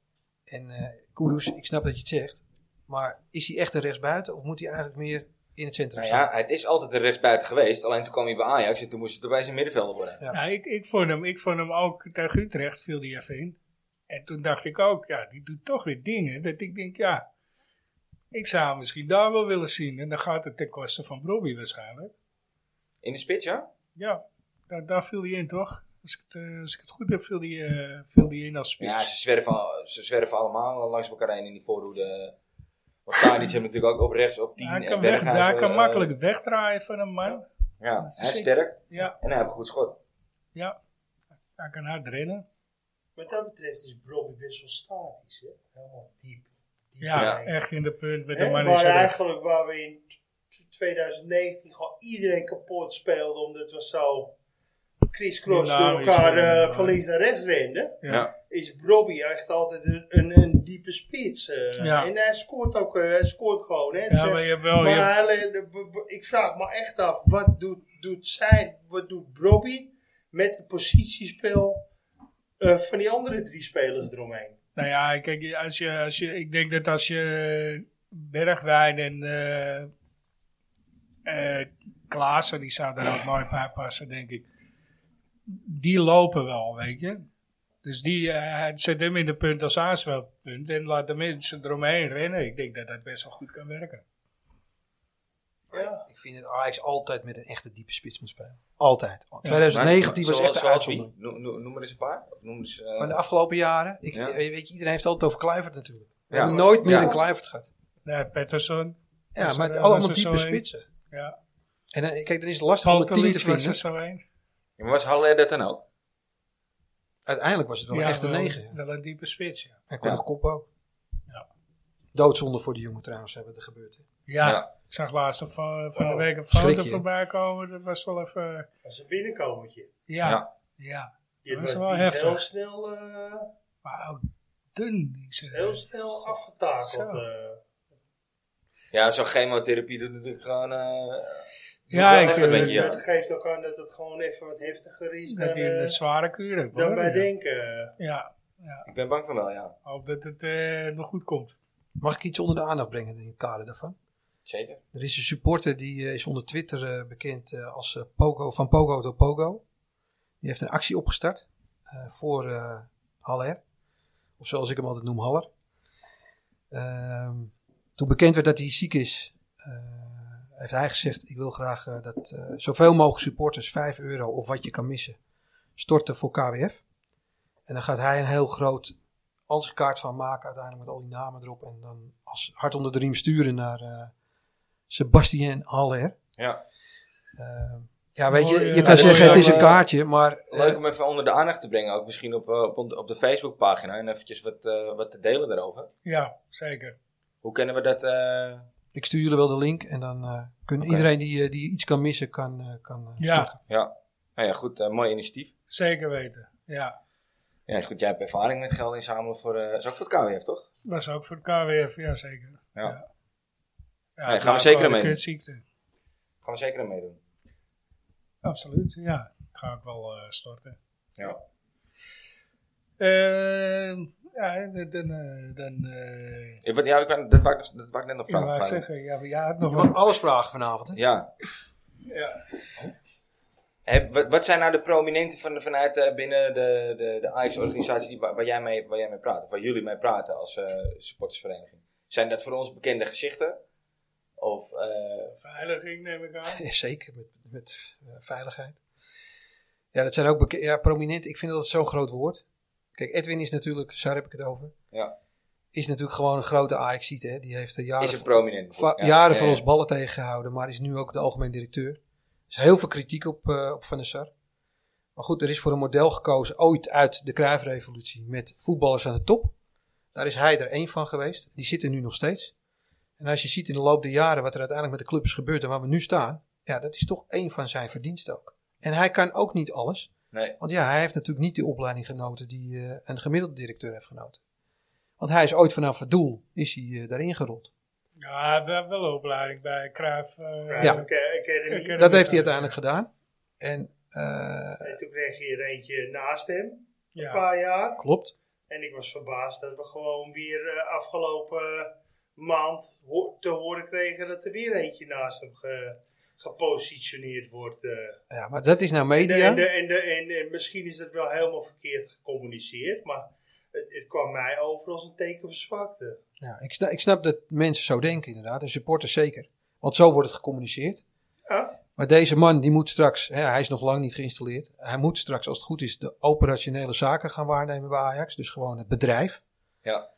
[SPEAKER 3] En eh Kudus, ik snap dat je het zegt. Maar is hij echt een rechtsbuiten of moet hij eigenlijk meer in het centrum
[SPEAKER 1] Nou
[SPEAKER 3] staan?
[SPEAKER 1] ja, het is altijd een rechtsbuiten geweest. Alleen toen kwam hij bij Ajax en toen moest het erbij zijn middenvelder worden.
[SPEAKER 3] Ja.
[SPEAKER 2] Ja, ik, ik, vond hem, ik vond hem ook tegen Utrecht viel die even in. En toen dacht ik ook, ja, die doet toch weer dingen. Dat ik denk, ja, ik zou hem misschien daar wel willen zien. En dan gaat het ten koste van Robbie waarschijnlijk.
[SPEAKER 1] In de spits, ja?
[SPEAKER 2] Ja, daar, daar viel hij in toch? Als ik, het, eh, als ik het goed heb, viel hij eh, viel die in als spits.
[SPEAKER 1] Ja, ze zwerven al, ze zwerven allemaal langs elkaar heen in die voorhoede. Want Tadic heeft natuurlijk ook op rechts, op 10.
[SPEAKER 2] Hij
[SPEAKER 1] en
[SPEAKER 2] kan, weg,
[SPEAKER 1] Berghuis,
[SPEAKER 2] hij
[SPEAKER 1] eh,
[SPEAKER 2] kan
[SPEAKER 1] eh,
[SPEAKER 2] makkelijk wegdraaien van een man.
[SPEAKER 1] Ja, hij is
[SPEAKER 2] Zeker.
[SPEAKER 1] sterk
[SPEAKER 2] Ja,
[SPEAKER 1] en hij heeft een goed schot.
[SPEAKER 2] ja. Hij kan hard rennen.
[SPEAKER 4] Wat dat betreft is Bobby best wel statisch. Hè? Helemaal diep. diep
[SPEAKER 2] Ja,
[SPEAKER 1] Ja.
[SPEAKER 2] echt in de punt met
[SPEAKER 4] Hè,
[SPEAKER 2] een man in
[SPEAKER 4] waar
[SPEAKER 2] zijn rug.
[SPEAKER 4] eigenlijk waar we in t- 2019 gewoon iedereen kapot speelden. Omdat we zo crisscross door
[SPEAKER 2] Dynamisch,
[SPEAKER 4] elkaar
[SPEAKER 2] ja.
[SPEAKER 4] eh, van links naar rechts renden.
[SPEAKER 2] Ja.
[SPEAKER 4] Is Bobby echt altijd een, een, een diepe spits. eh.
[SPEAKER 2] Ja.
[SPEAKER 4] En hij scoort ook. eh, hij scoort gewoon. Hè. Dus,
[SPEAKER 2] Ja,
[SPEAKER 4] eh,
[SPEAKER 2] maar je hebt wel... je hebt-
[SPEAKER 4] maar hij- de- b- b- ik vraag me echt af, wat doet, doet zij, wat doet Robbie met het positiespel eh, van die andere drie spelers eromheen?
[SPEAKER 2] Nou ja, kijk, als je, als je, ik denk dat als je eh, Bergwijn en eh, eh, Klaassen, die zouden er ook mooi bij passen, denk ik. Die lopen wel, weet je. Dus die eh, hij zet hem in de punt als aanspeelpunt en laat de mensen eromheen rennen. Ik denk dat dat best wel goed kan werken.
[SPEAKER 4] Ja.
[SPEAKER 3] Ik vind dat Ajax altijd met een echte diepe spits moet spelen. Altijd. 2019 was
[SPEAKER 1] Zoals-
[SPEAKER 3] echt een
[SPEAKER 1] zoals
[SPEAKER 3] uitzondering.
[SPEAKER 1] wie? Noem, noem- noem maar eens een paar. Of noem eens, eh,
[SPEAKER 3] Van de afgelopen jaren. Ik, eh,
[SPEAKER 1] Ja.
[SPEAKER 3] weet je, iedereen heeft het altijd over Kluivert natuurlijk. We
[SPEAKER 1] Ja.
[SPEAKER 3] hebben nooit meer
[SPEAKER 1] Ja.
[SPEAKER 3] een Kluivert gehad.
[SPEAKER 2] Ja, Pettersson.
[SPEAKER 3] Ja,
[SPEAKER 2] Dus,
[SPEAKER 3] maar
[SPEAKER 2] eh,
[SPEAKER 3] het-
[SPEAKER 2] was
[SPEAKER 3] allemaal
[SPEAKER 2] er
[SPEAKER 3] diepe
[SPEAKER 2] zo een.
[SPEAKER 3] spitsen.
[SPEAKER 2] Ja.
[SPEAKER 3] En eh, kijk, dan is het lastig om een team te
[SPEAKER 2] Palkelic was er
[SPEAKER 3] vinden.
[SPEAKER 2] zo een.
[SPEAKER 1] ja, maar was Haller dat dan ook?
[SPEAKER 3] Uiteindelijk was het wel een echte
[SPEAKER 2] wel-
[SPEAKER 3] negen. ja.
[SPEAKER 2] Wel een diepe spits, ja.
[SPEAKER 3] En kwam
[SPEAKER 1] Ja.
[SPEAKER 3] nog kop ook.
[SPEAKER 2] Ja.
[SPEAKER 3] Doodzonde voor die jongen trouwens, hebben er gebeurd. hè.
[SPEAKER 2] Ja, ik zag laatst op, eh, van de week een
[SPEAKER 3] Oh, schrik
[SPEAKER 2] foto
[SPEAKER 3] je.
[SPEAKER 2] voorbij komen. Dat was wel even... eh,
[SPEAKER 4] Dat is een binnenkomertje.
[SPEAKER 2] Ja,
[SPEAKER 1] Ja.
[SPEAKER 2] ja.
[SPEAKER 4] Die
[SPEAKER 2] Dat is
[SPEAKER 4] was
[SPEAKER 2] wel
[SPEAKER 4] die is heel
[SPEAKER 2] heftig.
[SPEAKER 4] snel, eh,
[SPEAKER 2] Maar ook dun eh, die ze.
[SPEAKER 4] heel snel afgetakeld.
[SPEAKER 2] Zo.
[SPEAKER 4] eh.
[SPEAKER 1] Ja, zo'n chemotherapie doet natuurlijk gewoon... eh,
[SPEAKER 2] Ja,
[SPEAKER 1] wel
[SPEAKER 2] ik,
[SPEAKER 1] even een
[SPEAKER 2] eh,
[SPEAKER 1] beetje, ja.
[SPEAKER 4] Dat geeft ook aan dat het gewoon even wat heftiger is dan,
[SPEAKER 2] dat hij
[SPEAKER 4] eh,
[SPEAKER 2] een zware kuur heeft.
[SPEAKER 4] dan
[SPEAKER 2] hoor.
[SPEAKER 4] wij
[SPEAKER 2] Ja.
[SPEAKER 4] denken. eh,
[SPEAKER 2] Ja,
[SPEAKER 1] ik ben bang van wel, ja.
[SPEAKER 2] hoop dat het eh, nog goed komt.
[SPEAKER 3] Mag ik iets onder de aandacht brengen in het kader daarvan?
[SPEAKER 1] Zeker.
[SPEAKER 3] Er is een supporter die eh, is onder Twitter eh, bekend eh, als eh, Pogo, van Pogo tot Pogo. Die heeft een actie opgestart eh, voor eh Haller. Of zoals ik hem altijd noem, Haller. Ehm, toen bekend werd dat hij ziek is, eh, heeft hij gezegd: Ik wil graag eh, dat eh, zoveel mogelijk supporters 5 euro of wat je kan missen storten voor KWF. En dan gaat hij een heel groot ansichtkaart van maken, uiteindelijk met al die namen erop. En dan als hart onder de riem sturen naar. eh, Sebastien Haller.
[SPEAKER 1] Ja.
[SPEAKER 3] Eh, ja, weet je,
[SPEAKER 2] Mooi, eh,
[SPEAKER 3] je
[SPEAKER 2] ja,
[SPEAKER 3] kan zeggen
[SPEAKER 1] leuk,
[SPEAKER 3] het is
[SPEAKER 1] eh,
[SPEAKER 3] een kaartje, maar eh,
[SPEAKER 1] Leuk om even onder de aandacht te brengen, ook misschien op, eh, op, on- op de Facebookpagina en eventjes wat, eh, wat te delen daarover.
[SPEAKER 2] Ja, zeker.
[SPEAKER 1] Hoe kunnen we dat? eh,
[SPEAKER 3] ik stuur jullie wel de link en dan eh, kunnen
[SPEAKER 1] Oké.
[SPEAKER 3] iedereen die, eh, die iets kan missen, kan, eh, kan eh,
[SPEAKER 2] Ja.
[SPEAKER 3] storten.
[SPEAKER 1] ja, nou ja, goed, eh, mooi initiatief.
[SPEAKER 2] Zeker weten. Ja,
[SPEAKER 1] Ja, is goed, jij hebt ervaring met geld inzamelen voor, eh is ook voor het KWF, toch?
[SPEAKER 2] was ook voor KWF. Ja, zeker.
[SPEAKER 1] Ja.
[SPEAKER 2] Ja,
[SPEAKER 1] Nee,
[SPEAKER 2] het
[SPEAKER 1] gaan we
[SPEAKER 2] is
[SPEAKER 1] zeker
[SPEAKER 2] gewoon
[SPEAKER 1] mee.
[SPEAKER 2] een kutziekte.
[SPEAKER 1] Gaan we zeker aan meedoen.
[SPEAKER 2] Absoluut, ja. Ga ik wel eh, storten.
[SPEAKER 1] Ja.
[SPEAKER 2] Ehm, ja, en dan... eh, dan eh,
[SPEAKER 1] Ik, wat- ja, ik ben, dat, wou ik, nog- dat wou ik net nog
[SPEAKER 2] ik
[SPEAKER 1] vragen.
[SPEAKER 2] wou
[SPEAKER 1] Fijn.
[SPEAKER 2] zeggen, ja, maar jij had
[SPEAKER 3] Je
[SPEAKER 2] nog
[SPEAKER 3] mag
[SPEAKER 2] een
[SPEAKER 3] alles vragen vanavond. Hè?
[SPEAKER 1] Ja.
[SPEAKER 2] Ja.
[SPEAKER 1] Heb- wat, wat zijn nou de prominenten van, vanuit eh, binnen de, de, de AX-organisatie die- waar, waar jij mee, waar jij mee praat? Of waar jullie mee praten als eh, supportersvereniging? Zijn dat voor ons bekende gezichten? Of, eh,
[SPEAKER 2] beveiliging, neem ik aan.
[SPEAKER 3] Ja, Zeker, met, met eh, veiligheid. Ja, dat zijn ook beke- ja, prominent. Ik vind dat zo'n groot woord. Kijk, Edwin is natuurlijk, zo heb ik het over.
[SPEAKER 1] Ja.
[SPEAKER 3] Is natuurlijk gewoon een grote ajax hè. Die heeft er jaren
[SPEAKER 1] is een prominent?
[SPEAKER 3] va- jaren voor ons ballen tegengehouden, maar is nu ook de algemeen directeur. Er is heel veel kritiek op, eh, op Van der Sar. Maar goed, er is voor een model gekozen ooit uit de Cruijff-revolutie met voetballers aan de top. Daar is hij er één van geweest. Die zit er nu nog steeds. En als je ziet in de loop der jaren wat er uiteindelijk met de club is gebeurd en waar we nu staan, ja, dat is toch één van zijn verdiensten ook. En hij kan ook niet alles.
[SPEAKER 1] Nee.
[SPEAKER 3] Want ja, hij heeft natuurlijk niet die opleiding genoten die eh, een gemiddelde directeur heeft genoten. Want hij is ooit vanaf het doel is hij, eh, daarin gerold.
[SPEAKER 2] Ja, we hebben wel een opleiding bij Cruijff. eh,
[SPEAKER 3] Ja.
[SPEAKER 4] Oké, Academy.
[SPEAKER 2] Academy.
[SPEAKER 3] Dat heeft hij uiteindelijk gedaan. En eh,
[SPEAKER 4] En toen kreeg je er eentje naast hem, een
[SPEAKER 2] Ja.
[SPEAKER 4] paar jaar.
[SPEAKER 3] klopt.
[SPEAKER 4] En ik was verbaasd dat we gewoon weer eh, afgelopen eh, maand ho- te horen kregen dat er weer eentje naast hem ge- gepositioneerd wordt. eh.
[SPEAKER 3] Ja, maar dat is nou media.
[SPEAKER 4] En, de- en, de- en, en misschien is dat wel helemaal verkeerd gecommuniceerd, maar het, het kwam mij over als een teken van zwakte.
[SPEAKER 3] Ja, ik, sta- ik snap dat mensen zo denken inderdaad. En supporters zeker. Want zo wordt het gecommuniceerd.
[SPEAKER 4] Ja,
[SPEAKER 3] Maar deze man die moet straks, hè, hij is nog lang niet geïnstalleerd. Hij moet straks als het goed is de operationele zaken gaan waarnemen bij Ajax. Dus gewoon het bedrijf.
[SPEAKER 1] Ja.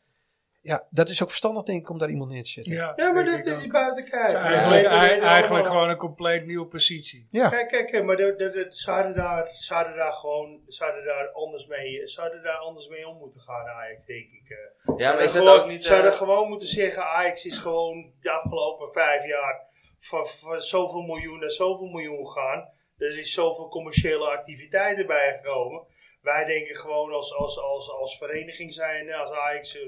[SPEAKER 3] Ja, dat is ook verstandig denk ik om daar iemand neer te zetten.
[SPEAKER 2] Ja,
[SPEAKER 4] Ja, maar
[SPEAKER 2] denk
[SPEAKER 4] dat
[SPEAKER 2] ik
[SPEAKER 4] is
[SPEAKER 2] ook.
[SPEAKER 4] buiten
[SPEAKER 2] Het
[SPEAKER 4] kijf.
[SPEAKER 2] is eigenlijk,
[SPEAKER 4] Ja, dat weten we
[SPEAKER 2] eigenlijk
[SPEAKER 4] allemaal.
[SPEAKER 2] gewoon een compleet nieuwe positie.
[SPEAKER 3] Ja,
[SPEAKER 4] Kijk, kijk, kijk, maar dat, dat, dat, ze, hadden daar, ze hadden daar gewoon ze hadden daar anders, mee, ze hadden daar anders mee om moeten gaan, Ajax, denk ik. eh.
[SPEAKER 1] Ja, maar is dat
[SPEAKER 4] gewoon,
[SPEAKER 1] ook niet...
[SPEAKER 4] Ze hadden
[SPEAKER 1] eh,
[SPEAKER 4] gewoon moeten zeggen, Ajax is gewoon de afgelopen vijf jaar van, van zoveel miljoen naar zoveel miljoen gaan. Er is zoveel commerciële activiteiten bijgekomen. Wij denken gewoon als, als, als, als vereniging zijn, als Ajax... eh,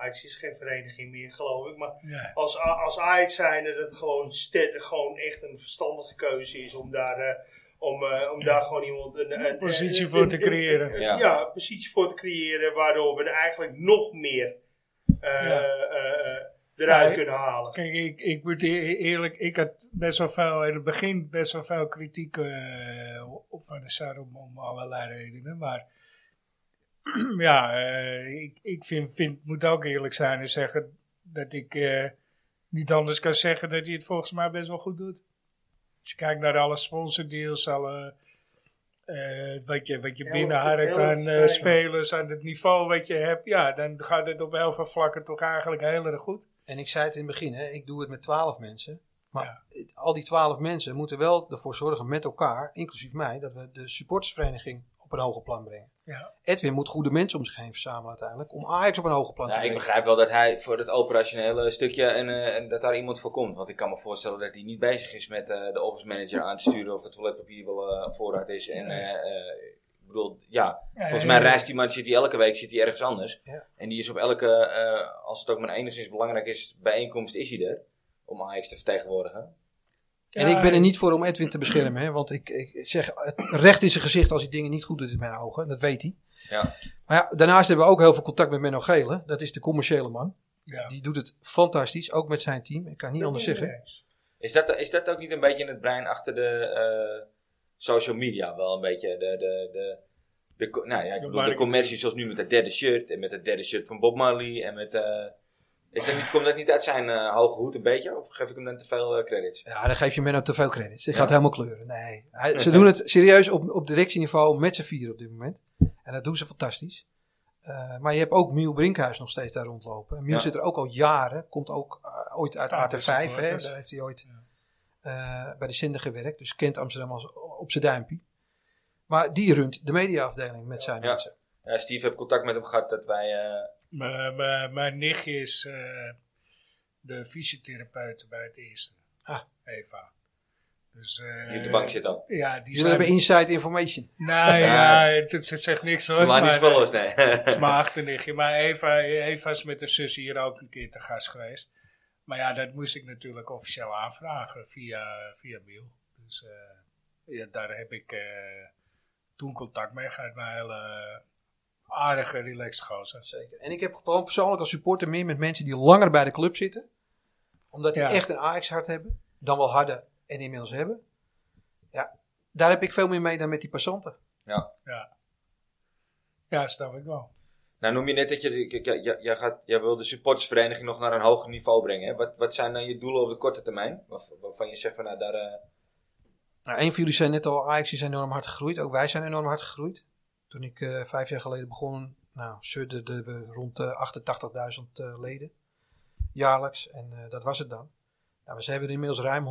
[SPEAKER 4] Ajax is geen vereniging meer, geloof ik, maar
[SPEAKER 2] Ja.
[SPEAKER 4] als, A- als Ajax zijnde dat het gewoon, ste- gewoon echt een verstandige keuze is om daar, eh, om, eh, om daar gewoon iemand een, een-
[SPEAKER 2] Een positie
[SPEAKER 4] een-
[SPEAKER 2] voor
[SPEAKER 4] een-
[SPEAKER 2] te
[SPEAKER 4] een-
[SPEAKER 2] creëren.
[SPEAKER 4] een-
[SPEAKER 1] Ja.
[SPEAKER 4] ja, een positie voor te creëren waardoor we er eigenlijk nog meer eh,
[SPEAKER 2] Ja.
[SPEAKER 4] eh, eh, eruit
[SPEAKER 2] Ja,
[SPEAKER 4] kunnen halen.
[SPEAKER 2] Kijk, ik, ik moet e- eerlijk, ik had best wel veel, in het begin best wel veel kritiek eh, op Van der Sar om, om allerlei redenen. Maar ja, eh, ik, ik vind, vind, moet ook eerlijk zijn en zeggen dat ik eh, niet anders kan zeggen dat hij het volgens mij best wel goed doet. Als je kijkt naar alle sponsordeals, alle, eh, wat je, wat je
[SPEAKER 4] Ja,
[SPEAKER 2] binnenharkt
[SPEAKER 4] heel
[SPEAKER 2] aan eh,
[SPEAKER 4] fijn.
[SPEAKER 2] spelers, aan het niveau wat je hebt. Ja, dan gaat het op heel veel vlakken toch eigenlijk heel erg goed.
[SPEAKER 3] en ik zei het in het begin, hè, ik doe het met twaalf mensen. Maar
[SPEAKER 2] Ja.
[SPEAKER 3] het- al die twaalf mensen moeten wel ervoor zorgen met elkaar, inclusief mij, dat we de supportersvereniging op een hoger plan brengen.
[SPEAKER 2] Ja.
[SPEAKER 3] Edwin moet goede mensen om zich heen verzamelen uiteindelijk, om Ajax op een hoger plan
[SPEAKER 1] Nou,
[SPEAKER 3] te
[SPEAKER 1] ik
[SPEAKER 3] brengen.
[SPEAKER 1] begrijp wel dat hij voor het operationele stukje en, eh, en dat daar iemand voor komt. Want ik kan me voorstellen dat hij niet bezig is met eh, de office manager aan te sturen of het toiletpapier wel eh, op voorraad is. En eh, eh, ik bedoel, ja, volgens
[SPEAKER 2] Eh,
[SPEAKER 1] mij reist die man, zit hij elke week zit hij ergens anders.
[SPEAKER 3] Ja.
[SPEAKER 1] En die is op elke, eh, als het ook maar enigszins belangrijk is, bijeenkomst is hij er. Om Ajax te vertegenwoordigen.
[SPEAKER 3] En ik ben er niet voor om Edwin te beschermen, hè, want ik, ik zeg het recht in zijn gezicht als hij dingen niet goed doet in mijn ogen, en dat weet hij.
[SPEAKER 1] Ja.
[SPEAKER 3] Maar ja, daarnaast hebben we ook heel veel contact met Menno Gele, dat is de commerciële man.
[SPEAKER 2] Ja.
[SPEAKER 3] Die doet het fantastisch, ook met zijn team, ik kan niet anders zeggen.
[SPEAKER 1] Is dat, is dat ook niet een beetje in het brein achter de eh, social media? Wel een beetje de, de, de, de, co- nou ja, ik bedoel, de
[SPEAKER 2] marketing.
[SPEAKER 1] commercie zoals nu met dat derde shirt. En met het derde shirt van Bob Marley. En met, eh, is dat niet, komt dat niet uit zijn eh, hoge hoed een beetje? Of geef ik hem dan te veel eh, credits?
[SPEAKER 3] Ja, dan geef je Menno te veel credits. Het
[SPEAKER 1] Ja.
[SPEAKER 3] gaat helemaal kleuren. Nee, hij- ze doen het serieus op, op directieniveau met z'n vieren op dit moment. En dat doen ze fantastisch. Eh, maar je hebt ook Miel Brinkhuis nog steeds daar rondlopen. En Miel
[SPEAKER 1] Ja.
[SPEAKER 3] zit er ook al jaren. Komt ook eh, ooit uit
[SPEAKER 2] Ah,
[SPEAKER 3] AT5.
[SPEAKER 2] dat is
[SPEAKER 3] Hè?
[SPEAKER 2] supporters.
[SPEAKER 3] Daar heeft hij ooit eh, bij de Zinder gewerkt. Dus kent Amsterdam als, op zijn duimpje. Maar die runt de mediaafdeling met zijn
[SPEAKER 1] Ja.
[SPEAKER 3] mensen.
[SPEAKER 1] Ja, Steve, heb contact met hem gehad dat wij... eh,
[SPEAKER 2] Mijn- mijn- Mijn nichtje is eh, die de fysiotherapeut bij het eerste.
[SPEAKER 3] Ah.
[SPEAKER 2] Eva. Dus, eh,
[SPEAKER 1] die op de bank zitten ook.
[SPEAKER 2] Ja, die
[SPEAKER 3] Jullie hebben
[SPEAKER 2] zijn...
[SPEAKER 3] inside information.
[SPEAKER 2] Nee,
[SPEAKER 1] Ja.
[SPEAKER 2] ja, het, het- het zegt niks hoor.
[SPEAKER 1] Slaan is
[SPEAKER 2] maar, eh,
[SPEAKER 1] wel los, nee.
[SPEAKER 2] Het is mijn achternichtje. Maar Eva, Eva is met haar zus hier ook een keer te gast geweest. Maar ja, dat moest ik natuurlijk officieel aanvragen via, via mail. Dus eh, ja, daar heb ik eh, toen contact mee gehad. Mijn hele aardige, relaxed gozer.
[SPEAKER 3] Zeker. En ik heb gewoon persoonlijk als supporter meer met mensen die langer bij de club zitten. Omdat die
[SPEAKER 2] Ja.
[SPEAKER 3] echt een Ajax-hart hebben. Dan wel harder en inmiddels hebben. Ja, daar heb ik veel meer mee dan met die passanten.
[SPEAKER 2] Ja, snap ik wel.
[SPEAKER 1] nou, noem je net dat je... Kijk, jij- jij- jij, gaat, jij wil de supportersvereniging nog naar een hoger niveau brengen. Hè? Wat, wat zijn dan je doelen op de korte termijn? Waarvan waarvan je zegt van, nou, daar... eh,
[SPEAKER 3] Nou, een van jullie zei net al, Ajax is enorm hard gegroeid. Ook wij zijn enorm hard gegroeid. Toen ik eh, vijf jaar geleden begon, nou, sudderden we rond de 88.000 eh, leden jaarlijks. En eh, dat was het dan. Nou, we hebben er inmiddels ruim 135.000.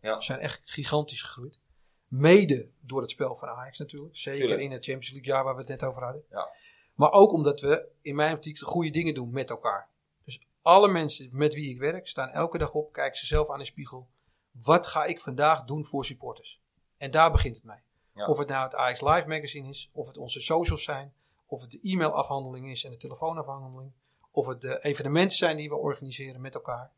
[SPEAKER 1] Ja.
[SPEAKER 3] We zijn echt gigantisch gegroeid. Mede door het spel van Ajax natuurlijk. Zeker
[SPEAKER 1] Tuurlijk.
[SPEAKER 3] in het Champions League jaar waar we het net over hadden.
[SPEAKER 1] Ja.
[SPEAKER 3] Maar ook omdat we in mijn optiek de goede dingen doen met elkaar. Dus alle mensen met wie ik werk staan elke dag op, kijken zichzelf aan de spiegel. Wat ga ik vandaag doen voor supporters? En daar begint het mee.
[SPEAKER 1] Ja.
[SPEAKER 3] Of het nou het Ajax Live magazine is, of het onze socials zijn, of het de e-mailafhandeling is en de telefoonafhandeling, of het de evenementen zijn die we organiseren met elkaar.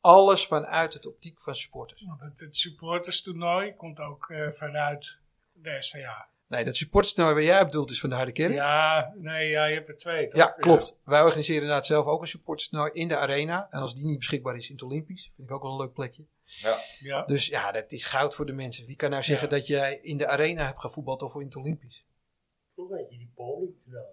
[SPEAKER 3] Alles vanuit het optiek van supporters.
[SPEAKER 2] Want het, het supporterstoernooi komt ook eh, vanuit de SVA.
[SPEAKER 3] Nee, dat supporterstoernooi waar jij op bedoelt is van de Harde Kerk.
[SPEAKER 2] Ja, nee, ja, je hebt er twee. toch?
[SPEAKER 3] Ja, klopt. Wij organiseren inderdaad zelf ook een supporterstoernooi in de arena. En als die niet beschikbaar is in het Olympisch, vind ik ook wel een leuk plekje.
[SPEAKER 2] Ja,
[SPEAKER 3] Dus ja, dat is goud voor de mensen. Wie kan nou zeggen dat jij in de arena hebt gevoetbald of in het Olympisch?
[SPEAKER 4] Vroeger had je die bowling toernooi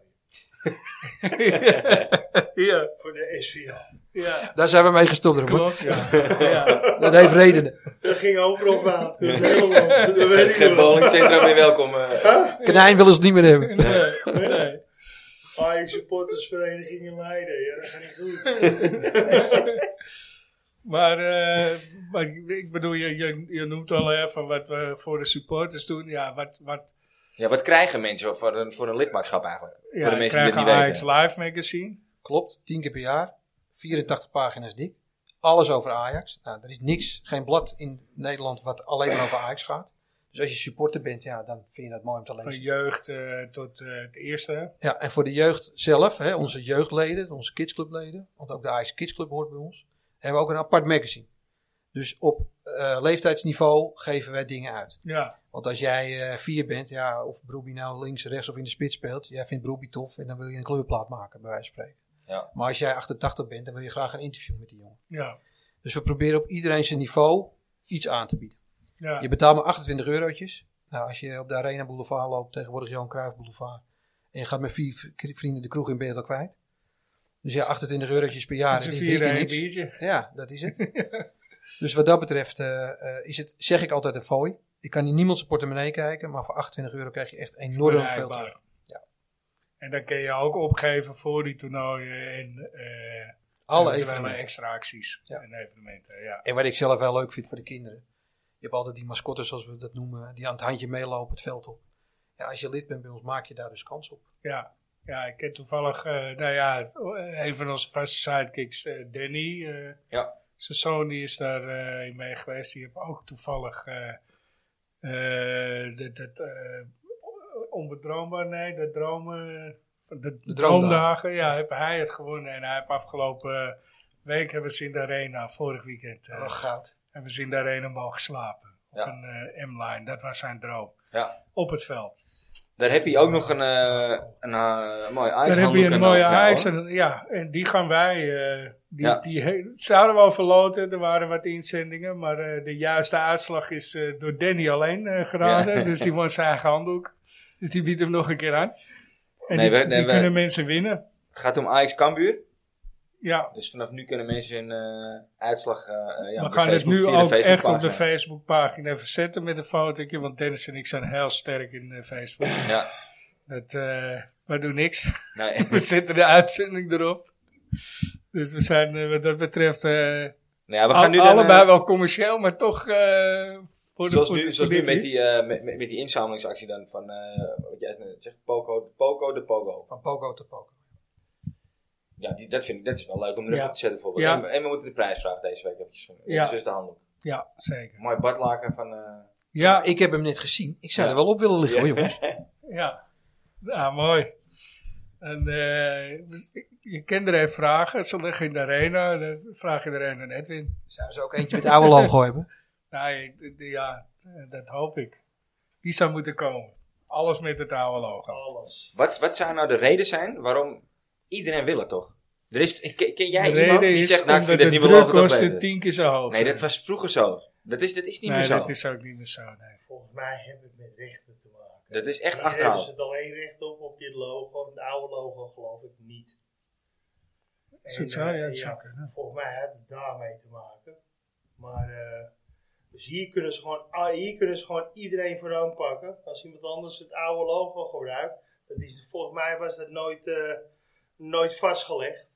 [SPEAKER 2] ja,
[SPEAKER 4] voor de SVA.
[SPEAKER 2] ja.
[SPEAKER 3] Daar zijn we mee gestopt, Robert.
[SPEAKER 2] klopt. Ja. ja.
[SPEAKER 3] Dat heeft redenen.
[SPEAKER 4] Dat ging overal fout. Dat is heel land. Dat weet
[SPEAKER 1] Het
[SPEAKER 4] ik nog
[SPEAKER 1] Schip
[SPEAKER 4] wel.
[SPEAKER 1] Bowling Centrum weer welkom. eh.
[SPEAKER 3] Knijn willen ze het niet meer hebben.
[SPEAKER 2] Nee, nee.
[SPEAKER 4] Ajax supportersvereniging in Leiden. Ja, dat gaat niet goed.
[SPEAKER 2] Maar, eh, maar ik- ik bedoel, je, je, je noemt al hè, van wat we voor de supporters doen. Ja, wat, wat
[SPEAKER 1] Ja, wat krijgen mensen voor een, voor een lidmaatschap eigenlijk?
[SPEAKER 2] ja,
[SPEAKER 1] voor de mensen
[SPEAKER 2] ik
[SPEAKER 1] die
[SPEAKER 2] krijg
[SPEAKER 1] het niet
[SPEAKER 2] een Ajax
[SPEAKER 1] weten.
[SPEAKER 2] Live magazine.
[SPEAKER 3] Klopt, 10 keer per jaar. 84 pagina's dik. Alles over Ajax. Nou, er is niks, geen blad in Nederland wat alleen maar over Ajax gaat. Dus als je supporter bent, ja, dan vind je dat mooi om te
[SPEAKER 2] Van
[SPEAKER 3] lezen.
[SPEAKER 2] jeugd eh, tot eh, het eerste.
[SPEAKER 3] Ja, en voor de jeugd zelf, hè, onze jeugdleden, onze kidsclubleden, want ook de Ajax Kidsclub hoort bij ons, hebben we ook een apart magazine. Dus op eh, leeftijdsniveau geven wij dingen uit.
[SPEAKER 2] Ja,
[SPEAKER 3] Want als jij eh, vier bent, ja, of Broeby nou links, rechts of in de spits speelt, jij vindt Broeby tof en dan wil je een kleurplaat maken, bij wijze van spreken.
[SPEAKER 1] Ja.
[SPEAKER 3] Maar als jij 88 bent, dan wil je graag een interview met die jongen.
[SPEAKER 2] ja,
[SPEAKER 3] Dus we proberen op iedereen zijn niveau iets aan te bieden.
[SPEAKER 2] ja.
[SPEAKER 3] Je betaalt maar 28 eurotjes. Nou, als je op de Arena Boulevard loopt, tegenwoordig Johan Cruijff Boulevard. En je gaat met vier v- vrienden de kroeg in ben je het al kwijt. Dus ja, 28 eurotjes per jaar,
[SPEAKER 2] Dat
[SPEAKER 3] dat
[SPEAKER 2] is
[SPEAKER 3] is
[SPEAKER 2] een
[SPEAKER 3] drie
[SPEAKER 2] vier
[SPEAKER 3] keer
[SPEAKER 2] en een
[SPEAKER 3] niks.
[SPEAKER 2] biertje.
[SPEAKER 3] Ja, dat is het. dus wat dat betreft eh, eh, is het, zeg ik altijd een fooi. Ik kan in niemand zijn portemonnee kijken, maar voor 28 euro krijg je echt enorm veel
[SPEAKER 2] Bereikbaar.
[SPEAKER 3] terug.
[SPEAKER 2] En dan kun je ook opgeven voor die toernooien en eh
[SPEAKER 3] Alle
[SPEAKER 2] eventuele
[SPEAKER 3] evenementen.
[SPEAKER 2] extra acties
[SPEAKER 3] Ja.
[SPEAKER 2] en evenementen. Ja.
[SPEAKER 3] En wat ik zelf wel leuk vind voor de kinderen. Je hebt altijd die mascottes, zoals we dat noemen, die aan het handje meelopen het veld op. Ja, als je lid bent bij ons, maak je daar dus kans op.
[SPEAKER 2] Ja. ja, ik ken toevallig, eh, nou ja, een van onze vaste sidekicks, eh, Danny. eh,
[SPEAKER 1] Ja.
[SPEAKER 2] Zijn zoon die is daar eh, in mee geweest. Die heeft ook toevallig eh, eh, dat, dat eh, onbedroombaar, nee, de dromen, de, de
[SPEAKER 3] droomdagen.
[SPEAKER 2] droomdagen. Ja, heeft hij het gewonnen. En hij heeft afgelopen week hebben we ze in de arena, vorig weekend, eh,
[SPEAKER 3] Oh, goud.
[SPEAKER 2] hebben ze in de arena mogen slapen. Op
[SPEAKER 1] Ja.
[SPEAKER 2] een eh, M-line, dat was zijn droom.
[SPEAKER 1] Ja.
[SPEAKER 2] Op het veld.
[SPEAKER 1] Daar heb je ook nog een, eh een eh, mooi
[SPEAKER 2] Dan
[SPEAKER 1] Ajax
[SPEAKER 2] heb je een mooie ijs.
[SPEAKER 1] Ja,
[SPEAKER 2] En, ja, en die gaan wij. eh, die,
[SPEAKER 1] Ja.
[SPEAKER 2] die he- zouden we al verloten. Er waren wat inzendingen. Maar eh, de juiste uitslag is eh, door Danny alleen eh, geraden.
[SPEAKER 1] Ja.
[SPEAKER 2] Dus die won zijn eigen handdoek. Dus die biedt hem nog een keer aan. En
[SPEAKER 1] Nee,
[SPEAKER 2] die,
[SPEAKER 1] wij- nee,
[SPEAKER 2] die
[SPEAKER 1] wij-
[SPEAKER 2] kunnen mensen winnen.
[SPEAKER 1] Het gaat om Ajax Cambuur.
[SPEAKER 2] Ja,
[SPEAKER 1] Dus vanaf nu kunnen mensen hun eh, uitslag eh, eh, ja,
[SPEAKER 2] we
[SPEAKER 1] op de
[SPEAKER 2] gaan het
[SPEAKER 1] Facebook-
[SPEAKER 2] nu
[SPEAKER 1] via de
[SPEAKER 2] ook echt op de
[SPEAKER 1] Facebookpagina.
[SPEAKER 2] Facebookpagina verzetten met een fotootje. Want Dennis en ik zijn heel sterk in eh, Facebook.
[SPEAKER 1] Ja,
[SPEAKER 2] Dat, eh wij doen niks.
[SPEAKER 1] nee, Nou
[SPEAKER 2] we zetten de uitzending erop. Dus we zijn eh, wat dat betreft... eh,
[SPEAKER 1] Nou ja, we
[SPEAKER 2] Al-
[SPEAKER 1] gaan nu dan, eh,
[SPEAKER 2] allebei wel commercieel, maar toch. eh, voor de
[SPEAKER 1] Zoals
[SPEAKER 2] voor de-
[SPEAKER 1] nu, zoals
[SPEAKER 2] voor
[SPEAKER 1] nu
[SPEAKER 2] dit
[SPEAKER 1] met, die, eh, met, met- met die inzamelingsactie dan van, eh, wat jij net zegt, Poco, Poco de Pogo.
[SPEAKER 3] Van Pogo tot Pogo.
[SPEAKER 1] Ja, die, dat vind ik, dat is wel leuk om erop
[SPEAKER 2] Ja.
[SPEAKER 1] op te zetten bijvoorbeeld.
[SPEAKER 2] Ja.
[SPEAKER 1] En, we- en we moeten de prijsvraag deze week eventjes doen.
[SPEAKER 2] Ja.
[SPEAKER 1] Ja. Dus de handel.
[SPEAKER 2] Ja, zeker.
[SPEAKER 1] Mooi badlaken van, eh,
[SPEAKER 2] Ja,
[SPEAKER 3] Ik heb hem net gezien. Ik zou
[SPEAKER 1] Ja.
[SPEAKER 3] er wel op willen liggen hoor, jongens.
[SPEAKER 2] ja. Ja, mooi. En eh, je kinderen vragen, ze liggen in de arena, dan vraag je er een aan Edwin.
[SPEAKER 3] Zouden ze ook eentje met het oude logo hebben?
[SPEAKER 2] Nee, d- d- ja, dat hoop ik. Die zou moeten komen. Alles met het oude logo.
[SPEAKER 4] Alles.
[SPEAKER 1] wat, wat zou nou de reden zijn waarom iedereen wil het toch? Er is, ken, ken jij
[SPEAKER 2] de
[SPEAKER 1] iemand
[SPEAKER 2] reden
[SPEAKER 1] die
[SPEAKER 2] is
[SPEAKER 1] zegt, nou ik
[SPEAKER 2] omdat
[SPEAKER 1] vind het
[SPEAKER 2] de
[SPEAKER 1] nieuwe logo toch
[SPEAKER 2] drukkosten
[SPEAKER 1] beter?
[SPEAKER 2] tien keer zo hoog
[SPEAKER 1] Nee, dat
[SPEAKER 2] zijn.
[SPEAKER 1] was vroeger zo. Dat is, dat is niet
[SPEAKER 2] Nee,
[SPEAKER 1] meer zo.
[SPEAKER 2] dat is ook niet meer zo. Nee.
[SPEAKER 4] Volgens mij heeft het met rechten te maken.
[SPEAKER 1] Dat is echt
[SPEAKER 4] Hier hebben
[SPEAKER 1] achterhaald.
[SPEAKER 4] ze het alleen recht op op dit logo. Het oude logo geloof ik niet.
[SPEAKER 2] Is dat
[SPEAKER 4] En,
[SPEAKER 2] zo? Ja,
[SPEAKER 4] eh,
[SPEAKER 2] dat zou kunnen.
[SPEAKER 4] Volgens mij heeft het daarmee te maken. Maar eh, dus hier kunnen, ze gewoon, ah, hier kunnen ze gewoon iedereen voor aanpakken. Als iemand anders het oude logo gebruikt. Dat is, volgens mij was dat nooit, eh, nooit vastgelegd.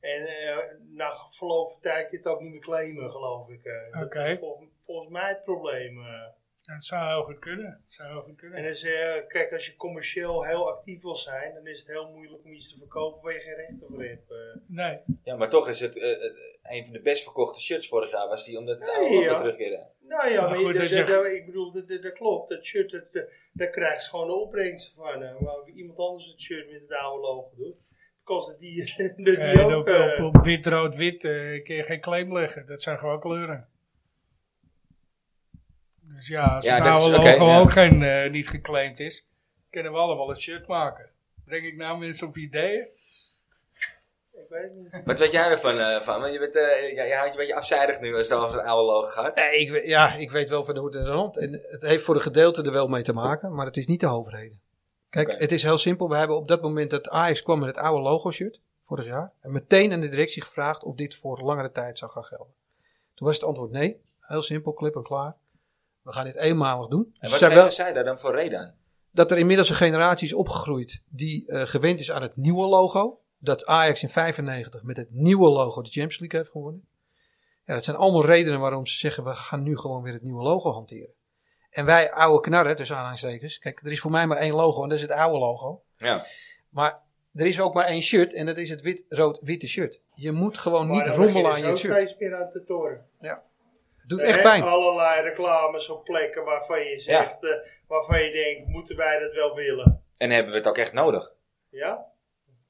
[SPEAKER 4] En eh, na verloop van tijd kun je het ook niet meer claimen, geloof ik. eh. Dat is
[SPEAKER 2] Oké.
[SPEAKER 4] volgens- volgens mij het probleem. eh.
[SPEAKER 2] Dat zou heel goed kunnen. Dat zou heel goed kunnen.
[SPEAKER 4] En dus, eh, kijk, als je commercieel heel actief wil zijn, dan is het heel moeilijk om iets te verkopen waar je geen rechten voor hebt. eh.
[SPEAKER 2] Nee.
[SPEAKER 1] Ja, maar toch is het eh, eh, een van de best verkochte shirts vorig jaar was die omdat het
[SPEAKER 4] Ja,
[SPEAKER 1] oude logo
[SPEAKER 4] ja.
[SPEAKER 1] terugkeerde.
[SPEAKER 4] nou ja,
[SPEAKER 2] Maar
[SPEAKER 4] maar
[SPEAKER 2] goed,
[SPEAKER 4] je-
[SPEAKER 2] dat
[SPEAKER 4] dat-
[SPEAKER 2] je-
[SPEAKER 4] dat- ik bedoel, dat, dat, dat klopt. Dat shirt, dat, dat- daar krijg je gewoon de opbrengst van. eh. maar iemand anders het shirt met het oude logo doet, kost het die, dat die
[SPEAKER 2] Ja, en
[SPEAKER 4] ook.
[SPEAKER 2] op,
[SPEAKER 4] eh,
[SPEAKER 2] op, op wit, rood, wit eh, kun je geen claim leggen. Dat zijn gewoon kleuren. Dus ja, als
[SPEAKER 1] Ja,
[SPEAKER 2] het
[SPEAKER 1] dat is-
[SPEAKER 2] oude
[SPEAKER 1] oké,
[SPEAKER 2] logo
[SPEAKER 1] ja.
[SPEAKER 2] ook geen, eh, niet geclaimd is, kunnen we allemaal een shirt maken. Breng ik nou mensen op ideeën?
[SPEAKER 4] ik weet het niet.
[SPEAKER 1] Wat weet jij ervan? eh, van? Want je, bent, eh, ja, je houdt je een beetje afzijdig nu als het over het oude logo gaat.
[SPEAKER 3] Nee, ik, we- ja, ik weet wel van de hoed en de rand. En het heeft voor een gedeelte er wel mee te maken, maar het is niet de hoofdreden. Kijk,
[SPEAKER 1] Oké.
[SPEAKER 3] het is heel simpel. We hebben op dat moment dat Ajax kwam met het oude logo-shirt, vorig jaar. En meteen aan de directie gevraagd of dit voor langere tijd zou gaan gelden. Toen was het antwoord nee. Heel simpel, klip en klaar. We gaan dit eenmalig doen.
[SPEAKER 1] En
[SPEAKER 3] Ze
[SPEAKER 1] wat
[SPEAKER 3] zijn
[SPEAKER 1] geven
[SPEAKER 3] wel-
[SPEAKER 1] zij daar dan voor reden aan?
[SPEAKER 3] dat er inmiddels een generatie is opgegroeid die eh, gewend is aan het nieuwe logo. Dat Ajax in 95 met het nieuwe logo de Champions League heeft gewonnen. Ja, dat zijn allemaal redenen waarom ze zeggen we gaan nu gewoon weer het nieuwe logo hanteren. En wij oude knarren, tussen aanhalingstekens. Kijk, er is voor mij maar één logo en dat is het oude logo.
[SPEAKER 1] Ja.
[SPEAKER 3] Maar er is ook maar één shirt en dat is het wit-rood-witte shirt. Je moet gewoon
[SPEAKER 4] Maar
[SPEAKER 3] niet
[SPEAKER 4] dan
[SPEAKER 3] rommelen aan
[SPEAKER 4] beginnen
[SPEAKER 3] je
[SPEAKER 4] ze
[SPEAKER 3] shirt.
[SPEAKER 4] ook steeds meer aan te toren.
[SPEAKER 3] Het doet
[SPEAKER 4] Eh,
[SPEAKER 3] echt pijn.
[SPEAKER 4] Allerlei reclames op plekken waarvan je zegt, eh, waarvan je denkt, moeten wij dat wel willen?
[SPEAKER 1] En hebben we het ook echt nodig?
[SPEAKER 4] Ja?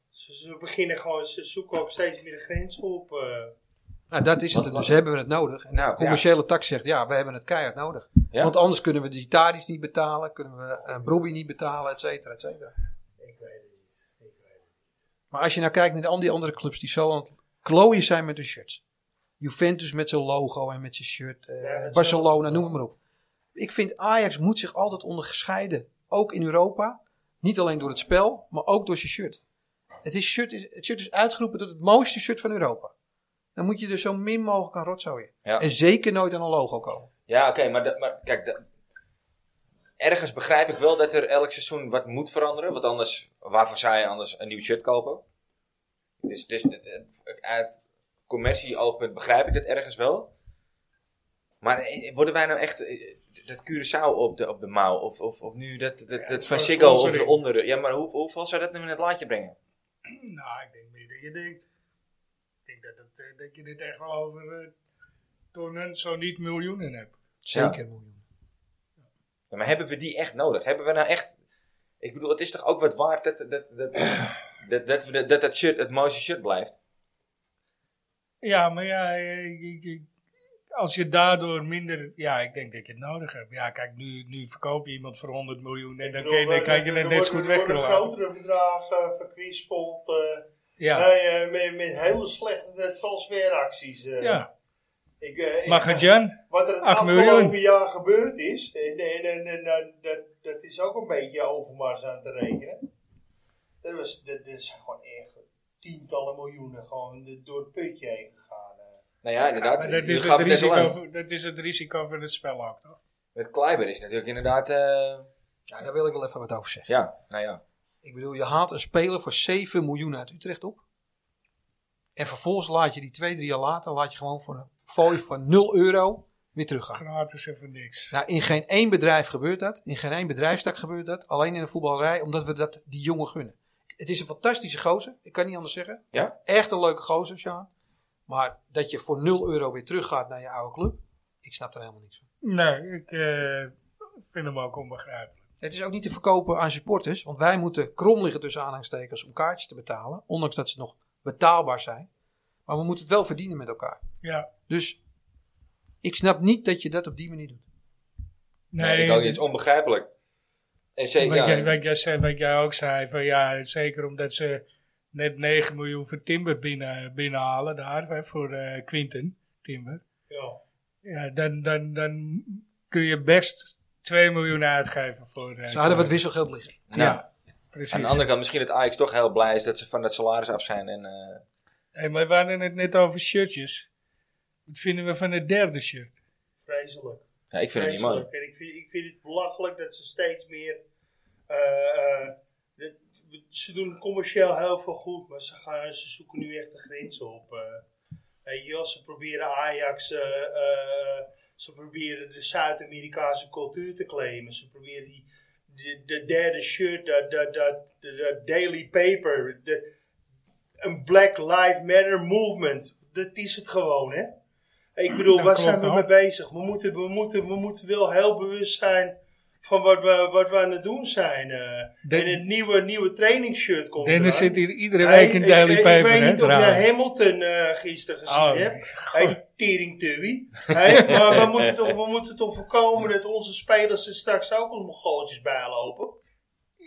[SPEAKER 4] Ze, ze beginnen gewoon, ze zoeken ook steeds meer de grens op. eh.
[SPEAKER 3] Nou, dat is
[SPEAKER 1] Wat-
[SPEAKER 3] het. Dus
[SPEAKER 1] wat-
[SPEAKER 3] hebben we het nodig. En
[SPEAKER 1] Nou,
[SPEAKER 3] de commerciële tak zegt, ja, we hebben het keihard nodig.
[SPEAKER 1] Ja.
[SPEAKER 3] Want anders kunnen we de Tadis niet betalen, kunnen we een Brobbey niet betalen, et cetera, et cetera.
[SPEAKER 4] ik weet het niet. Ik weet het.
[SPEAKER 3] Maar als je nou kijkt naar de- al die andere clubs die zo aan het klooien zijn met hun shirts. Juventus met zijn logo en met zijn shirt. eh,
[SPEAKER 4] Ja, dat is
[SPEAKER 3] Barcelona, noem het maar op. Ik vind Ajax moet zich altijd onderscheiden. Ook in Europa. Niet alleen door het spel, maar ook door zijn shirt. Het, is shirt is, het shirt is uitgeroepen tot het mooiste shirt van Europa. Dan moet je er zo min mogelijk aan rotzooien.
[SPEAKER 1] Ja.
[SPEAKER 3] En zeker nooit aan een logo komen.
[SPEAKER 1] Ja, oké, maar, dat- maar kijk, dat- ergens begrijp ik wel dat er elk seizoen wat moet veranderen. Want anders, waarvoor zou je anders een nieuw shirt kopen? Dus, dus eh, eh, uit commercie-oogpunt begrijp ik dat ergens wel. Maar eh, worden wij nou echt eh, dat Curaçao op de, op de mouw? Of, of, of nu dat, dat,
[SPEAKER 2] dat
[SPEAKER 1] dat
[SPEAKER 2] is
[SPEAKER 1] van
[SPEAKER 2] wel
[SPEAKER 1] Siggo op de
[SPEAKER 2] sponsoring.
[SPEAKER 1] onderdeur? Ja, maar hoe, hoeveel zou dat nu in het laadje brengen?
[SPEAKER 2] Nou, ik denk meer dan je denkt. Ik denk dat, het, eh, dat je dit echt wel over eh, tonnen, zo niet miljoenen hebt.
[SPEAKER 3] Zeker. miljoen.
[SPEAKER 1] Ja, maar hebben we die echt nodig? Hebben we nou echt... Ik bedoel, het is toch ook wat waard dat dat, dat, dat, dat, dat, we- dat, dat shirt het mooiste shirt blijft?
[SPEAKER 2] Ja, maar ja, eh, je- je- als je daardoor minder... Ja, ik denk dat je het nodig hebt. Ja, kijk, nu, nu verkoop je iemand voor 100 miljoen en dan,
[SPEAKER 4] Ik
[SPEAKER 2] kun je,
[SPEAKER 4] bedoel,
[SPEAKER 2] dan
[SPEAKER 4] eh,
[SPEAKER 2] kan je het
[SPEAKER 4] er
[SPEAKER 2] net zo
[SPEAKER 4] worden-
[SPEAKER 2] goed
[SPEAKER 4] er
[SPEAKER 2] weg kunnen
[SPEAKER 4] worden
[SPEAKER 2] laten.
[SPEAKER 4] grotere bedragen, voor Quizpot, eh,
[SPEAKER 2] Ja,
[SPEAKER 4] nee, eh, met, met hele slechte eh, transferacties. eh.
[SPEAKER 2] ja.
[SPEAKER 4] Ik, eh, ik-
[SPEAKER 2] Maar Jan,
[SPEAKER 4] Wat er het
[SPEAKER 2] Acht
[SPEAKER 4] afgelopen
[SPEAKER 2] miljoen.
[SPEAKER 4] jaar gebeurd is, eh, en, en, en, en- en- dat, dat is ook een beetje overmars aan te rekenen. Er, was, er, er zijn gewoon echt tientallen miljoenen gewoon de- door het putje heen gegaan. eh.
[SPEAKER 1] Nou ja, inderdaad.
[SPEAKER 2] maar dat
[SPEAKER 1] je
[SPEAKER 2] is,
[SPEAKER 1] gaf
[SPEAKER 2] het
[SPEAKER 1] het net al aan.
[SPEAKER 2] risico, van- dat is het risico van het spel ook, toch?
[SPEAKER 1] Met Kleiber is natuurlijk inderdaad... eh,
[SPEAKER 3] Ja, daar wil ik wel even wat over zeggen.
[SPEAKER 1] ja, nou ja.
[SPEAKER 3] Ik bedoel, je haalt een speler voor 7 miljoen uit Utrecht op. En vervolgens laat je die twee, drie jaar later, laat je gewoon voor een fooi van 0 euro weer teruggaan.
[SPEAKER 2] Gratis en voor niks.
[SPEAKER 3] Nou, in geen één bedrijf gebeurt dat. In geen één bedrijfstak gebeurt dat. Alleen in de voetballerij, omdat we dat die jongen gunnen. Het is een fantastische gozer. Ik kan niet anders zeggen.
[SPEAKER 1] Ja?
[SPEAKER 3] Echt een leuke gozer, Sjaan. Maar dat je voor 0 euro weer teruggaat naar je oude club. Ik snap er helemaal niks van.
[SPEAKER 2] Nee, ik eh, vind hem ook onbegrijpelijk.
[SPEAKER 3] Het is ook niet te verkopen aan supporters, want wij moeten krom liggen tussen aanhangstekens om kaartjes te betalen. Ondanks dat ze nog betaalbaar zijn. Maar we moeten het wel verdienen met elkaar.
[SPEAKER 2] Ja.
[SPEAKER 3] Dus ik snap niet dat je dat op die manier doet.
[SPEAKER 1] Nee, ik ook niet. Het is onbegrijpelijk. En zeker,
[SPEAKER 2] Wat,
[SPEAKER 1] ja,
[SPEAKER 2] jij, wat, jij zei, wat jij ook zei, van ja, zeker omdat ze net 9 miljoen voor Timber binnen, binnenhalen daar, hè, voor eh Quinten Timber.
[SPEAKER 4] Ja.
[SPEAKER 2] Ja, dan, dan, dan kun je best 2 miljoen uitgeven voor... eh,
[SPEAKER 3] Ze hadden wat
[SPEAKER 2] Kleiber.
[SPEAKER 3] wisselgeld liggen.
[SPEAKER 1] nou,
[SPEAKER 2] Ja, precies.
[SPEAKER 1] Aan de andere kant, misschien dat Ajax toch heel blij is dat ze van dat salaris af zijn. En, eh,
[SPEAKER 2] Hey, maar we hadden het net over shirtjes. Wat vinden we van het derde shirt?
[SPEAKER 4] Vreselijk.
[SPEAKER 1] ja, ik vind het niet mooi.
[SPEAKER 4] Vreselijk. En ik vind, ik vind het belachelijk dat ze steeds meer. eh, eh, de- ze doen commercieel heel veel goed, maar ze, gaan, ze zoeken nu echt de grenzen op. eh. Weet je wel, ze proberen Ajax. eh, eh, ze proberen de Zuid-Amerikaanse cultuur te claimen. Ze proberen die. De, de derde shirt, dat, dat, dat, dat- dat daily paper, de- een Black Lives Matter movement. Dat is het gewoon, hè? Ik bedoel,
[SPEAKER 2] Dat
[SPEAKER 4] waar
[SPEAKER 2] klopt
[SPEAKER 4] zijn we
[SPEAKER 2] wel.
[SPEAKER 4] mee bezig? We moeten, we, moeten, we moeten wel heel bewust zijn van wat we, wat we aan het doen zijn. eh.
[SPEAKER 2] Den-
[SPEAKER 4] en het nieuwe, nieuwe trainingsshirt komt
[SPEAKER 2] Dennis
[SPEAKER 4] eraan.
[SPEAKER 2] zit hier iedere
[SPEAKER 4] Hey,
[SPEAKER 2] week in Daily
[SPEAKER 4] ik, ik-
[SPEAKER 2] Paper,
[SPEAKER 4] Ik weet
[SPEAKER 2] hè,
[SPEAKER 4] niet of jij
[SPEAKER 2] trouwens.
[SPEAKER 4] Hamilton eh, gisteren gezien
[SPEAKER 2] Oh,
[SPEAKER 4] hebt. Hey, die teringtubby. Hey, maar we moeten, toch, we moeten toch voorkomen dat onze spelers er straks ook ons mongooltjes bijlopen.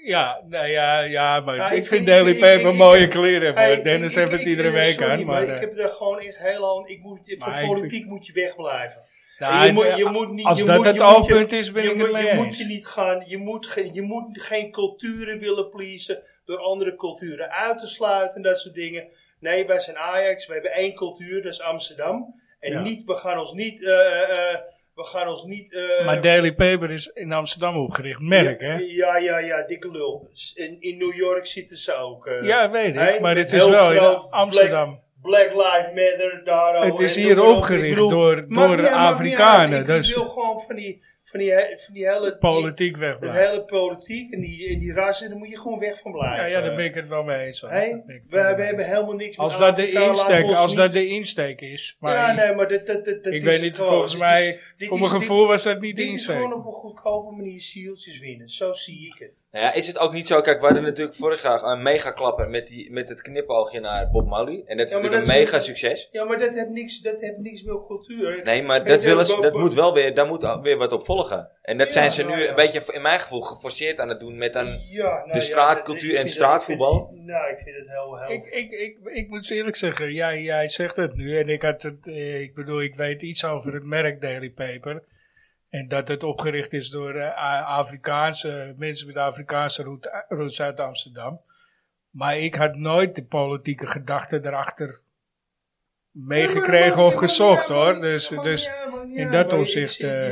[SPEAKER 2] Ja, nou ja, ja maar
[SPEAKER 4] Ja,
[SPEAKER 2] ik,
[SPEAKER 4] ik
[SPEAKER 2] vind
[SPEAKER 4] vind-
[SPEAKER 2] Daily
[SPEAKER 4] ik-
[SPEAKER 2] Paper
[SPEAKER 4] ik-
[SPEAKER 2] mooie
[SPEAKER 4] ik-
[SPEAKER 2] kleren.
[SPEAKER 4] Hey,
[SPEAKER 2] maar Dennis
[SPEAKER 4] ik- ik-
[SPEAKER 2] heeft het
[SPEAKER 4] ik-
[SPEAKER 2] iedere week
[SPEAKER 4] sorry,
[SPEAKER 2] aan. Maar,
[SPEAKER 4] Maar,
[SPEAKER 2] eh,
[SPEAKER 4] ik heb daar gewoon echt heel lang... Ik moet,
[SPEAKER 2] Maar
[SPEAKER 4] van
[SPEAKER 2] ik-
[SPEAKER 4] politiek moet je wegblijven.
[SPEAKER 2] Nou,
[SPEAKER 4] En je, moet,
[SPEAKER 2] eh,
[SPEAKER 4] je moet niet,
[SPEAKER 2] als
[SPEAKER 4] je
[SPEAKER 2] dat
[SPEAKER 4] moet,
[SPEAKER 2] het
[SPEAKER 4] je moet je-
[SPEAKER 2] oogpunt is, ben
[SPEAKER 4] je
[SPEAKER 2] ik
[SPEAKER 4] moet-
[SPEAKER 2] het mee
[SPEAKER 4] je
[SPEAKER 2] eens.
[SPEAKER 4] moet je niet gaan, je moet, geen- je moet geen culturen willen pleasen door andere culturen uit te sluiten en dat soort dingen. Nee, wij zijn Ajax, we hebben één cultuur, dat is Amsterdam. En
[SPEAKER 2] Ja.
[SPEAKER 4] niet, we gaan ons niet eh, eh, eh, We gaan ons niet... eh,
[SPEAKER 2] maar Daily Paper is in Amsterdam opgericht. Merk,
[SPEAKER 4] ja,
[SPEAKER 2] hè?
[SPEAKER 4] Ja, ja, ja, dikke lul. S- In, in New York zitten ze ook. eh,
[SPEAKER 2] Ja, weet ik.
[SPEAKER 4] hè,
[SPEAKER 2] maar
[SPEAKER 4] met
[SPEAKER 2] het is
[SPEAKER 4] heel
[SPEAKER 2] wel
[SPEAKER 4] groot
[SPEAKER 2] in Amsterdam.
[SPEAKER 4] Black Lives Matter, daar
[SPEAKER 2] Het
[SPEAKER 4] ook,
[SPEAKER 2] is
[SPEAKER 4] en
[SPEAKER 2] hier
[SPEAKER 4] noem maar op. Ik
[SPEAKER 2] opgericht
[SPEAKER 4] bedoel,
[SPEAKER 2] door,
[SPEAKER 4] maakt
[SPEAKER 2] door
[SPEAKER 4] niet uit,
[SPEAKER 2] de
[SPEAKER 4] maakt niet uit.
[SPEAKER 2] Afrikanen.
[SPEAKER 4] Ik-
[SPEAKER 2] Dus
[SPEAKER 4] Ik wil gewoon van die, van die, he- van die hele... die-
[SPEAKER 2] politiek weg.
[SPEAKER 4] De hele politiek en die, en die rassen, daar moet je gewoon weg van
[SPEAKER 2] Ja,
[SPEAKER 4] blijven.
[SPEAKER 2] ja, daar ben ik het wel mee eens. hoor.
[SPEAKER 4] Hè?
[SPEAKER 2] Dat ben ik
[SPEAKER 4] we,
[SPEAKER 2] wel mee
[SPEAKER 4] we
[SPEAKER 2] eens.
[SPEAKER 4] hebben helemaal niks
[SPEAKER 2] als
[SPEAKER 4] met
[SPEAKER 2] dat, de
[SPEAKER 4] Afrika, laten we
[SPEAKER 2] insteek,
[SPEAKER 4] ons
[SPEAKER 2] als dat
[SPEAKER 4] niet-
[SPEAKER 2] de insteek is. Maar
[SPEAKER 4] Ja, nee, maar dit, dit, dit, dit
[SPEAKER 2] ik
[SPEAKER 4] is
[SPEAKER 2] weet
[SPEAKER 4] het
[SPEAKER 2] niet,
[SPEAKER 4] gewoon.
[SPEAKER 2] volgens
[SPEAKER 4] Dit is-
[SPEAKER 2] mij, voor
[SPEAKER 4] dit is-
[SPEAKER 2] mijn
[SPEAKER 4] dit-
[SPEAKER 2] gevoel was dat niet de
[SPEAKER 4] Dit is gewoon
[SPEAKER 2] insteek.
[SPEAKER 4] op een goedkope manier zieltjes winnen. Zo zie ik het.
[SPEAKER 1] Nou ja, is het ook niet zo? Kijk, we hadden natuurlijk vorig jaar een mega klapper met, die, met het knipoogje naar Bob Marley. En dat is
[SPEAKER 4] Ja, maar
[SPEAKER 1] natuurlijk
[SPEAKER 4] dat
[SPEAKER 1] een
[SPEAKER 4] is-
[SPEAKER 1] mega succes.
[SPEAKER 4] Ja, maar dat heeft niks, dat heeft niks met cultuur.
[SPEAKER 1] Nee, maar
[SPEAKER 4] Weet
[SPEAKER 1] dat,
[SPEAKER 4] je,
[SPEAKER 1] willen ze-
[SPEAKER 4] Bob-
[SPEAKER 1] dat moet wel weer, daar moet ook weer wat op volgen. En dat
[SPEAKER 4] Ja,
[SPEAKER 1] zijn ze
[SPEAKER 4] ja,
[SPEAKER 1] nu
[SPEAKER 4] ja.
[SPEAKER 1] een beetje, in mijn gevoel, geforceerd aan het doen met een...
[SPEAKER 4] Ja, nou
[SPEAKER 1] de
[SPEAKER 4] ja,
[SPEAKER 1] straatcultuur
[SPEAKER 4] dat- ik
[SPEAKER 1] en
[SPEAKER 4] vind
[SPEAKER 1] straatvoetbal?
[SPEAKER 4] Dat, ik vind- nou, ik vind het heel heel.
[SPEAKER 2] Ik, ik, ik, ik moet eerlijk zeggen, jij, jij zegt het nu. En ik, had het, eh, ik bedoel, ik weet iets over het merk Daily Paper. En dat het opgericht is door eh, A- Afrikaanse mensen met Afrikaanse route- roots uit Amsterdam. Maar ik had nooit de politieke gedachten erachter meegekregen of gezocht hoor. Dus, dus in dat opzicht, eh,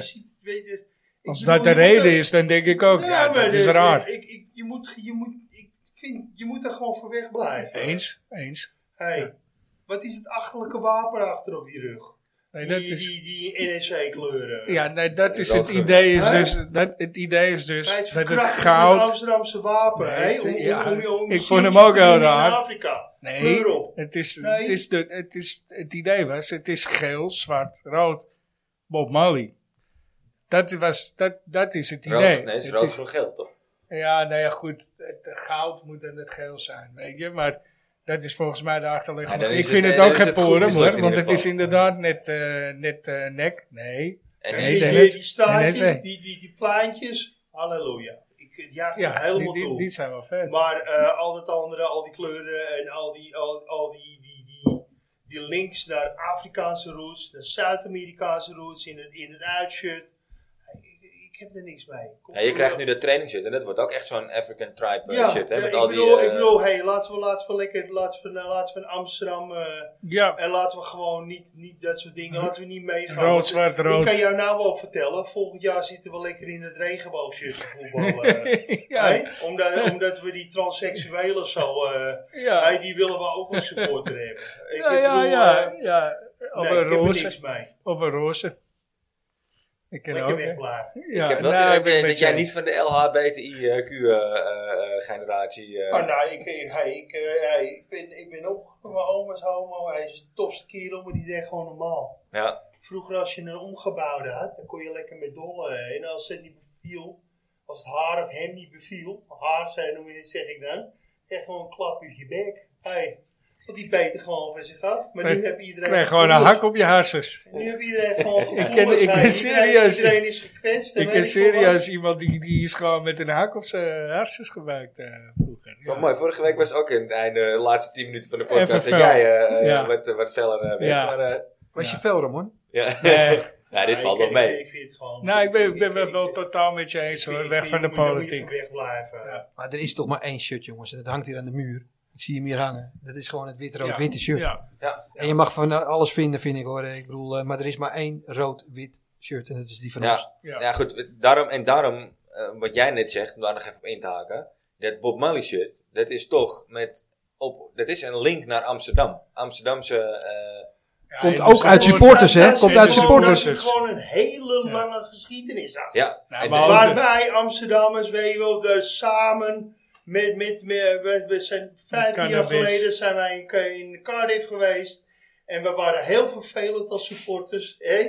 [SPEAKER 2] als dat de reden is, dan denk ik ook, ja, dat is raar.
[SPEAKER 4] Ik, ik, je, moet, je, moet, ik vind, je moet er gewoon voor weg blijven.
[SPEAKER 2] Eens, eens.
[SPEAKER 4] Hey, Wat is het achterlijke wapen achter op die rug?
[SPEAKER 2] Nee, dat
[SPEAKER 4] die,
[SPEAKER 2] is,
[SPEAKER 4] die, die E NEC-kleuren.
[SPEAKER 2] ja, nee, dat is het
[SPEAKER 1] Roodgroen.
[SPEAKER 2] idee is
[SPEAKER 4] Hè?
[SPEAKER 2] dus, dat, het idee is dus
[SPEAKER 4] Hij is
[SPEAKER 2] dat het
[SPEAKER 4] verkracht door een
[SPEAKER 2] goud
[SPEAKER 4] Amsterdamse wapen.
[SPEAKER 2] Nee,
[SPEAKER 4] hè? Om- om-
[SPEAKER 2] ja,
[SPEAKER 4] om- om- om
[SPEAKER 2] ik vond hem
[SPEAKER 4] zieltjes
[SPEAKER 2] ook
[SPEAKER 4] te
[SPEAKER 2] heel
[SPEAKER 4] winnen
[SPEAKER 2] raar.
[SPEAKER 4] In Afrika.
[SPEAKER 2] Nee,
[SPEAKER 4] Kleur op.
[SPEAKER 2] het, is,
[SPEAKER 4] Nee.
[SPEAKER 2] Het, is de, het, is, het idee was, het is geel, zwart, rood, Bob Marley. Dat, was, dat, dat is het idee.
[SPEAKER 1] Rood, nee, het is
[SPEAKER 2] Het
[SPEAKER 1] rood
[SPEAKER 2] is-
[SPEAKER 1] groen geel, toch?
[SPEAKER 2] ja, nou ja, goed, het goud moet dan het geel zijn, weet je, maar dat is volgens mij de
[SPEAKER 1] Ja,
[SPEAKER 2] achterliggende.
[SPEAKER 1] dan is
[SPEAKER 2] ik
[SPEAKER 1] het-
[SPEAKER 2] vind het,
[SPEAKER 1] eh, dan
[SPEAKER 2] ook
[SPEAKER 1] is
[SPEAKER 2] geen
[SPEAKER 1] het goed
[SPEAKER 2] porum
[SPEAKER 1] mislukt
[SPEAKER 2] hoor,
[SPEAKER 1] in
[SPEAKER 2] want
[SPEAKER 1] ieder
[SPEAKER 2] het is
[SPEAKER 1] geval.
[SPEAKER 2] inderdaad net, eh, net eh, nek, nee.
[SPEAKER 1] En
[SPEAKER 2] Nee,
[SPEAKER 4] die,
[SPEAKER 1] deze-
[SPEAKER 2] nee,
[SPEAKER 4] die,
[SPEAKER 2] Dennis.
[SPEAKER 4] die staartjes,
[SPEAKER 2] Dennis, hè?
[SPEAKER 4] die, die, die plaantjes, halleluja. Ik eh, jaag
[SPEAKER 2] Ja,
[SPEAKER 4] het helemaal
[SPEAKER 2] die, die,
[SPEAKER 4] toe.
[SPEAKER 2] die zijn wel vet.
[SPEAKER 4] Maar eh, al dat andere, al die kleuren en al die, al, al die, die, die, die links naar Afrikaanse roots, naar Zuid-Amerikaanse roots in het, in het uitshirt. Ik, ik heb er niks mee. Kom,
[SPEAKER 1] Ja, je
[SPEAKER 4] kom
[SPEAKER 1] krijgt
[SPEAKER 4] op.
[SPEAKER 1] nu dat training zit en dat wordt ook echt zo'n African tribe eh,
[SPEAKER 4] Ja,
[SPEAKER 1] shit, hè?
[SPEAKER 4] ja,
[SPEAKER 1] Met
[SPEAKER 4] ik,
[SPEAKER 1] al die...
[SPEAKER 4] bedoel,
[SPEAKER 1] eh,
[SPEAKER 4] ik bedoel, hey, laten we, laten we lekker, laten we, nou, laten we in Amsterdam eh,
[SPEAKER 2] ja,
[SPEAKER 4] en laten we gewoon niet, niet dat soort dingen, laten we niet meegaan.
[SPEAKER 2] Rood,
[SPEAKER 4] Want,
[SPEAKER 2] zwart,
[SPEAKER 4] eh,
[SPEAKER 2] rood.
[SPEAKER 4] Ik kan jou nou wel vertellen, volgend jaar zitten we lekker in het regenboogshirtje voetballen. eh.
[SPEAKER 2] ja,
[SPEAKER 4] Hè? Omdat, omdat we die transseksuelen zo, eh,
[SPEAKER 2] ja,
[SPEAKER 4] hey, die willen we ook een supporter hebben. Ik
[SPEAKER 2] ja, ja,
[SPEAKER 4] bedoel,
[SPEAKER 2] ja, Nou,
[SPEAKER 4] eh,
[SPEAKER 2] ja, of
[SPEAKER 4] nee,
[SPEAKER 2] een
[SPEAKER 4] ik heb er
[SPEAKER 2] roze.
[SPEAKER 4] niks mee.
[SPEAKER 2] Of een roze. Ik ken
[SPEAKER 4] Lekker
[SPEAKER 2] ook. hè.
[SPEAKER 4] wegblijven.
[SPEAKER 2] Ja,
[SPEAKER 1] ik heb wel
[SPEAKER 2] nou,
[SPEAKER 1] het
[SPEAKER 2] ik ben
[SPEAKER 1] idee
[SPEAKER 2] met
[SPEAKER 1] dat
[SPEAKER 2] je
[SPEAKER 1] jij
[SPEAKER 2] eens.
[SPEAKER 1] niet van de eh, LHBTIQ-generatie...
[SPEAKER 4] Oh, nou, ik, ik, hey, ik, eh, hey, ik ben, ik ben opgegroeid, mijn oma is homo, hij is de tofste kerel, maar die deed gewoon normaal.
[SPEAKER 1] ja.
[SPEAKER 4] Vroeger als je een omgebouwde had, dan kon je lekker met dollen. hè. En als het niet beviel, als het haar of hem niet beviel, haar zijn noem je, zeg ik dan, kreeg gewoon een klap op je bek. Hey, want die beter gewoon van zich af. Maar
[SPEAKER 2] Krijg-
[SPEAKER 4] nu heb iedereen...
[SPEAKER 2] Ik krijg gewoon een
[SPEAKER 4] gevoelens.
[SPEAKER 2] hak op je hersens.
[SPEAKER 4] Nu heb iedereen gewoon gevoelens.
[SPEAKER 2] Ik ken- ik ken
[SPEAKER 4] Iedereen-
[SPEAKER 2] serieus-
[SPEAKER 4] Iedereen is gekwetst. en
[SPEAKER 2] Ik
[SPEAKER 4] weet
[SPEAKER 2] ken
[SPEAKER 4] ik veel wat.
[SPEAKER 2] serieus iemand die, die is gewoon met een hak op zijn hersens gebruikt eh, vroeger.
[SPEAKER 1] Wel
[SPEAKER 2] Ja.
[SPEAKER 1] mooi, vorige week was ook in het einde, de laatste 10 minuten van de podcast,
[SPEAKER 2] Even
[SPEAKER 1] dat
[SPEAKER 2] fel.
[SPEAKER 1] jij eh, eh,
[SPEAKER 2] Ja.
[SPEAKER 1] wat, eh, wat feller eh, werd.
[SPEAKER 2] Ja.
[SPEAKER 1] Maar, eh,
[SPEAKER 3] Was
[SPEAKER 2] Ja.
[SPEAKER 3] je fel, Ramon?
[SPEAKER 1] ja.
[SPEAKER 2] Nee.
[SPEAKER 1] ja, dit
[SPEAKER 4] Ja,
[SPEAKER 1] valt
[SPEAKER 4] ik-
[SPEAKER 1] wel mee.
[SPEAKER 4] Ik, ik vind het gewoon...
[SPEAKER 2] Eh, Nou, ik ben, ik
[SPEAKER 4] ik-
[SPEAKER 2] ben wel,
[SPEAKER 4] ik-
[SPEAKER 2] wel
[SPEAKER 4] ik-
[SPEAKER 2] totaal met je eens
[SPEAKER 4] ik-
[SPEAKER 2] hoor.
[SPEAKER 4] ik
[SPEAKER 2] Weg
[SPEAKER 4] vind,
[SPEAKER 2] van de
[SPEAKER 4] je moet-
[SPEAKER 2] politiek.
[SPEAKER 4] Je moet wegblijven.
[SPEAKER 2] Ja.
[SPEAKER 3] Maar er is toch maar één shirt, jongens. En dat hangt hier aan de muur. Ik zie hem hier hangen. Dat is gewoon het wit-rood-witte shirt.
[SPEAKER 2] Ja.
[SPEAKER 3] En je mag van eh, alles vinden, vind ik hoor. Ik bedoel, eh, maar er is maar één rood-wit shirt. En dat is die van
[SPEAKER 1] Ja.
[SPEAKER 3] ons.
[SPEAKER 2] Ja.
[SPEAKER 1] Nou Ja, goed. Daarom, en daarom, eh, wat jij net zegt, om daar nog even op in te haken. Dat Bob Marley shirt, dat is toch met... Op, dat is een link naar Amsterdam. Amsterdamse... eh,
[SPEAKER 2] Ja,
[SPEAKER 3] Komt
[SPEAKER 2] je
[SPEAKER 3] ook
[SPEAKER 2] moet
[SPEAKER 3] uit
[SPEAKER 2] gewoon-
[SPEAKER 4] Daar-
[SPEAKER 3] supporters, hè?
[SPEAKER 4] daar
[SPEAKER 3] Komt
[SPEAKER 4] zit
[SPEAKER 3] uit
[SPEAKER 4] gewoon-
[SPEAKER 3] supporters.
[SPEAKER 4] daar zit gewoon een hele
[SPEAKER 2] Ja.
[SPEAKER 4] lange geschiedenis aan.
[SPEAKER 1] ja.
[SPEAKER 2] Nou,
[SPEAKER 1] En
[SPEAKER 2] maar
[SPEAKER 1] dat-
[SPEAKER 2] ook-
[SPEAKER 4] Waarbij Amsterdammers, weet je wel, de- samen met, met, met we, we zijn 15 jaar
[SPEAKER 2] Cannabis.
[SPEAKER 4] geleden zijn wij in, Ca- in Cardiff geweest. En we waren heel vervelend als supporters. Hè?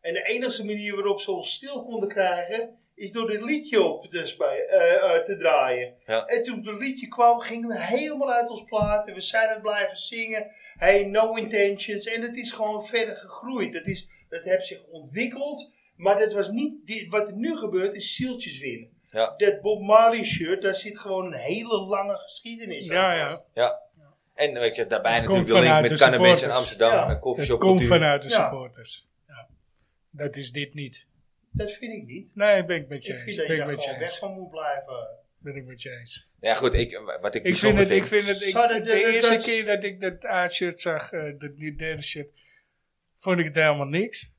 [SPEAKER 4] En de enige manier waarop ze ons stil konden krijgen, is door dit liedje op te, spe- eh, eh, te draaien.
[SPEAKER 1] Ja.
[SPEAKER 4] En toen het liedje kwam, gingen we helemaal uit ons platen. We zijn het blijven zingen. Hey, no intentions. En het is gewoon verder gegroeid. Het, is, het heeft zich ontwikkeld. Maar dat was niet dit, wat er nu gebeurt, is zieltjes winnen.
[SPEAKER 1] Ja.
[SPEAKER 4] Dat Bob Marley shirt, daar zit gewoon een hele lange geschiedenis aan.
[SPEAKER 2] Ja, ja.
[SPEAKER 1] En weet je, daarbij
[SPEAKER 2] Het
[SPEAKER 1] natuurlijk de
[SPEAKER 2] komt
[SPEAKER 1] link
[SPEAKER 2] vanuit
[SPEAKER 1] met
[SPEAKER 2] de
[SPEAKER 1] cannabis en
[SPEAKER 2] supporters.
[SPEAKER 1] Amsterdam
[SPEAKER 4] Ja.
[SPEAKER 1] en
[SPEAKER 2] Het
[SPEAKER 1] koffieshop
[SPEAKER 2] komt vanuit de
[SPEAKER 4] Ja.
[SPEAKER 2] supporters. Ja. Dat is dit niet.
[SPEAKER 4] Dat vind ik niet.
[SPEAKER 2] Nee, ben ik met je
[SPEAKER 4] Ik
[SPEAKER 2] eens.
[SPEAKER 4] vind dat
[SPEAKER 2] Ben
[SPEAKER 4] je
[SPEAKER 2] ik
[SPEAKER 4] daar
[SPEAKER 2] met je
[SPEAKER 4] gewoon weg
[SPEAKER 2] eens.
[SPEAKER 4] van moet blijven.
[SPEAKER 2] Ben ik met je eens.
[SPEAKER 1] Ja goed, ik, wat ik,
[SPEAKER 2] Ik vind,
[SPEAKER 1] bijzonder
[SPEAKER 2] het, ik vind het, ik,
[SPEAKER 4] Sorry,
[SPEAKER 2] de
[SPEAKER 4] dat- dat-
[SPEAKER 2] eerste
[SPEAKER 4] dat-
[SPEAKER 2] keer dat ik dat A-shirt zag, eh dat die derde shirt, vond ik het helemaal niks.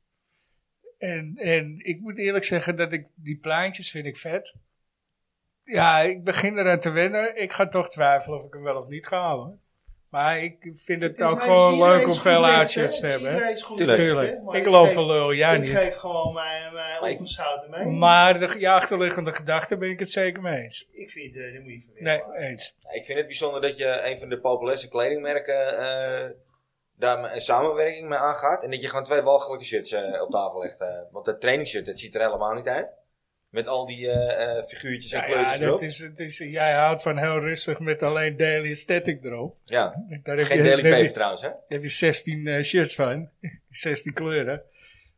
[SPEAKER 2] En, en ik moet eerlijk zeggen dat ik die plaatjes vind ik vet. Ja, ik begin eraan te wennen. Ik ga toch twijfelen of ik hem wel of niet ga halen. Maar ik vind het ook gewoon leuk om veel uitzets te hebben.
[SPEAKER 1] Tuurlijk.
[SPEAKER 2] Tuurlijk. Ik loop
[SPEAKER 4] wel
[SPEAKER 2] van lul, jij
[SPEAKER 4] Ik
[SPEAKER 2] niet.
[SPEAKER 4] geef gewoon mijn, mijn
[SPEAKER 1] Maar ik-
[SPEAKER 4] opgeschouten mee.
[SPEAKER 2] Maar de ja, achterliggende gedachte ben ik het zeker mee eens.
[SPEAKER 4] ik vind, eh dat moet je verwerken.
[SPEAKER 2] Nee, eens.
[SPEAKER 1] Ja, Ik vind het bijzonder dat je een van de populairste kledingmerken eh, daar me- een samenwerking mee aangaat. En dat je gewoon twee walgelijke shirts eh, op tafel legt. eh. want dat trainingsshirt, dat ziet er helemaal niet uit. Met al die eh, eh, figuurtjes en
[SPEAKER 2] Ja, ja,
[SPEAKER 1] kleurtjes erop.
[SPEAKER 2] dat is, het is, jij houdt van heel rustig met alleen daily aesthetic erop.
[SPEAKER 1] Ja,
[SPEAKER 2] Daar
[SPEAKER 1] het is
[SPEAKER 2] heb
[SPEAKER 1] geen
[SPEAKER 2] je-
[SPEAKER 1] daily
[SPEAKER 2] daar heb je-
[SPEAKER 1] paper trouwens hè.
[SPEAKER 2] Daar heb je 16 eh, shirts van. 16 kleuren.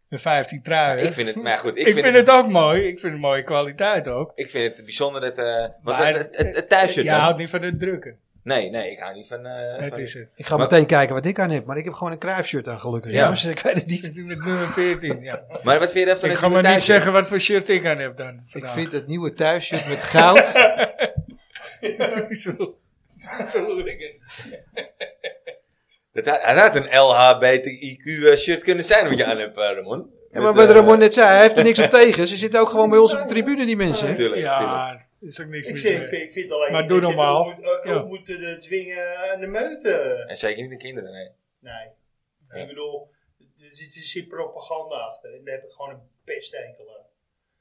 [SPEAKER 2] En 15 truien.
[SPEAKER 1] Ik vind het, maar goed,
[SPEAKER 2] Ik vind, het ook mooi. Ik vind het mooie kwaliteit ook.
[SPEAKER 1] ik vind het bijzonder dat... eh want
[SPEAKER 2] Maar-
[SPEAKER 1] het, het, het thuisshirt
[SPEAKER 2] Je
[SPEAKER 1] dan?
[SPEAKER 2] houdt niet van het drukken.
[SPEAKER 1] Nee, nee, ik hou niet van... eh,
[SPEAKER 2] Dat
[SPEAKER 1] van-
[SPEAKER 2] is het.
[SPEAKER 3] Ik ga
[SPEAKER 1] Maar-
[SPEAKER 3] meteen kijken wat ik aan heb. Maar ik heb gewoon een kruifshirt aan gelukkig.
[SPEAKER 1] Ja.
[SPEAKER 3] Ja. Dus ik weet het
[SPEAKER 2] Ik
[SPEAKER 3] niet.
[SPEAKER 2] zit met nummer 14, ja.
[SPEAKER 1] Maar wat vind je dat van
[SPEAKER 2] Ik
[SPEAKER 1] het
[SPEAKER 2] ga maar niet
[SPEAKER 1] thuisshirt?
[SPEAKER 2] zeggen wat voor shirt ik aan heb dan.
[SPEAKER 3] Ik
[SPEAKER 2] vandaag.
[SPEAKER 3] vind het nieuwe thuisshirt met goud.
[SPEAKER 2] Zo- zo hoor ik het.
[SPEAKER 1] Dat, hij- hij had een LHBTIQ eh, shirt kunnen zijn wat je aan hebt, eh, Ramon.
[SPEAKER 3] Ja, maar
[SPEAKER 1] Met,
[SPEAKER 3] wat
[SPEAKER 1] eh,
[SPEAKER 3] Ramon net zei, hij heeft er niks op tegen. Ze zitten ook gewoon bij ons op de tribune, die mensen. hè?
[SPEAKER 1] Tuurlijk, tuurlijk.
[SPEAKER 2] Ja, er is ook niks
[SPEAKER 4] Ik,
[SPEAKER 2] mis
[SPEAKER 4] zeg, ik,
[SPEAKER 2] mee.
[SPEAKER 4] vind, ik vind alleen
[SPEAKER 2] Maar
[SPEAKER 4] niet
[SPEAKER 2] doe
[SPEAKER 4] dat je
[SPEAKER 2] normaal.
[SPEAKER 4] ook moet- ook-
[SPEAKER 2] Ja.
[SPEAKER 4] ook moeten de dwingen aan de meute.
[SPEAKER 1] En zeker niet de kinderen, nee.
[SPEAKER 4] Nee.
[SPEAKER 1] Ja.
[SPEAKER 4] Ik bedoel, er zit, er zit propaganda achter. En daar heb ik gewoon een pesthekel aan.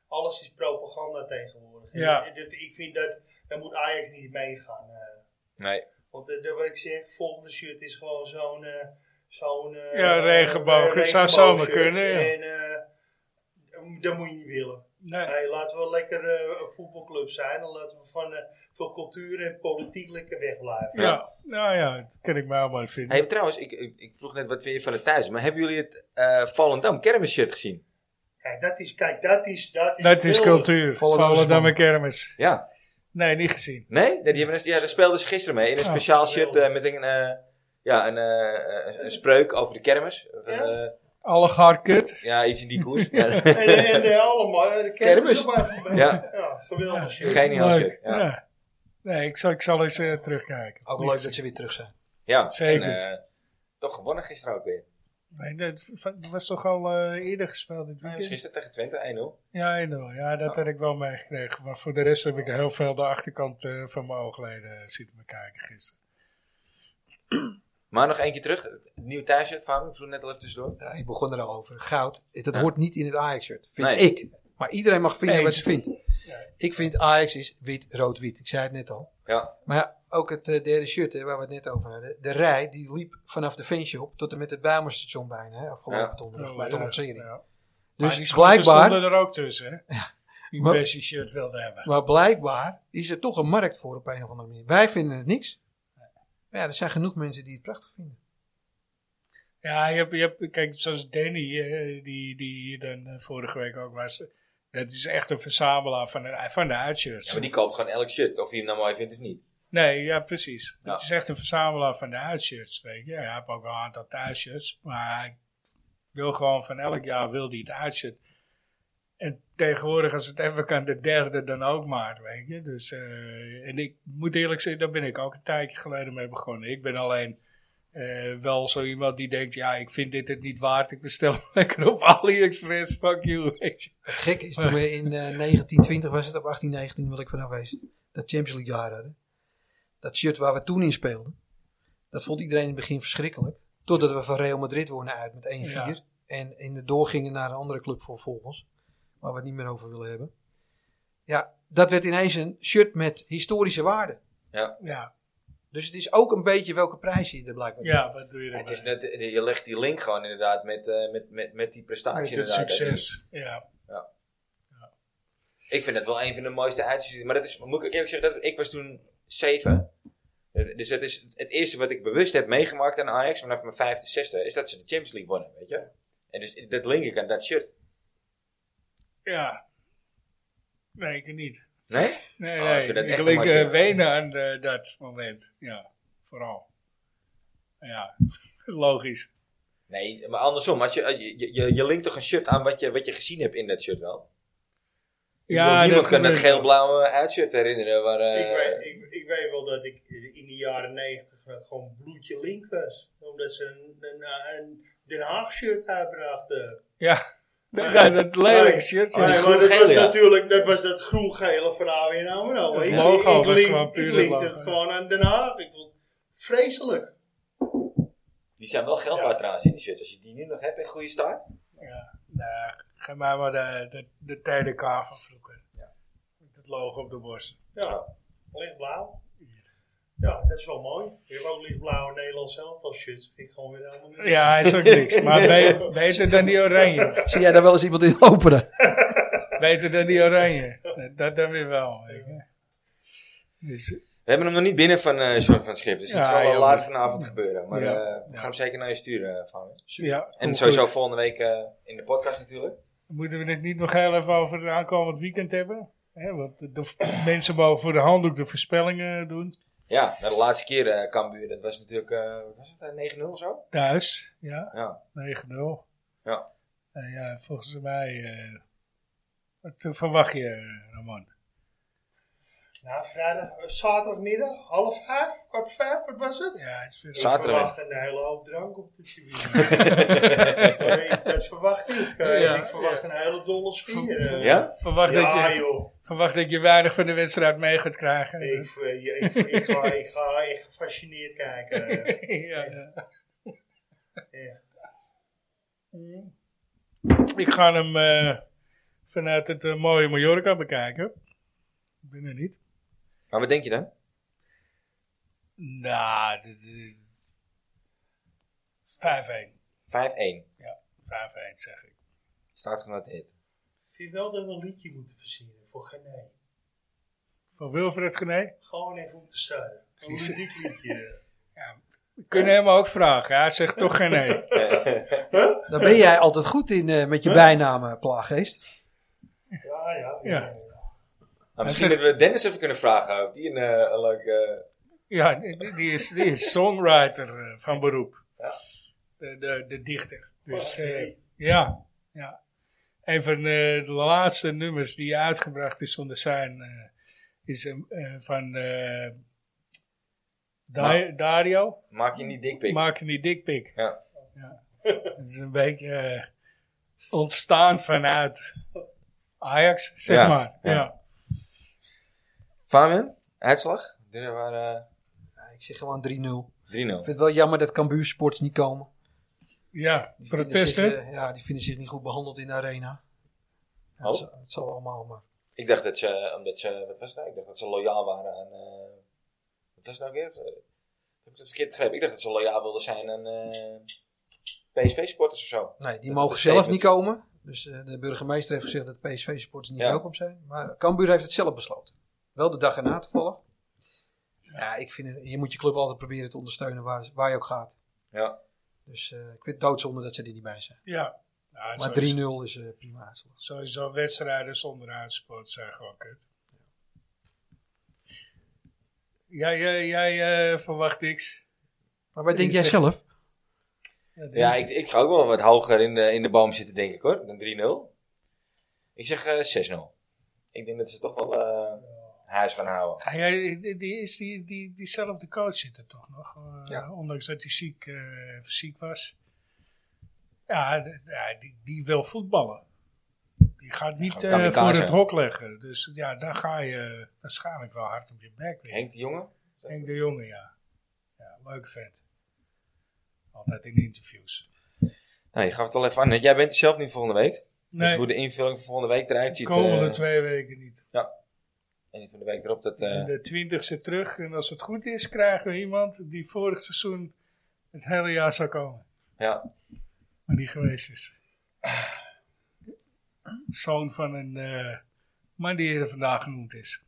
[SPEAKER 4] Alles is propaganda tegenwoordig. En
[SPEAKER 2] Ja.
[SPEAKER 4] dat- dat- ik vind dat, daar moet Ajax niet meegaan. eh.
[SPEAKER 1] Nee.
[SPEAKER 4] want eh, dat wat ik zeg, volgende shirt is gewoon zo'n... eh, zo'n eh,
[SPEAKER 2] Ja, regenboog.
[SPEAKER 4] eh,
[SPEAKER 2] Het zou
[SPEAKER 4] regenboogshirt.
[SPEAKER 2] zomaar kunnen, ja.
[SPEAKER 4] En eh, dat moet je niet willen.
[SPEAKER 2] Nee.
[SPEAKER 4] Hey, laten we lekker eh, een voetbalclub zijn. En laten we van, eh, van cultuur en politiek lekker wegblijven.
[SPEAKER 2] Ja, nou ja, dat kan ik me helemaal mooi vinden.
[SPEAKER 1] Hey, maar trouwens, ik, ik, ik vroeg net wat vind je van het thuis, maar hebben jullie het eh Volendam kermis shirt gezien?
[SPEAKER 4] Kijk, dat is, kijk, dat is, dat is,
[SPEAKER 2] Dat is
[SPEAKER 4] wilde.
[SPEAKER 2] cultuur.
[SPEAKER 3] Volendamse
[SPEAKER 2] Volendamme
[SPEAKER 3] man.
[SPEAKER 2] kermis.
[SPEAKER 1] Ja.
[SPEAKER 2] Nee, niet gezien.
[SPEAKER 1] Nee? nee die hebben een, ja, daar speelden ze gisteren mee in een
[SPEAKER 2] Oh,
[SPEAKER 1] speciaal shirt
[SPEAKER 4] wel.
[SPEAKER 1] eh, met een, eh, ja, een, eh, een, een spreuk over de kermis. Of een,
[SPEAKER 4] Ja?
[SPEAKER 1] eh,
[SPEAKER 2] Alle gaar kut.
[SPEAKER 1] ja, iets in die koers. ja,
[SPEAKER 4] En, en eh, allemaal, eh, de kermis.
[SPEAKER 3] Kermis.
[SPEAKER 4] ook maar voorbij.
[SPEAKER 1] Ja.
[SPEAKER 4] ja, geweldig shit.
[SPEAKER 1] geniaal
[SPEAKER 2] Leuk.
[SPEAKER 1] shirt. Ja.
[SPEAKER 2] Ja. Nee, ik zal, ik zal eens eh, terugkijken.
[SPEAKER 3] Ook leuk dat ze weer terug zijn.
[SPEAKER 1] Ja,
[SPEAKER 2] Zeker.
[SPEAKER 1] en, eh, toch gewonnen gisteren ook weer.
[SPEAKER 2] Nee, dat v- was toch al eh, eerder gespeeld dit
[SPEAKER 1] Ja,
[SPEAKER 2] weekend?
[SPEAKER 1] dus gisteren tegen Twente 1-0.
[SPEAKER 2] Ja, inderdaad. Ja, dat heb ik wel meegekregen. Maar voor de rest heb ik heel veel de achterkant eh, van mijn oogleden zitten bekijken gisteren.
[SPEAKER 1] Maar nog één keer terug. Het nieuwe thuisshirt van ik vroeg net al even tussendoor.
[SPEAKER 3] Ja, ik begon er al over. Goud, het- dat
[SPEAKER 1] Ja.
[SPEAKER 3] hoort niet in het Ajax-shirt, vind
[SPEAKER 1] Nee.
[SPEAKER 3] ik. Maar iedereen mag vinden wat
[SPEAKER 2] Eens.
[SPEAKER 3] ze vindt. Ik vind Ajax is wit, rood, wit. Ik zei het net al.
[SPEAKER 1] Ja,
[SPEAKER 3] Maar ja, ook het eh, derde shirt hè, waar we het net over hadden. De rij die liep vanaf de fanshop tot en met het Bijlmerstation bijna. Hè, afgelopen
[SPEAKER 1] Ja.
[SPEAKER 3] donderdag bij
[SPEAKER 2] Oh, Ja,
[SPEAKER 3] de lancering.
[SPEAKER 2] ja. Maar die
[SPEAKER 3] Dus
[SPEAKER 2] schoenen
[SPEAKER 3] blijkbaar,
[SPEAKER 2] stonden er ook tussen, hè? Die
[SPEAKER 3] Maar-
[SPEAKER 2] Bessie shirt wilde hebben.
[SPEAKER 3] maar blijkbaar is er toch een markt voor op een of andere manier. Wij vinden het niks. Maar ja, er zijn genoeg mensen die het prachtig vinden.
[SPEAKER 2] Ja, je hebt, je hebt, kijk, zoals Danny, eh, die, die hier dan eh, vorige week ook was. eh, Dat is echt een verzamelaar van de, van de uitshirts.
[SPEAKER 1] Ja, maar die koopt gewoon elk shirt. Of je hem nou mooi vindt of niet.
[SPEAKER 2] Nee, ja, precies.
[SPEAKER 1] Ja.
[SPEAKER 2] Het is echt een verzamelaar van de uitshirts, weet je. Hij heeft ook wel een aantal thuisshirts, maar hij wil gewoon van elk jaar wil hij het uitshirt. En tegenwoordig, als het even kan, de derde dan ook maar, weet je. Dus, eh, en ik moet eerlijk zeggen, daar ben ik ook een tijdje geleden mee begonnen. Ik ben alleen eh, wel zo iemand die denkt, ja, ik vind dit het niet waard. Ik bestel lekker op AliExpress, fuck you, weet je.
[SPEAKER 3] Het gek is, toen we in eh, 1920 was het, op 1819 wil ik vanaf wezen, dat Champions League jaar hadden. Dat shirt waar we toen in speelden, dat vond iedereen in het begin verschrikkelijk. Totdat we van Real Madrid wonnen uit met 1-4.
[SPEAKER 2] Ja.
[SPEAKER 3] En in de doorgingen naar een andere club voor volgens, waar we het niet meer over willen hebben. Ja, dat werd ineens een shirt met historische waarde.
[SPEAKER 2] Ja,
[SPEAKER 3] Dus het is ook een beetje welke prijs je er blijkbaar
[SPEAKER 2] ja wat doe je dan?
[SPEAKER 1] Het is net, je legt die link gewoon inderdaad met, eh, met, met, met die prestatie.
[SPEAKER 2] met het
[SPEAKER 1] inderdaad, hè.
[SPEAKER 2] succes, ja.
[SPEAKER 1] Ik vind het wel een van de mooiste uitzichten. Maar dat is, moet ik eerlijk zeggen, dat, ik was toen zeven. Eh, Dus dat is het eerste wat ik bewust heb meegemaakt aan Ajax vanaf mijn vijfde, zesde, is dat ze de Champions League wonnen, weet je? En dus dat link ik aan dat shirt.
[SPEAKER 2] Ja. Nee, ik niet.
[SPEAKER 1] Nee?
[SPEAKER 2] Nee,
[SPEAKER 1] Oh, ik
[SPEAKER 2] nee.
[SPEAKER 1] vind dat
[SPEAKER 2] Ik
[SPEAKER 1] echt
[SPEAKER 2] link
[SPEAKER 1] een mooie
[SPEAKER 2] eh,
[SPEAKER 1] zin.
[SPEAKER 2] wenen aan eh, dat moment. Ja, vooral. Ja, logisch.
[SPEAKER 1] Nee, maar andersom, als je, eh, je, je, je linkt toch een shirt aan wat je, wat je gezien hebt in dat shirt wel? Ik bedoel,
[SPEAKER 2] Ja,
[SPEAKER 1] niemand kan dat
[SPEAKER 2] gebeurt wel.
[SPEAKER 1] geel-blauwe uitshirt herinneren waar... eh,
[SPEAKER 4] ik, weet, ik, ik weet wel dat ik eh, in de jaren negentig eh, gewoon bloedje eh, link was. Omdat ze een, een, een Den Haag shirt uitbrachten.
[SPEAKER 2] Ja, Nee, dat lelijk shirtje.
[SPEAKER 1] Oh,
[SPEAKER 4] Nee,
[SPEAKER 1] die
[SPEAKER 4] maar dat
[SPEAKER 1] groen-gele,
[SPEAKER 4] was
[SPEAKER 1] ja.
[SPEAKER 4] natuurlijk dat was dat groen-gele verhaal in Amro.
[SPEAKER 2] Het
[SPEAKER 4] Ik-
[SPEAKER 2] logo
[SPEAKER 4] ik,
[SPEAKER 2] was
[SPEAKER 4] link-
[SPEAKER 2] gewoon puur
[SPEAKER 4] Ik
[SPEAKER 2] het
[SPEAKER 4] linkte
[SPEAKER 2] logo,
[SPEAKER 4] het
[SPEAKER 2] ja.
[SPEAKER 4] gewoon aan Den Haag. Ik vond het vreselijk.
[SPEAKER 1] Die zijn wel geld waard trouwens in die shirts. Als je die nu nog hebt in goede staat.
[SPEAKER 2] Ja, nee, ga maar maar de, de, de tijden K van vroeger. Met het logo op de borst.
[SPEAKER 4] Ja, lichtblauw. Ja, dat is wel mooi. Je hebt ook lichtblauwe Nederlands elftal shirts. Vind ik gewoon weer helemaal niet.
[SPEAKER 2] Ja, hij is ook niks. Maar be- beter dan die oranje.
[SPEAKER 3] Zie jij daar wel eens iemand in openen?
[SPEAKER 2] Beter dan die oranje. Dat- Dat dan weer wel. weet je. Dus,
[SPEAKER 1] We hebben hem nog niet binnen van eh John van Schip. Dus
[SPEAKER 2] Ja,
[SPEAKER 1] het zal wel
[SPEAKER 2] jammer.
[SPEAKER 1] later vanavond gebeuren. Maar
[SPEAKER 2] Ja.
[SPEAKER 1] eh, we gaan hem zeker naar je sturen, eh, Van.
[SPEAKER 2] ja,
[SPEAKER 1] En
[SPEAKER 2] komt
[SPEAKER 1] sowieso
[SPEAKER 2] goed.
[SPEAKER 1] volgende week eh, in de podcast natuurlijk.
[SPEAKER 2] Moeten we het niet nog heel even over het aankomend weekend hebben? Hè, want de, de mensen mogen voor de handdoek de voorspellingen doen.
[SPEAKER 1] Ja, nou, de laatste keer eh Cambuur, dat was natuurlijk, eh, wat was het, eh, 9-0 of zo?
[SPEAKER 2] Thuis, ja,
[SPEAKER 1] Ja.
[SPEAKER 2] 9-0.
[SPEAKER 1] Ja.
[SPEAKER 2] Nou ja, volgens mij, eh, wat eh, verwacht je, Ramon?
[SPEAKER 4] Nou, vrijdag, eh, zaterdagmiddag, half vijf, kwart vijf, wat was het?
[SPEAKER 2] Ja, het is weer-
[SPEAKER 1] Zaterdag.
[SPEAKER 4] Ik verwacht een hele hoop drank op de tribune. Maar ik- dat verwacht ik. Eh,
[SPEAKER 2] Ja,
[SPEAKER 4] ik verwacht een hele dolle sfeer. eh.
[SPEAKER 1] Ja?
[SPEAKER 2] verwacht, dat
[SPEAKER 4] Ja,
[SPEAKER 2] je,
[SPEAKER 4] joh.
[SPEAKER 2] verwacht dat je weinig van de wedstrijd mee gaat krijgen. dus-
[SPEAKER 4] Ik, eh, je- ik, ik, ga, ik ga echt gefascineerd kijken. eh.
[SPEAKER 2] ja, ja.
[SPEAKER 4] Echt.
[SPEAKER 2] Mm. Ik ga hem eh, vanuit het eh, mooie Mallorca bekijken. Ik ben er niet.
[SPEAKER 1] Maar wat denk je dan?
[SPEAKER 2] Nou, dit is 5-1.
[SPEAKER 1] 5-1.
[SPEAKER 2] 5-1 zeg ik.
[SPEAKER 1] Staat genoteerd. Nou,
[SPEAKER 4] Ik vind wel dat we een liedje moeten verzinnen voor Gené.
[SPEAKER 2] Van Wilfred Gené.
[SPEAKER 4] Gewoon even om te zuiden. Een
[SPEAKER 2] Precies.
[SPEAKER 4] ludiek liedje.
[SPEAKER 2] We kunnen hem ook vragen. Hij zegt toch geen nee.
[SPEAKER 3] Daar ben jij altijd goed in eh, met je bijnamen, plaaggeest.
[SPEAKER 4] eh. Ja, ja.
[SPEAKER 2] Ja.
[SPEAKER 1] Nou, misschien
[SPEAKER 2] zegt-
[SPEAKER 1] dat we Dennis even kunnen vragen of die een, eh, een leuk... eh,
[SPEAKER 2] Ja, die, die is, die is songwriter eh, van beroep. De, de, de dichter.
[SPEAKER 1] Oh,
[SPEAKER 2] Dus eh,
[SPEAKER 4] Oké.
[SPEAKER 2] ja, ja. Een van eh, de laatste nummers die uitgebracht is onder zijn... eh, is een, eh, van eh, Da-
[SPEAKER 1] Ma-
[SPEAKER 2] Dario.
[SPEAKER 1] maak je niet dikpik.
[SPEAKER 2] Maak die dikpik.
[SPEAKER 1] Ja.
[SPEAKER 2] ja. Het is een beetje eh, ontstaan vanuit Ajax, zeg
[SPEAKER 1] Ja,
[SPEAKER 2] maar.
[SPEAKER 1] ja.
[SPEAKER 2] ja.
[SPEAKER 1] Fabian, uitslag? Dit waren
[SPEAKER 3] Ja, ik zeg gewoon 3-0. Ik
[SPEAKER 1] eh, 3-0.
[SPEAKER 3] vind het wel jammer dat Cambuur Sports niet komen.
[SPEAKER 2] Ja,
[SPEAKER 3] Die vinden
[SPEAKER 2] protesten.
[SPEAKER 3] zich, eh, ja, die vinden zich niet goed behandeld in de arena. Ja,
[SPEAKER 1] Oh.
[SPEAKER 3] het, zal, het zal allemaal, maar...
[SPEAKER 1] Ik dacht dat ze, omdat ze, wat was het nou? Ik dacht dat ze loyaal waren aan, eh, wat was het nou weer? Eh, Heb ik dat verkeerd begrepen? Ik dacht dat ze loyaal wilden zijn aan eh, PSV-sporters of zo.
[SPEAKER 3] Nee, die
[SPEAKER 1] Dat
[SPEAKER 3] mogen
[SPEAKER 1] is
[SPEAKER 3] zelf
[SPEAKER 1] een
[SPEAKER 3] niet komen. Dus eh, de burgemeester heeft gezegd dat PSV-supporters niet
[SPEAKER 1] Ja.
[SPEAKER 3] welkom zijn. Maar Cambuur heeft het zelf besloten. Wel de dag erna toevallig. Ja, ik vind het, je moet je club altijd proberen te ondersteunen waar, waar je ook gaat.
[SPEAKER 1] Ja.
[SPEAKER 3] Dus eh, ik vind het doodzonde dat ze er niet bij zijn.
[SPEAKER 2] Ja. Nou,
[SPEAKER 3] Maar 3-0
[SPEAKER 2] sowieso-
[SPEAKER 3] is eh, prima uitslag.
[SPEAKER 2] Sowieso wedstrijden zonder uitsport zijn gewoon kut. Jij, jij, jij eh, verwacht niks.
[SPEAKER 3] Maar wat denk
[SPEAKER 2] Ik
[SPEAKER 3] jij
[SPEAKER 2] zeg-
[SPEAKER 3] zelf?
[SPEAKER 1] Ja, ik, ik ga ook wel wat hoger in de, in de boom zitten, denk ik hoor, dan 3-0. Ik zeg eh 6-0. Ik denk dat ze toch wel eh, huis gaan houden.
[SPEAKER 2] Ah, ja, die, die is die, die, diezelfde coach zit er toch nog. eh,
[SPEAKER 3] Ja.
[SPEAKER 2] Ondanks dat hij ziek, eh, ziek was. Ja, d- ja, die, die wil voetballen. Die gaat niet
[SPEAKER 1] Gewoon
[SPEAKER 2] eh, voor
[SPEAKER 1] kamikaze.
[SPEAKER 2] het hok leggen. Dus ja, daar ga je waarschijnlijk wel hard op je bek weer.
[SPEAKER 1] Henk de Jonge?
[SPEAKER 2] Henk de Jonge, ja. ja leuke vent. Altijd in interviews.
[SPEAKER 1] Nou, je gaf het al even aan. hè. Jij bent er zelf niet volgende week.
[SPEAKER 2] Nee,
[SPEAKER 1] Dus hoe de invulling van volgende week eruit
[SPEAKER 2] de
[SPEAKER 1] ziet.
[SPEAKER 2] komende
[SPEAKER 1] eh,
[SPEAKER 2] twee weken niet.
[SPEAKER 1] en die van de week erop, dat... eh,
[SPEAKER 2] En de twintigste terug. En als het goed is, krijgen we iemand die vorig seizoen het hele jaar zou komen.
[SPEAKER 1] ja,
[SPEAKER 2] Maar niet geweest is. Zoon van een eh man die eerder vandaag genoemd is.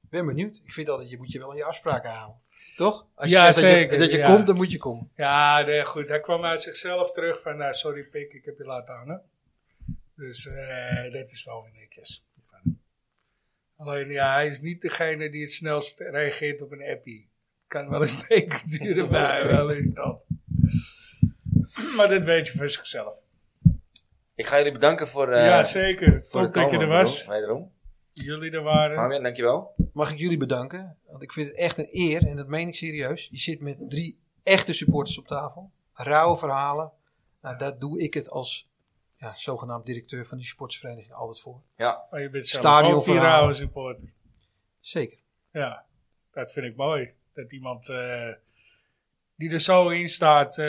[SPEAKER 3] Ik ben benieuwd. Ik vind altijd, je moet je wel aan je afspraken houden. Toch? Als
[SPEAKER 2] Ja,
[SPEAKER 3] zegt dat je-
[SPEAKER 2] zeker,
[SPEAKER 3] Dat je,
[SPEAKER 2] ja.
[SPEAKER 3] komt, dan moet je komen.
[SPEAKER 2] Ja, nee, goed. Hij kwam uit zichzelf terug van, nou, sorry Pik, ik heb je laten hangen. Dus eh, dat is wel weer netjes. Alleen, ja, hij is niet degene die het snelst reageert op een appie. Kan wel eens weken duren, maar hij wel in dat. Maar dat weet je voor zichzelf.
[SPEAKER 1] ik ga jullie bedanken voor... eh,
[SPEAKER 2] ja, zeker.
[SPEAKER 1] voor het
[SPEAKER 2] Top dat je
[SPEAKER 1] komen,
[SPEAKER 2] er was.
[SPEAKER 1] bedoel, Wederom.
[SPEAKER 2] Jullie er waren.
[SPEAKER 1] Fabian, dankjewel.
[SPEAKER 3] Mag ik jullie bedanken? Want ik vind het echt een eer, en dat meen ik serieus. Je zit met drie echte supporters op tafel. Rauwe verhalen Nou, daar doe ik het als ja, zogenaamd directeur van die sportsvereniging altijd voor.
[SPEAKER 1] Ja,
[SPEAKER 2] Maar je bent zelf
[SPEAKER 3] Stadion
[SPEAKER 2] ook
[SPEAKER 3] verhaal.
[SPEAKER 2] Dierenhouden supporter.
[SPEAKER 3] Zeker.
[SPEAKER 2] Ja, dat vind ik mooi. Dat iemand eh, die er zo in staat eh,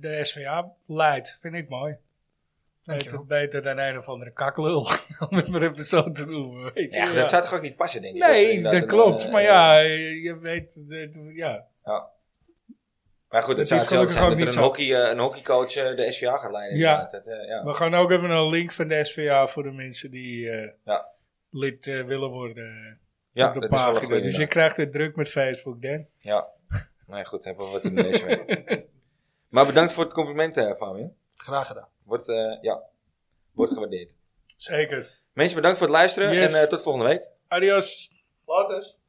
[SPEAKER 2] de SVA leidt, vind ik mooi. Beter,
[SPEAKER 3] Dankjewel.
[SPEAKER 2] beter dan een of andere kaklul, om het maar even zo te noemen. Weet je?
[SPEAKER 1] ja,
[SPEAKER 2] Ja.
[SPEAKER 1] dat zou toch ook niet passen, denk ik? is
[SPEAKER 2] Nee,
[SPEAKER 1] inderdaad
[SPEAKER 2] dat
[SPEAKER 1] een,
[SPEAKER 2] klopt.
[SPEAKER 1] eh,
[SPEAKER 2] Maar ja, je je weet, eh, ja.
[SPEAKER 1] Maar goed,
[SPEAKER 2] Het
[SPEAKER 1] het zou hetzelfde
[SPEAKER 2] is gelukkig
[SPEAKER 1] zijn
[SPEAKER 2] ook
[SPEAKER 1] dat er een,
[SPEAKER 2] niet
[SPEAKER 1] hockey, eh, een hockeycoach eh, de SVA gaat leiden.
[SPEAKER 2] Ja.
[SPEAKER 1] inderdaad. Dat, eh, ja.
[SPEAKER 2] we gaan ook even een link van de SVA voor de mensen die eh,
[SPEAKER 1] Ja.
[SPEAKER 2] lid eh, willen worden.
[SPEAKER 1] Ja,
[SPEAKER 2] op de
[SPEAKER 1] dat is wel
[SPEAKER 2] pagina.
[SPEAKER 1] een goede.
[SPEAKER 2] dus je krijgt het druk met Facebook, Dan.
[SPEAKER 1] Ja, maar goed, hebben we wat in deze mee. Maar bedankt voor het compliment, eh, Fabian.
[SPEAKER 3] Graag gedaan.
[SPEAKER 1] Wordt, eh, ja, wordt gewaardeerd.
[SPEAKER 2] Zeker.
[SPEAKER 1] Mensen, bedankt voor het luisteren
[SPEAKER 2] Yes.
[SPEAKER 1] en eh, tot volgende week.
[SPEAKER 2] Adios.
[SPEAKER 4] Later.